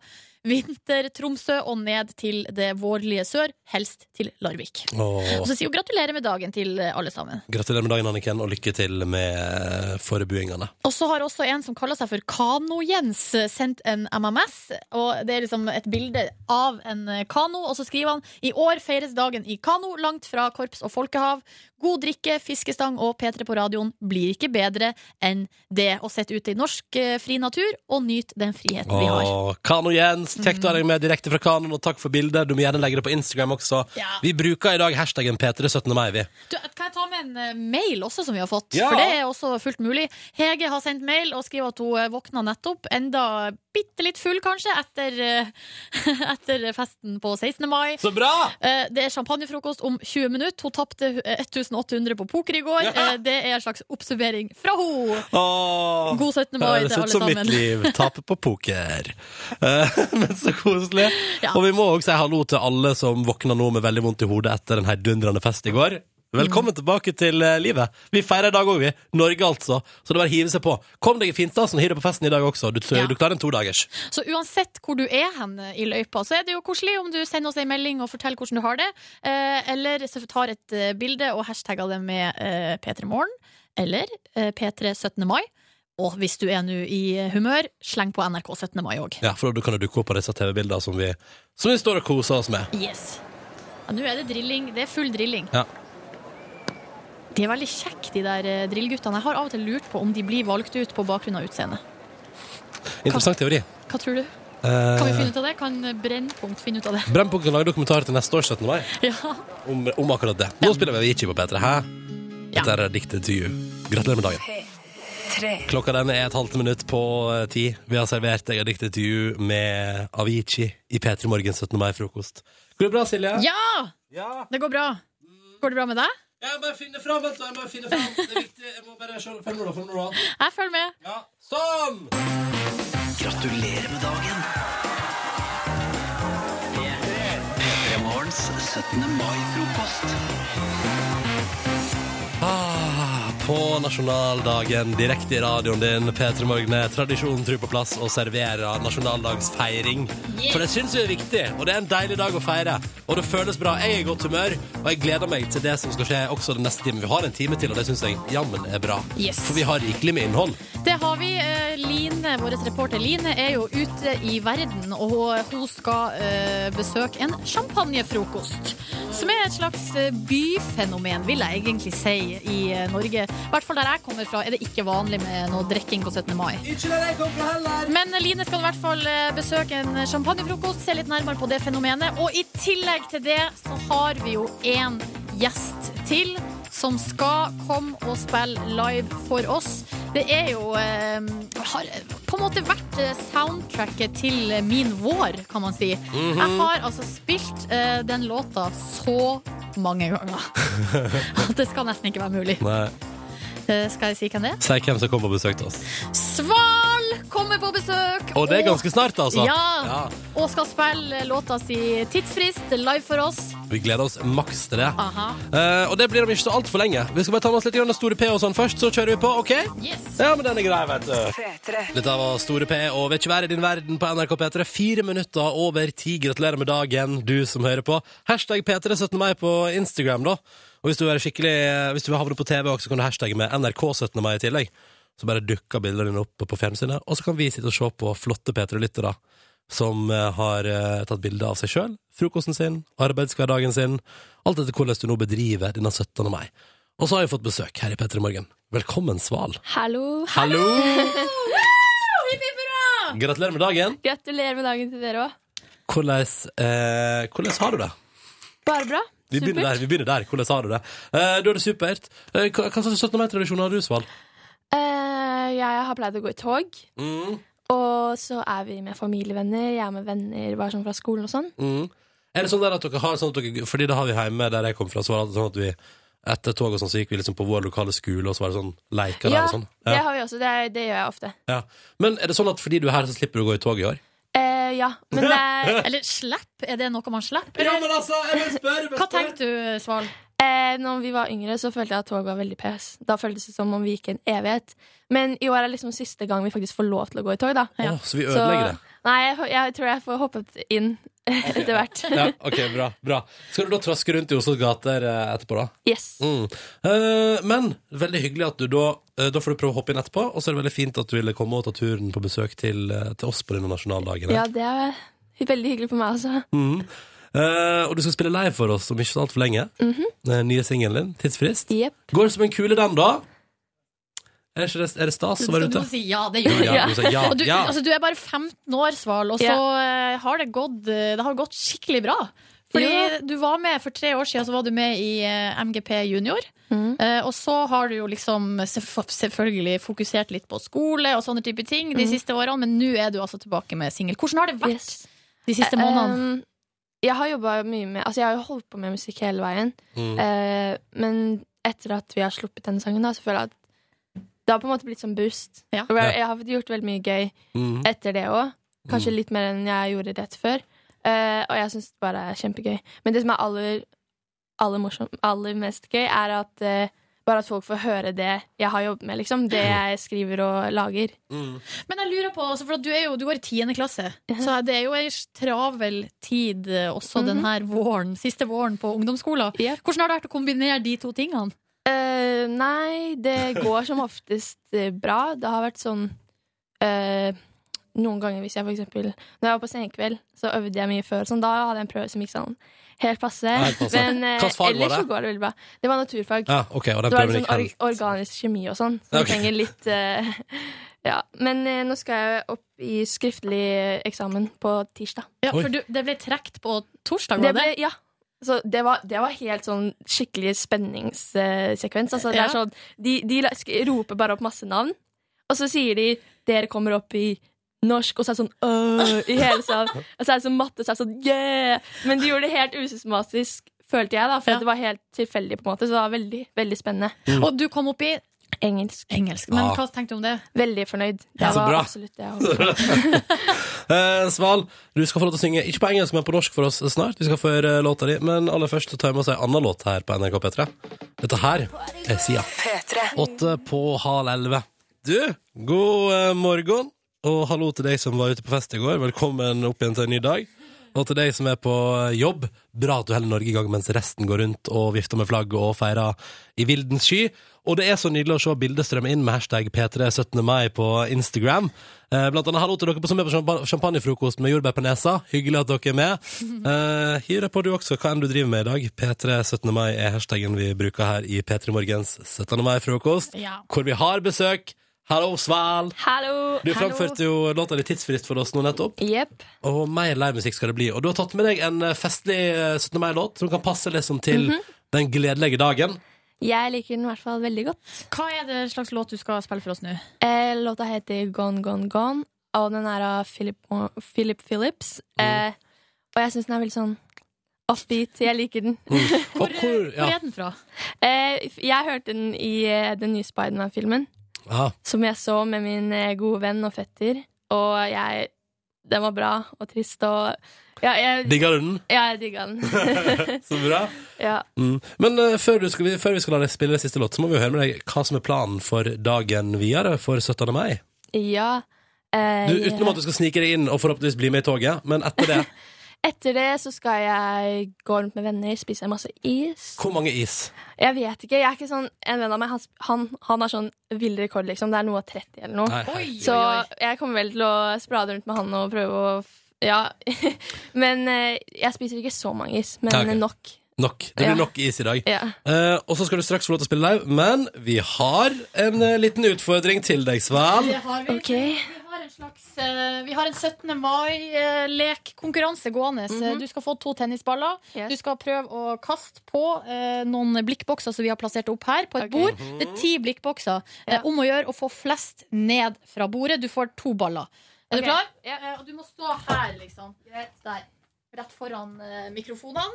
Speaker 4: vinter-Tromsø og ned til det vårlige sør, helst til Larvik.
Speaker 2: Åh.
Speaker 4: Og så sier hun gratulerer med dagen til eh, alle sammen.
Speaker 2: Gratulerer med dagen, Anniken, og lykke til med eh, forberedelsene.
Speaker 4: Og så har også en som kaller seg for Kano-Jens, sendt en MMS. Og Det er liksom et bilde av en eh, kano, og så skriver han I år feires dagen i kano, langt fra korps og folkehav. God drikke, fiskestang og P3 på radioen blir ikke bedre enn det. Og sett ute i norsk eh, fri natur, og nyt den friheten vi har.
Speaker 2: Åh, Kano Jens, kjekt å ha deg med direkte fra kanoen, og takk for bildet. Du må gjerne legge det på Instagram også.
Speaker 4: Ja.
Speaker 2: Vi bruker i dag hashtaggen P317. mai, vi.
Speaker 4: Du, kan jeg ta med en eh, mail også som vi har fått?
Speaker 2: Ja.
Speaker 4: For det er også fullt mulig. Hege har sendt mail og skriver at hun eh, våkna nettopp, enda bitte litt full kanskje, etter, eh, (laughs) etter festen på 16. mai.
Speaker 2: Så bra!
Speaker 4: Eh, Det er champagnefrokost om 20 minutter. Hun tapte eh, 1800 på poker i går. Eh, Det er en slags oppsummering fra henne.
Speaker 2: Åh,
Speaker 4: God 17. mai
Speaker 2: høres ut
Speaker 4: til alle
Speaker 2: som
Speaker 4: sammen.
Speaker 2: mitt liv. Tape på
Speaker 4: (laughs)
Speaker 2: poker. Eh, (laughs) Men så koselig. Og vi må også si hallo til alle som våkna nå med veldig vondt i hodet etter en heidundrende fest i går. Velkommen
Speaker 4: Mm.
Speaker 2: tilbake til eh, livet. Vi feirer i dag òg, vi. Norge, altså. Så det er bare å hive seg på. Kom deg i finstasen og hiv deg på festen i dag også. Du, du klarer en todagers.
Speaker 4: Så uansett hvor du er hen eh, i løypa, så er det jo koselig om du sender oss en melding og forteller hvordan du har det, eh, eller så tar et eh, bilde og hashtagger det med eh, P3morgen eller eh, P3 17. mai. Og hvis du er nå i eh, humør, sleng på NRK 17. mai òg.
Speaker 2: Ja, for da kan du dukke opp på disse TV-bildene som, vi- som vi står og koser oss med.
Speaker 4: Yes. Ja, nå er det drilling. Det er full drilling.
Speaker 2: Ja.
Speaker 4: De er veldig kjekke, de der eh, drillguttene. Jeg har av og til lurt på om de blir valgt ut på bakgrunn av utseendet.
Speaker 2: Interessant teori.
Speaker 4: Hva tror du? Kan vi finne
Speaker 2: Eh,
Speaker 4: ut av det? Kan Brennpunkt finne ut av det? (laughs)
Speaker 2: Brennpunkt kan lage dokumentar til neste år, 17. mai.
Speaker 4: Ja.
Speaker 2: om, om akkurat det. Nå spiller vi Avicii på P3. Hæ? Dette er diktet til you. Gratulerer med dagen. Klokka den er et halvt minutt på eh, ti. Vi har servert deg et diktet til you med Avicii i P3 Morgen 17. mai-frokost. Går det bra, Silje?
Speaker 4: Ja! Det går bra. Går det bra med deg?
Speaker 2: Jeg må finne fram, vent da. Jeg må finne fram. Det er viktig. Jeg må bare se Følg med, da. Følg med, da.
Speaker 4: Jeg følger med.
Speaker 2: Sånn!
Speaker 1: Gratulerer med dagen. P3 Morgens 17. mai-frokost.
Speaker 2: Ah, på nasjonaldagen direkte i radioen din, P3 Morgen er tradisjonen tru på plass og serverer nasjonaldagsfeiring.
Speaker 1: Yes.
Speaker 2: For det syns vi er viktig, og det er en deilig dag å feire. Og det føles bra. Jeg er i godt humør, og jeg gleder meg til det som skal skje også den neste timen. Vi har en time til, og det syns jeg jammen er bra.
Speaker 4: Yes.
Speaker 2: For vi har rikelig med innhold.
Speaker 4: Det har vi. Eh, Line, vår reporter Line er jo ute i verden, og hun skal eh, besøke en champagnefrokost. Som er et slags eh, byfenomen, vil jeg egentlig si, i eh, Norge. I hvert fall der jeg kommer fra, er det ikke vanlig med noe drikking på 17. mai. Men Line skal i hvert fall eh, besøke en champagnefrokost, se litt nærmere på det fenomenet. Og i tillegg til det så har vi jo en gjest til som skal komme og spille live for oss. Det er jo eh, har på en måte vært eh, soundtracket til min vår, kan man si.
Speaker 2: Mhm.
Speaker 4: Jeg har altså spilt eh, den låta så mange ganger (laughs) at det skal nesten ikke være mulig.
Speaker 2: Nei.
Speaker 4: Eh, skal jeg si hvem det er?
Speaker 2: Si hvem som kommer og besøker oss.
Speaker 4: Sval kommer på besøk.
Speaker 2: Og det er ganske snart, altså.
Speaker 4: Ja, Og skal spille låta si Tidsfrist live for oss.
Speaker 2: Vi gleder oss maks til det.
Speaker 4: Aha.
Speaker 2: Eh, og det blir om ikke så altfor lenge. Vi skal bare ta med oss litt grann Store P og sånn først, så kjører vi på, OK? Ja, men den er grei, vet du. Dette var Store P og Vil ikke være i din verden på NRK P3. Fire minutter over ti. Gratulerer med dagen, du som hører på. Hashtag P3 17. mai på Instagram, da. Og hvis du, er skikkelig, eh, hvis du havner på TV også, så kan du hashtagge med NRK 17. mai i tillegg. Så bare dukker bildene dine opp på fjernsynet, og så kan vi sitte og se på flotte P3-lyttere som eh, har eh, tatt bilde av seg sjøl, frokosten sin, arbeidshverdagen sin, alt etter hvordan du nå bedriver denne 17. mai. Og så har vi fått besøk her i P3 Morgen. Velkommen, Sval.
Speaker 16: Hallo.
Speaker 2: Hallo!
Speaker 16: Hipp, hipp, hurra!
Speaker 2: Gratulerer med dagen.
Speaker 16: Gratulerer med dagen til dere òg.
Speaker 2: Hvordan, eh, hvordan har du det?
Speaker 16: Bare bra.
Speaker 2: Vi begynner der. vi begynner der. Hvordan har du det? Eh, du har det supert. Eh, hva hva slags 17. mai-tradisjoner har du, Sval?
Speaker 16: Eh, jeg har pleid å gå i tog.
Speaker 2: Mm.
Speaker 16: Og så er vi med familievenner. Jeg er med venner bare sånn fra skolen og sånn.
Speaker 2: Mm. Er det sånn der at dere har sånn at dere, Fordi det har vi hjemme der jeg kom fra, så var det sånn at vi etter tog og sånn, så gikk vi liksom på vår lokale skole, og så var det sånn leker der og sånn.
Speaker 16: det har vi også. Det, er- det gjør jeg ofte.
Speaker 2: Ja. Men er det sånn at fordi du er her, så slipper du å gå i tog i
Speaker 16: (laughs)
Speaker 2: år?
Speaker 16: Eh, ja,
Speaker 2: (laughs)
Speaker 16: men det er
Speaker 4: Eller slapp? Er det noe man slipper?
Speaker 2: Ja, men altså, jeg vil spørre
Speaker 4: Hva tenkte du, Sval?
Speaker 16: Eh, når vi var yngre, så følte jeg at tog var veldig pes. Da føltes det som om vi gikk en evighet. Men i år er liksom siste gang vi faktisk får lov til å gå i tog, da.
Speaker 2: Ja. Åh, så vi ødelegger det.
Speaker 16: Nei, jeg, jeg tror jeg får hoppet inn (laughs) etter hvert.
Speaker 2: Ja, ok, bra, bra. Skal du da traske rundt i Oslos gater eh, etterpå, da?
Speaker 16: Yes.
Speaker 2: Mm. Eh, men veldig hyggelig at du da eh, Da får du prøve å hoppe inn etterpå, og så er det veldig fint at du ville komme og ta turen på besøk til, eh, til oss på denne nasjonaldagen.
Speaker 16: Ja, det er veldig hyggelig på meg altså. også.
Speaker 2: Mhm. Eh, og du skal spille live for oss om ikke så altfor lenge.
Speaker 16: Mhm.
Speaker 2: Den nye singelen din, 'Tidsfrist'.
Speaker 16: Jep.
Speaker 2: Går som en kule, den, da. Er, ikke det, er det stas å
Speaker 4: Skal
Speaker 2: være
Speaker 4: du
Speaker 2: ute?
Speaker 4: nå si ja? Det gjør
Speaker 2: Ja, du sa ja,
Speaker 4: Og du,
Speaker 2: ja.
Speaker 4: Altså, du er bare 15 år, Sval, og så eh, har det gått, eh, det har gått skikkelig bra. Fordi du var med For tre år siden så var du med i eh, MGP junior.
Speaker 16: Mm.
Speaker 4: Eh, og så har du jo liksom selvf- selvfølgelig fokusert litt på skole og sånne type ting de
Speaker 16: Mm.
Speaker 4: siste årene, men nå er du altså tilbake med singel. Hvordan har det vært de siste månedene?
Speaker 16: Eh, em, jeg har jobbet mye med Altså, jeg har jo holdt på med musikk hele veien.
Speaker 4: Mm.
Speaker 16: Eh, men etter at vi har sluppet denne sangen, da, så føler jeg at det har på en måte blitt som boost. Og
Speaker 4: Ja. Mm.
Speaker 16: Jeg, jeg har fått gjort veldig mye gøy
Speaker 2: Mhm.
Speaker 16: etter det òg. Kanskje litt mer enn jeg gjorde rett før. Eh, og jeg syns det bare er kjempegøy. Men det som er aller, aller, morsom, aller mest gøy, er at eh, bare at folk får høre det jeg har jobbet med, liksom. Det jeg skriver og lager.
Speaker 2: Mm.
Speaker 4: Men jeg lurer på, altså, for at du, er jo, du går i 10. klasse, så det er jo ei travel tid eh, også
Speaker 16: Mhm.
Speaker 4: denne våren, siste våren på ungdomsskolen. Hvordan har det vært å kombinere de to tingene?
Speaker 16: Eh, nei, det går som oftest eh, bra. Det har vært sånn eh, Noen ganger hvis jeg for eksempel Når jeg var på senkveld, så øvde jeg mye før. og Sånn, da hadde jeg en prøve som gikk sånn helt passe.
Speaker 2: Helt passe.
Speaker 16: Men eh,
Speaker 2: Hvilket fag var
Speaker 16: ellers
Speaker 2: det?
Speaker 16: så går det veldig bra. Det var naturfag.
Speaker 2: Ja, ok, og den
Speaker 16: det var
Speaker 2: prøven
Speaker 16: litt
Speaker 2: gikk
Speaker 16: sånn or
Speaker 2: helt-
Speaker 16: organisk kjemi og sånn. Så
Speaker 2: Ok.
Speaker 16: jeg trenger litt eh, Ja. Men eh, nå skal jeg opp i skriftlig eksamen på tirsdag.
Speaker 4: Ja, for du, det ble trukket på torsdag,
Speaker 16: Det
Speaker 4: var det?
Speaker 16: ble, ja. Så det var, det var helt sånn skikkelig spenningssekvens. Altså, det
Speaker 4: Ja.
Speaker 16: er sånn, de, de la- sk- roper bare opp masse navn, og så sier de 'dere kommer opp i norsk', og så er det sånn øh, i hele salen. Og så er det sånn matte, og så er det sånn yeah! Men de gjorde det helt usystematisk, følte jeg, da, for det var helt tilfeldig, på en måte. Så det var veldig, veldig spennende.
Speaker 2: Mm.
Speaker 4: Og du kom opp i
Speaker 16: engelsk.
Speaker 4: Men
Speaker 2: Ja.
Speaker 4: hva tenkte du om det?
Speaker 16: Veldig fornøyd. Det
Speaker 2: Ja, så
Speaker 16: var
Speaker 2: bra.
Speaker 16: absolutt det jeg håpet.
Speaker 2: (laughs) Eh, Sval, du skal få lov til å synge ikke på engelsk, men på norsk for oss snart. Vi skal få høre eh, låta di, men aller først så tar vi med oss ei anna låt her på NRK P3. Dette her er Sia. Åtte på halv elleve. Du, god eh, morgen, og hallo til deg som var ute på fest i går. Velkommen opp igjen til en ny dag. Og til deg som er på jobb, bra at du holder Norge i gang mens resten går rundt og vifter med flagg og feirer i vildens sky. Og det er så nydelig å se bildet strømme inn med hashtag P3 17. mai på Instagram. Eh, Blant annet hallo til dere på- som er på champa- champagnefrokost med jordbær på nesa. Hyggelig at dere er med. Eh, Hiv deg på du også, hva enn du driver med i dag. P3 17. mai er hashtagen vi bruker her i P3 Morgens 17. mai-frokost,
Speaker 16: Ja.
Speaker 2: hvor vi har besøk. Hallo, Sval!
Speaker 16: Hallo!
Speaker 2: Du framførte jo låta di 'Tidsfrist' for oss nå nettopp.
Speaker 16: Jepp.
Speaker 2: Og mer livemusikk skal det bli. Og du har tatt med deg en eh, festlig eh, 17. mai-låt som kan passe liksom til
Speaker 16: Mhm.
Speaker 2: den gledelige dagen.
Speaker 16: Jeg liker den i hvert fall veldig godt.
Speaker 4: Hva er det slags låt du skal spille for oss nå?
Speaker 16: Eh, låta heter Gone Gone Gone, og den er av Philip, Mo- Philip Phillips.
Speaker 2: Mm.
Speaker 16: Eh, og jeg syns den er veldig sånn offbeat. Jeg liker den.
Speaker 2: Mm. Hvor,
Speaker 16: ja.
Speaker 4: Hvor er den fra?
Speaker 16: Eh, f- jeg hørte den i eh, den nye Spiderman-filmen,
Speaker 2: Ah.
Speaker 16: som jeg så med min eh, gode venn og fetter. Og jeg Den var bra og trist og ja, jeg,
Speaker 2: Digger du den? (laughs)
Speaker 16: Ja, jeg digga den.
Speaker 2: Så bra.
Speaker 16: ja.
Speaker 2: Mm. Men eh, før, du skal, vi- før vi skal la deg spille det siste låt, så må vi jo høre med deg hva som er planen for dagen videre for 17. mai.
Speaker 16: ja. Eh,
Speaker 2: Du, utenom
Speaker 16: ja.
Speaker 2: at du skal snike deg inn og forhåpentligvis bli med i toget, men etter
Speaker 16: (laughs)
Speaker 2: det,
Speaker 16: Etter det så skal jeg gå rundt med venner, spise masse is.
Speaker 2: hvor mange is?
Speaker 16: Jeg vet ikke, jeg er ikke sånn En venn av meg, han, sp- han, han har sånn vill rekord, liksom. Det er noe av 30 eller noe.
Speaker 2: Nei, herregud.
Speaker 16: så jeg kommer vel til å sprade rundt med han og prøve å f- Ja. (laughs) men eh, jeg spiser ikke så mange is, men
Speaker 2: Nei, ok.
Speaker 16: nok.
Speaker 2: Nok. Det blir
Speaker 16: Ja.
Speaker 2: nok is i dag.
Speaker 16: Ja.
Speaker 2: Eh, og så skal du straks få lov til å spille live, men vi har en eh, liten utfordring til deg, Sval.
Speaker 4: Det har vi. Vi har en slags eh, Vi har en 17. mai-lekkonkurranse gående. Du skal få to tennisballer. Du skal prøve å kaste på eh, noen blikkbokser som vi har plassert opp her, på et bord. Det er ti blikkbokser. Eh, om å gjøre å få flest ned fra bordet. Du får to baller.
Speaker 16: Ok.
Speaker 4: Er du klar? Eh, og du må stå her, liksom. Der. Rett foran eh, mikrofonene.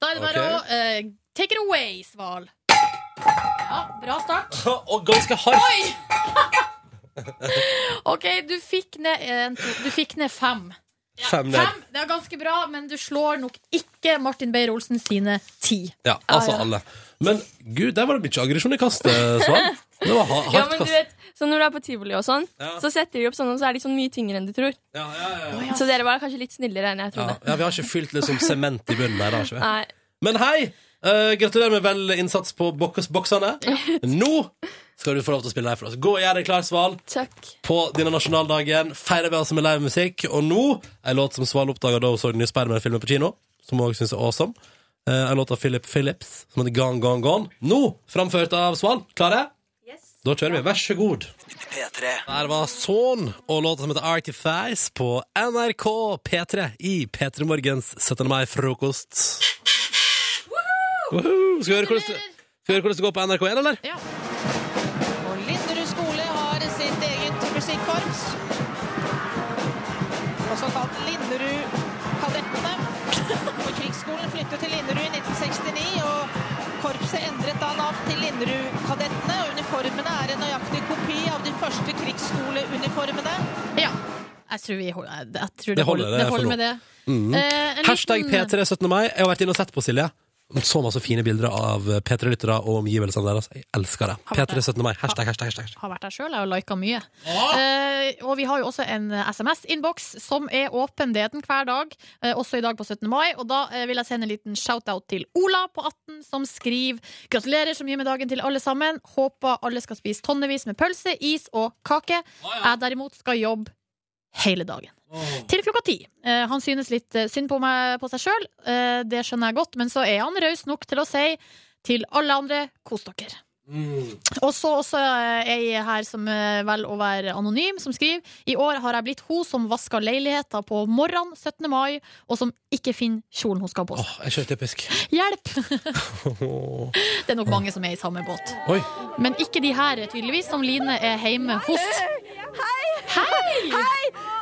Speaker 4: Da er det bare
Speaker 2: Ok.
Speaker 4: å eh, Take it away, Sval. Ja, bra start.
Speaker 2: og ganske hardt.
Speaker 4: (laughs) OK, du fikk ned en, to, Du fikk ned fem.
Speaker 2: Fem ned.
Speaker 4: Fem, Det er ganske bra, men du slår nok ikke Martin Beyer-Olsen sine ti.
Speaker 2: Ja, altså
Speaker 4: Ah, ja.
Speaker 2: alle. Men gud, der var det mye aggresjon i kastet,
Speaker 16: (laughs)
Speaker 2: Svan. Eh, Det var ha-
Speaker 16: Ja,
Speaker 2: hardt
Speaker 16: men du
Speaker 2: kast.
Speaker 16: vet, så Når du er på tivoli, og sånn
Speaker 2: Ja.
Speaker 16: så setter de opp sånn, og så er de sånn mye tyngre enn du tror. Så dere var kanskje litt snillere enn jeg
Speaker 2: Ja,
Speaker 16: trodde.
Speaker 2: ja, vi har ikke fylt liksom sement i bunnen der, da, har ikke vi?
Speaker 16: Nei.
Speaker 2: Men hei! eh, gratulerer med vel innsats på bok- boksene. Nå skal du få lov til å spille live for oss. Gå og gjør deg klar, Sval. På denne nasjonaldagen feirer vi altså med livemusikk. Og nå en låt som Sval oppdaga da hun så den nye Spiderman-filmen på kino, som hun også syns er awesome. Eh, en låt av Philip Phillips som heter Gone Gone Gone. Nå framført av Sval. Klare? Da kjører vi. Vær så god.
Speaker 1: P3.
Speaker 2: Der var Son og låta som heter Artifice på NRK P3 i P3 Morgens 17. mai-frokost. Woohoo! Skal vi høre hvordan det- skal vi høre hvordan det går på NRK1, eller?
Speaker 4: Ja.
Speaker 6: Og Linderud skole har sitt eget musikkorps. Også kalt Linderud-kadettene. Og Krigsskolen flyttet til Linderud i 1969, og korpset endret da navn til Linderud-kadettene. Og uniformene er en nøyaktig kopi av de første krigsskoleuniformene.
Speaker 4: Ja. Jeg tror, vi, hol- jeg, jeg tror det,
Speaker 2: Det holder,
Speaker 4: holder,
Speaker 2: det er
Speaker 4: det
Speaker 2: for
Speaker 4: holder
Speaker 2: nå.
Speaker 4: med det.
Speaker 2: Mm.
Speaker 4: Eh, en
Speaker 2: Hashtag
Speaker 4: liten-
Speaker 2: P3 17. mai. Jeg har vært inne og sett på, Silje. Så masse fine bilder av P3-lyttere og omgivelsene deres. Jeg elsker det. P3 17. mai. Hashtag, hashtag, hashtag.
Speaker 4: Har vært der sjøl, jeg har lika mye. Eh, og vi har jo også en eh, SMS-innboks som er åpen, det er den hver dag, eh, også i dag på 17. mai. Og da eh, vil jeg sende en liten shout-out til Ola på 18, som skriver Gratulerer så mye med dagen til alle sammen. Håper alle skal spise tonnevis med pølse, is og kake. Jeg derimot skal jobbe hele dagen. Til klokka ti. Eh, han synes litt eh, synd på meg på seg sjøl, eh, det skjønner jeg godt, men så er han raus nok til å si til alle andre kos dere.
Speaker 2: Mm.
Speaker 4: Og så også eh, ei her som eh, velger å være anonym, som skriver I år har jeg blitt hun som vasker leiligheter på morgenen 17. mai, og som ikke finner kjolen hun skal ha på seg.
Speaker 2: Åh, jeg er så typisk.
Speaker 4: Hjelp! (laughs) Det er nok mange som er i samme båt.
Speaker 2: (laughs) Oi.
Speaker 4: Men ikke de her, tydeligvis, som Line er hjemme hos. Hei! Hei!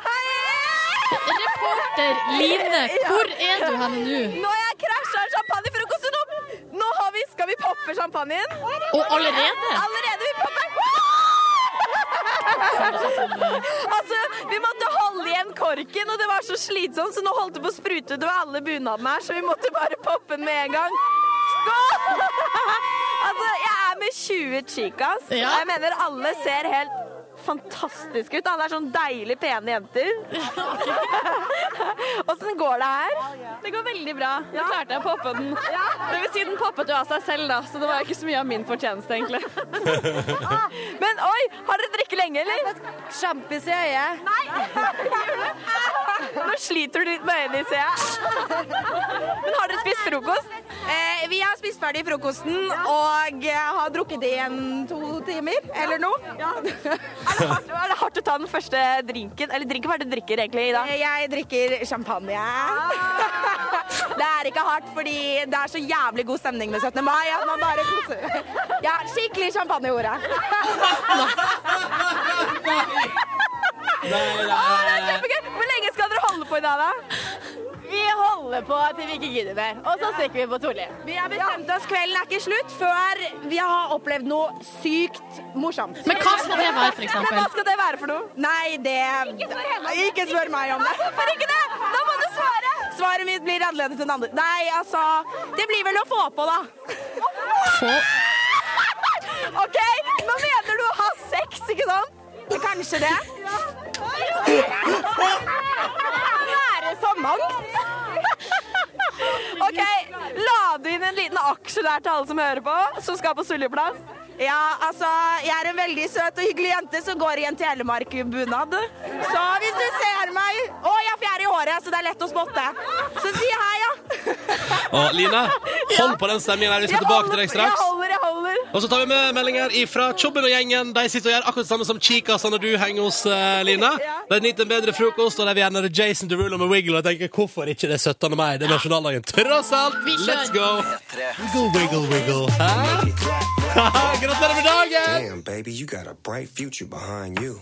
Speaker 4: Reporter Line, hvor er du henne nå?
Speaker 3: Nå har jeg krasja en champagnefrokost! og Nå, nå har vi, skal vi poppe champagnen.
Speaker 4: Og allerede?
Speaker 3: Allerede vi popper. altså, vi måtte holde igjen korken, og det var så slitsomt, så nå holdt det på å sprute utover alle bunadene her, så vi måtte bare poppe den med en gang. Skål! altså, jeg er med 20 chicas, og jeg mener alle ser helt fantastisk ut. da. Det er sånn deilig pene jenter. (laughs) Åssen går det her? Det går veldig bra.
Speaker 5: Nå klarte jeg å poppe den.
Speaker 3: Ja.
Speaker 5: Det vil si den poppet jo av seg selv, da, så det var ikke så mye av min fortjeneste, egentlig.
Speaker 3: Ah, Men oi, har dere drukket lenge, eller? Sjampis i øyet. Nei! (laughs) Nå sliter du litt med øynene, ser jeg. Men har dere spist frokost? Eh, vi har spist ferdig frokosten og eh, har drukket i en to timer, eller noe. Er, det hardt, er det hardt å ta den første drinken? Eller drinken, hva er det du drikker egentlig i dag? Eh, Ah. Jeg drikker champagne. Det er ikke hardt, fordi det er så jævlig god stemning med 17. mai at man bare koser. Ja, skikkelig champagnehore. Å, det er kjempegøy! Hvor lenge skal dere holde på i dag, da? Vi holder på til vi ikke gidder mer, og så stikker vi på Torli. Vi har bestemt oss, kvelden er ikke slutt før vi har opplevd noe sykt morsomt.
Speaker 4: Men hva skal det være, for eksempel?
Speaker 3: Men hva skal det være for noe? Nei, det Ikke spør, meg om det. Hvorfor ikke det? Da må du svare! Svaret mitt blir annerledes enn andre. Nei, altså Det blir vel å få på, da. OK, nå mener du å ha sex, ikke sant? Kanskje det. Være så mangt.
Speaker 5: OK,
Speaker 3: la du inn en liten aksje der til alle som hører på, som skal på Suljeplass? Ja, altså, jeg er en veldig søt og hyggelig jente som går i en Telemark-bunad. Så hvis du ser meg Å, jeg er fjær i håret, så det er lett å spotte. Så si hei, ja.
Speaker 2: Og Line, hold på den stemningen her. Vi skal
Speaker 3: Jeg
Speaker 2: tilbake til deg
Speaker 3: holder- Jeg
Speaker 2: straks.
Speaker 3: holder, jeg holder.
Speaker 2: Og så tar vi med meldinger ifra Tjobben og gjengen. De sitter og gjør akkurat det samme som Chicasen når du henger hos eh, Lina. De nyter en bedre frokost, og de vil gjerne høre Jason Derulo med Wiggle. Og jeg tenker, hvorfor ikke det er 17. mai? Det er nasjonaldagen. Tross alt,
Speaker 1: Vi kjører.
Speaker 2: let's go! Wiggle, wiggle, wiggle. Hæ? (laughs) Gratulerer med dagen!
Speaker 22: Damn, baby, you got a bright future behind you.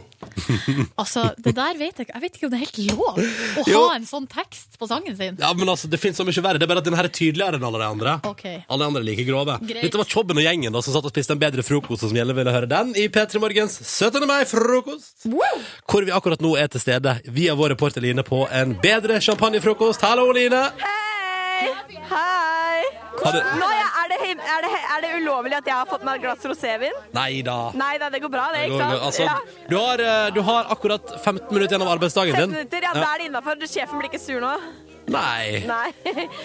Speaker 4: Altså, det der vet jeg ikke. Jeg vet ikke om det er helt lov å
Speaker 2: Jo.
Speaker 4: ha en sånn tekst på sangen sin.
Speaker 2: Ja, men altså, Det finnes så mye verre. Det er bare at denne her er tydeligere enn alle de andre.
Speaker 4: Ok.
Speaker 2: Alle andre er like grove.
Speaker 4: Greit.
Speaker 2: Dette var Tjobben og gjengen da, som satt og spiste en bedre frokost, og som gjelder ville høre den i P3 Morgens 17. mai-frokost. Hvor vi akkurat nå er til stede via vår reporter Line på en bedre champagnefrokost. Hallo, Line!
Speaker 3: Hei. Hei.
Speaker 2: Har du-
Speaker 3: Nå, ja, er, det, him- er, det, er det ulovlig at jeg har fått meg et glass rosévin?
Speaker 2: Nei da.
Speaker 3: Nei, nei, det går bra, det.
Speaker 2: Ah. Det
Speaker 3: ikke
Speaker 2: går
Speaker 3: sant?
Speaker 2: vel- altså,
Speaker 3: ja.
Speaker 2: du, har, eh, du har akkurat 15 minutter igjen av arbeidsdagen
Speaker 3: 15
Speaker 2: din.
Speaker 3: minutter, ja, da er det innafor. Sjefen blir ikke sur nå.
Speaker 2: Nei.
Speaker 3: Nei.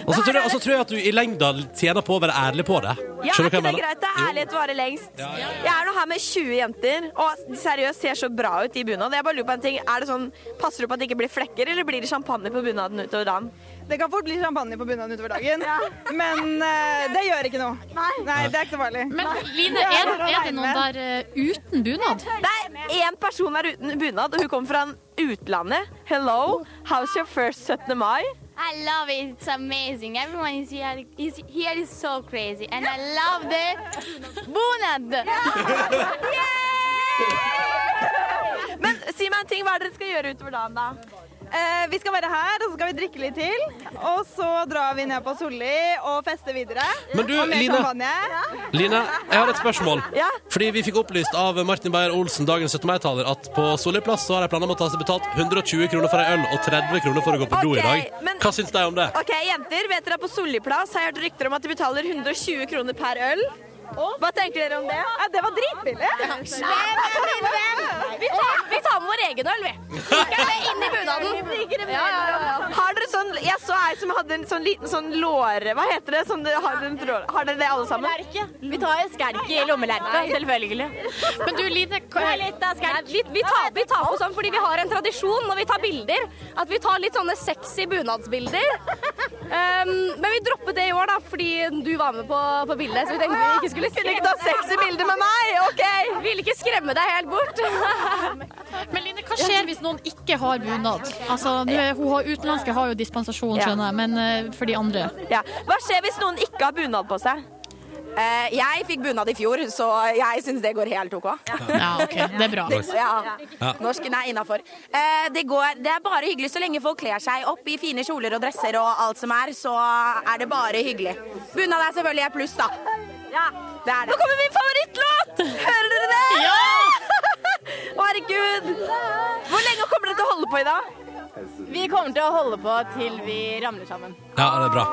Speaker 2: Og så tror, jeg- og så tror jeg at du i lengda tjener på å være ærlig på det.
Speaker 3: Ja, er
Speaker 2: Skjønner du hva
Speaker 3: ikke
Speaker 2: jeg
Speaker 3: det
Speaker 2: mener?
Speaker 3: greit? da? Ærlighet varer lengst.
Speaker 2: Ja, ja,
Speaker 3: Jeg er nå her med 20 jenter, og seriøst ser så bra ut i bunad. Jeg bare lurer på en ting. Er det sånn, passer du på at det ikke blir flekker, eller blir det champagne på bunaden utover dagen?
Speaker 23: Det kan fort bli champagne på bunaden utover
Speaker 3: (laughs)
Speaker 23: dagen, men eh, det gjør ikke noe. Nei, Det er ikke så farlig.
Speaker 4: Men Line, er, er det noen der eh, uten bunad?
Speaker 3: Det er én person her uten bunad, og hun kommer fra utlandet. Hello, how's your first 17. mai?
Speaker 24: I love it. It's amazing. Everyone is here is here is so crazy, and I love the bunad.
Speaker 3: (laughs) Men si meg en ting, hva er det dere skal gjøre utover dagen, da?
Speaker 23: Eh, vi skal være her, og så skal vi drikke litt til. Og så drar vi ned på Solli og fester videre.
Speaker 2: Men du,
Speaker 23: og mer
Speaker 2: Line-
Speaker 23: champagne.
Speaker 2: Line, jeg har et spørsmål.
Speaker 23: Ja.
Speaker 2: Fordi vi fikk opplyst av Martin Beyer-Olsen, dagens 17. mai-taler, at på Solli plass så har de planer om å ta seg betalt 120 kroner for ei øl og 30 kroner for å gå på do i
Speaker 3: Ok,
Speaker 2: dag.
Speaker 3: men-
Speaker 2: Hva syns de om det?
Speaker 3: OK, jenter, vet dere at på Solli plass har jeg hørt rykter om at de betaler 120 kroner per øl? Hva tenker dere om det? Ja, det var dritbillig. Vi tar, vi tar med vår egen øl, vi. Stikker det inn i
Speaker 16: (laughs)
Speaker 3: bunaden. Ja, ja, ja. Har dere sånn Jeg så ei som hadde en sånn liten sånn låre... Hva heter det? Sånn, har, dere, en tråd- har dere det, alle sammen? Vi tar en skerke i lommelerka, selvfølgelig.
Speaker 4: Men du, Line, hva-
Speaker 24: Nei, litt, da, skal jeg- vi, vi, tar, vi tar på sånn fordi vi har en tradisjon når vi tar bilder, at vi tar litt sånne sexy
Speaker 3: (laughs)
Speaker 24: bunadsbilder. Um, men vi droppet det i år, da, fordi du var med på, på bildet. Så vi tenkte vi ikke skulle
Speaker 3: Kunne ikke ta sexy bilder med meg, OK?
Speaker 24: Ville ikke skremme deg helt bort.
Speaker 4: Men Line, hva skjer hvis noen ikke har bunad? Altså, nå er- hun har- utenlandske har jo dispensasjon, skjønner jeg, men eh, for de andre
Speaker 3: Ja. Hva skjer hvis noen ikke har bunad på seg? Eh, jeg fikk bunad i fjor, så jeg syns det går helt OK.
Speaker 4: Ja, OK. Det er bra.
Speaker 3: Ja.
Speaker 4: Ja.
Speaker 3: Norsken er innafor. Eh, det, går- det er bare hyggelig så lenge folk kler seg opp i fine kjoler og dresser og alt som er, så er det bare hyggelig. Bunad er selvfølgelig et pluss, da. Det er det. Nå kommer min favorittlåt! Hører dere det? Ja! Herregud. Hvor lenge kommer dere til å holde på i dag?
Speaker 5: Vi kommer til å holde på til vi ramler sammen.
Speaker 2: Ja, det er bra.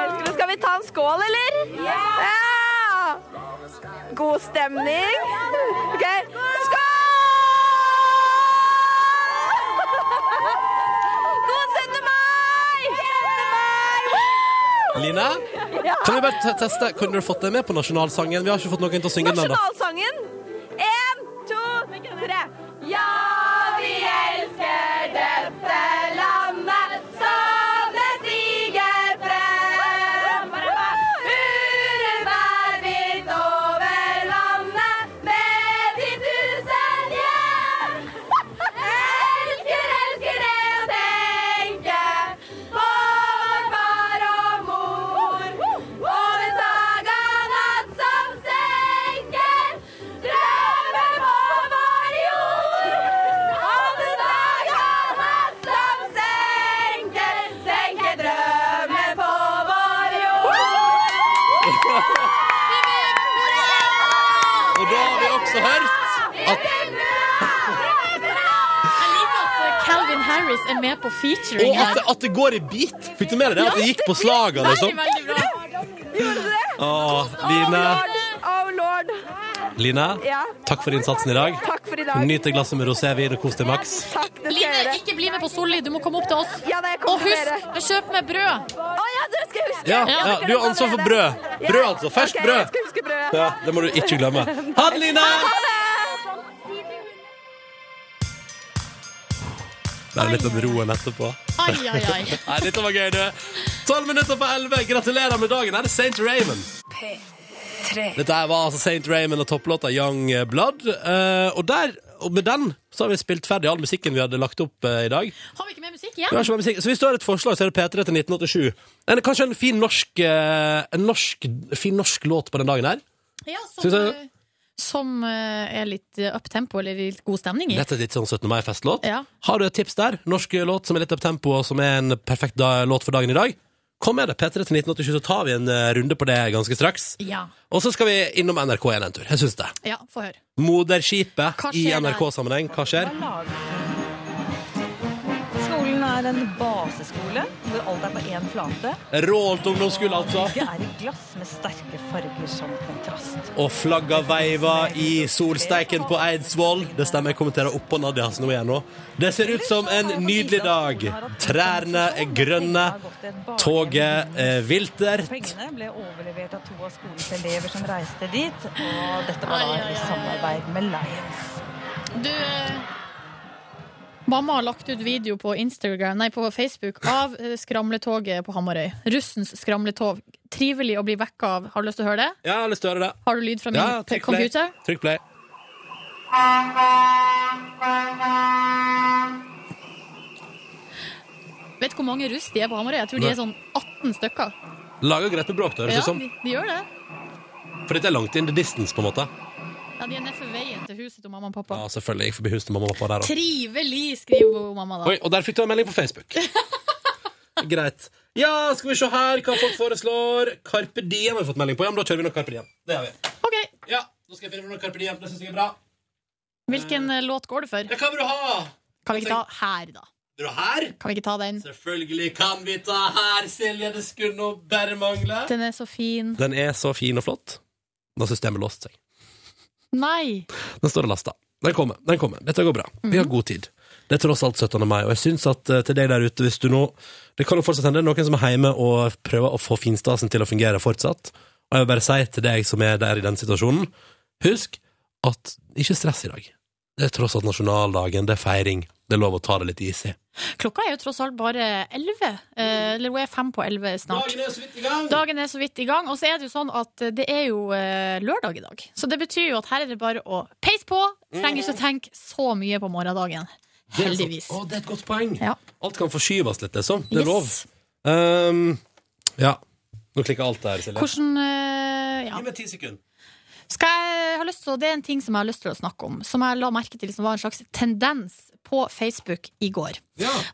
Speaker 3: Elsker det. Skal vi ta en skål, eller? Ja! God stemning. Ok, skål!
Speaker 2: Line,
Speaker 3: Ja.
Speaker 2: kan vi bare te- teste Kunne du fått deg med på nasjonalsangen? Vi har ikke fått noen til å synge den ennå.
Speaker 3: Nasjonalsangen. Én, to, tre. Ja, vi elsker dette landet som det stiger frem. Hurra vidt over landet med de tusen hjem. Elsker, elsker det å tenke på vår far og mor. Og den saganatt som senker drømmer på vår jord. Og den saganatt som senker, senker drømmer på vår jord.
Speaker 2: Og da har vi også hørt at
Speaker 4: Jeg liker at Calvin Harris er med på featuring
Speaker 2: Og at,
Speaker 4: her.
Speaker 2: det- at det går i bit! Fikk du med deg det? At det gikk på slaga, liksom?
Speaker 4: Veldig, veldig bra.
Speaker 2: Åh, Line,
Speaker 3: Oh lord.
Speaker 2: Line
Speaker 3: Ja.
Speaker 2: takk for innsatsen i dag.
Speaker 3: Takk for i dag.
Speaker 2: Nyt et glass med rosévin og kos deg maks.
Speaker 3: Takk, det skal jeg
Speaker 4: Line,
Speaker 3: gjøre.
Speaker 4: ikke bli med på Solli. Du må komme opp til oss.
Speaker 3: Ja, nei, jeg kommer
Speaker 4: Og
Speaker 3: til
Speaker 4: husk,
Speaker 3: dere.
Speaker 4: kjøp med
Speaker 3: Å
Speaker 4: brød.
Speaker 3: ja, det skal jeg huske.
Speaker 2: Ja, ja,
Speaker 3: Jeg husker
Speaker 2: du
Speaker 3: det
Speaker 2: har ansvar for
Speaker 3: allerede.
Speaker 2: brød. Brød,
Speaker 3: Ja.
Speaker 2: altså. Ferskt
Speaker 3: Ok,
Speaker 2: brød.
Speaker 3: Jeg skal huske brødet.
Speaker 2: Ja, det må du ikke glemme. Ha det, Line! Det er litt den roen etterpå.
Speaker 4: Ai, ai, ai.
Speaker 2: (laughs) Nei, dette var gøy, du. Tolv minutter på elleve. Gratulerer med dagen. Her er St. Raymond.
Speaker 1: Tre.
Speaker 2: Dette her var altså St. Raymond og topplåta Young Blood. Eh, og der, og med den så har vi spilt ferdig all musikken vi hadde lagt opp eh, i dag.
Speaker 4: Har vi ikke mer musikk
Speaker 2: Vi har
Speaker 4: igjen?
Speaker 2: ikke mer musikk. Så hvis du har et forslag, så er det P3 til 1987. En, kanskje en fin norsk, eh, en norsk, fin norsk låt på den dagen her?
Speaker 4: Ja,
Speaker 2: Synes
Speaker 4: som,
Speaker 2: jeg-
Speaker 4: som eh, er litt eh, uptempo eller litt god stemning i.
Speaker 2: Dette er litt sånn 17. mai-festlåt.
Speaker 4: Ja.
Speaker 2: Har du et tips der? Norsk låt som er litt up tempo, og som er en perfekt da, låt for dagen i dag? Kom med det, P3 til 1987, så tar vi en eh, runde på det ganske straks.
Speaker 4: Ja.
Speaker 2: Og så skal vi innom NRK igjen en tur. Jeg syns det.
Speaker 4: ja, få høre.
Speaker 2: Moderskipet
Speaker 4: Hva
Speaker 2: i
Speaker 4: skjer der?
Speaker 2: NRK-sammenheng. Hva skjer?
Speaker 10: Skolen er en baseskole hvor alt er på én flate.
Speaker 2: Rålt ungdomskull, altså.
Speaker 10: Det er et glass med sterke farger
Speaker 3: sånn
Speaker 10: som kontrast.
Speaker 2: Og flagga veiva i solsteiken på Eidsvoll. Det stemmer, jeg kommenterer oppå Nadias nå igjen nå. Det ser ut som en nydelig dag. Trærne er grønne, toget er viltert.
Speaker 10: Pengene ble overlevert av to av skolens elever som reiste dit. Og dette var
Speaker 4: Ai, ai,
Speaker 10: da
Speaker 4: ai,
Speaker 10: i samarbeid med Lions.
Speaker 4: Du eh, Mamma har lagt ut video på Instagram Nei, på Facebook av eh, skramletoget på Hamarøy. Russens skramletog. Trivelig å bli vekka av. Har du lyst til å høre det?
Speaker 2: Ja, jeg har lyst til å høre det.
Speaker 4: Har du lyd fra min
Speaker 2: Ja, trykk play.
Speaker 4: computer?
Speaker 2: Trykk play.
Speaker 4: Vet du hvor mange russ de er på Hamarøy? Jeg tror de
Speaker 2: Nei.
Speaker 4: er sånn 18 stykker.
Speaker 2: Lager greit med bråk, da, høres det
Speaker 4: Ja,
Speaker 2: ut som.
Speaker 4: de, de gjør det.
Speaker 2: For dette er langt in the distance, på en måte.
Speaker 4: Ja, de er nede for veien til huset til mamma og pappa.
Speaker 2: Ja, selvfølgelig. Jeg gikk forbi huset til mamma og pappa der også.
Speaker 4: Trivelig, skriver hun mamma da.
Speaker 2: Oi, og der fikk du en melding på (laughs) Facebook. Greit. Ja, skal vi se her hva folk foreslår. Carpe Diem har vi fått melding på. Ja, men da kjører vi nok Carpe Diem. Det har vi.
Speaker 4: Ok,
Speaker 2: Ja, nå skal jeg finne noe Carpe Diem. Det synes jeg er bra.
Speaker 4: Hvilken eh, låt går det for?
Speaker 2: hva vil du ha?
Speaker 4: Kan vi ikke ta her, da?
Speaker 2: Vil du her?
Speaker 4: Kan vi ikke ta den?
Speaker 2: Selvfølgelig kan vi ta her, Silje. Det skulle nå bare mangle.
Speaker 4: Den er så fin.
Speaker 2: Den er så fin og flott. Nå har systemet låst seg.
Speaker 4: Nei!
Speaker 2: Den står og laster. Den kommer. den kommer. Dette går bra. Vi
Speaker 4: Mhm.
Speaker 2: har god tid. Det er tross alt 17. mai, og jeg syns at eh, til deg der ute, hvis du nå Det kan jo fortsatt hende det er noen som er hjemme og prøver å få finstasen til å fungere fortsatt. Og jeg vil bare si til deg som er der i den situasjonen, husk at ikke stress i dag. Det er tross alt nasjonaldagen, det er feiring. Det er lov å ta det litt easy.
Speaker 4: Klokka er jo tross alt bare 11. eh, Eller hun er fem på 11 snart.
Speaker 2: Dagen er så vidt i gang!
Speaker 4: Dagen er så vidt i gang. Og så er det jo sånn at eh, det er jo eh, lørdag i dag. Så det betyr jo at her er det bare å peise på. Trenger ikke å tenke så mye på morgendagen.
Speaker 2: Mm. Det er sant.
Speaker 4: Heldigvis.
Speaker 2: Å, det er et godt poeng.
Speaker 4: Ja.
Speaker 2: Alt kan forskyves litt, det er sånn. Det er
Speaker 4: Yes.
Speaker 2: lov. Um, ja. Nå klikker alt der, Silje.
Speaker 4: Hvordan eh, Ja.
Speaker 2: Gi meg ti sekunder.
Speaker 4: Skal jeg ha lyst til, Det er en ting som jeg har lyst til å snakke om, som jeg la merke til som var en slags tendens på Facebook i går.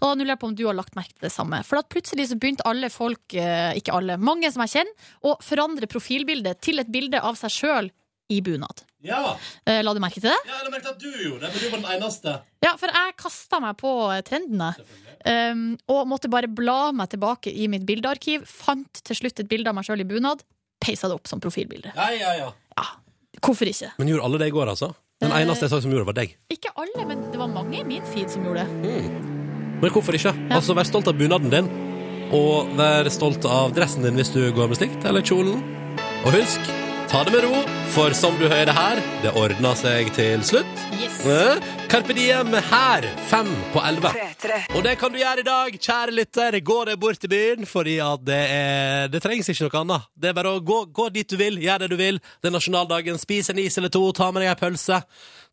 Speaker 4: Og nå lurer jeg på om du har lagt merke til det samme. For at plutselig så begynte alle folk, eh, ikke alle, mange som jeg kjenner, å forandre profilbildet til et bilde av seg sjøl i bunad.
Speaker 2: Ja.
Speaker 4: Eh, La du merke til det?
Speaker 2: ja, jeg merket at du gjorde det, men du var den eneste.
Speaker 4: Ja, for jeg kasta meg på eh, trendene. Um, og måtte bare bla meg tilbake i mitt bildearkiv. Fant til slutt et bilde av meg sjøl i bunad. Peisa det opp som profilbilde.
Speaker 2: Ja, ja, ja.
Speaker 4: Hvorfor ikke?
Speaker 2: Men gjorde alle det i går, altså? Den
Speaker 4: Eh.
Speaker 2: eneste jeg sa som gjorde det, var deg.
Speaker 4: Ikke alle,
Speaker 2: Mm.
Speaker 4: men det var mange i min feed som gjorde det.
Speaker 2: Men hvorfor ikke? Altså, Vær stolt av bunaden din. Og vær stolt av dressen din hvis du går med slikt, eller kjolen. Og husk, ta det med ro, for som du hører her, det ordner seg til slutt.
Speaker 7: Yes.
Speaker 2: Eh, Carpe Diem her, fem på elleve. Og det kan du gjøre i dag, kjære lytter. Gå deg bort til byen, fordi at det, er, det trengs ikke noe annet. Det er bare å gå, gå dit du vil, gjør det du vil. Det er nasjonaldagen. Spis en is eller to, ta med deg ei pølse.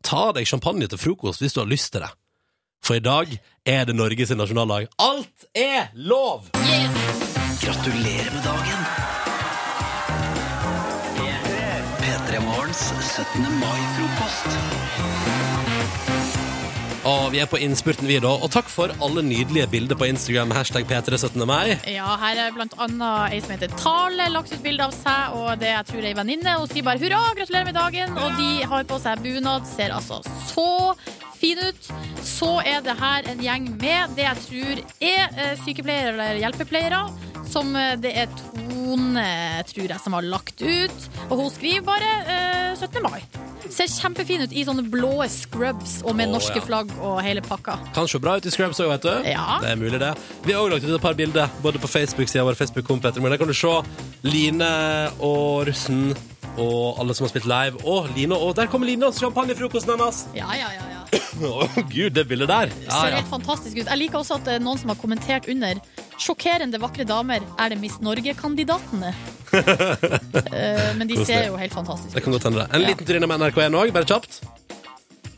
Speaker 2: Ta deg champagne til frokost hvis du har lyst til det. For i dag er det Norges nasjonaldag. Alt er lov! Gratulerer med dagen.
Speaker 8: P3 Morgens 17. mai-frokost.
Speaker 2: Og vi er på innspurten, vi, da. Og takk for alle nydelige bilder på Instagram. Hashtag P317. mai.
Speaker 4: Ja, her er blant annet ei som heter Tale, lagt ut bilde av seg og det jeg tror er ei venninne. Hun skriver bare 'hurra, gratulerer med dagen', og de har på seg bunad. Ser altså så fin ut. Så er det her en gjeng med det jeg tror er eh, sykepleiere eller hjelpepleiere. Som eh, det er Tone, tror jeg, som har lagt ut. Og hun skriver bare eh, 17. mai. Ser kjempefin ut i sånne blå scrubs og med
Speaker 2: Å,
Speaker 4: norske
Speaker 2: ja.
Speaker 4: flagg og hele pakka.
Speaker 2: Kan se bra ut i scrubs òg, vet du.
Speaker 4: Ja.
Speaker 2: Det er mulig, det. Vi har òg lagt ut et par bilder både på Facebook-sida vår. Facebook Der kan du se Line og russen og alle som har spilt live. Og Line og Der kommer Line og champagnefrokosten hennes!
Speaker 4: Ja,
Speaker 2: (laughs)
Speaker 4: ja, ja. ja.
Speaker 2: Å, gud, det bildet der. Ja,
Speaker 4: ser
Speaker 2: ja.
Speaker 4: helt fantastisk ut. Jeg liker også at det er noen som har kommentert under 'Sjokkerende vakre damer. Er det Miss (laughs) Norge-kandidatene?' Eh, men de
Speaker 2: Koselig.
Speaker 4: ser jo helt fantastiske
Speaker 2: Det kan godt hende, det. En liten tur innom NRK1 òg, bare kjapt.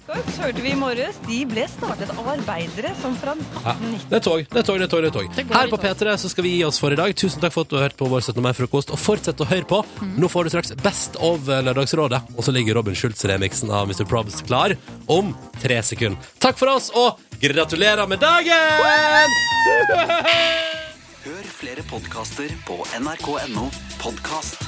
Speaker 10: Korps hørte vi i morges. De ble startet av arbeidere som fra
Speaker 2: Ja. Det er tog, det er tog, det er tog. Det er tog. Her på P3 så skal vi gi oss for i dag. Tusen takk for at du har hørt på vår 17. mai-frokost, og fortsett å høre på. Nå får du straks Best of Lørdagsrådet, og så ligger Robin Schultz-remiksen av Mr. Probs klar om tre sekunder. Takk for oss, og gratulerer med dagen!
Speaker 20: (laughs)
Speaker 8: Hør flere podkaster på nrk.no podkast.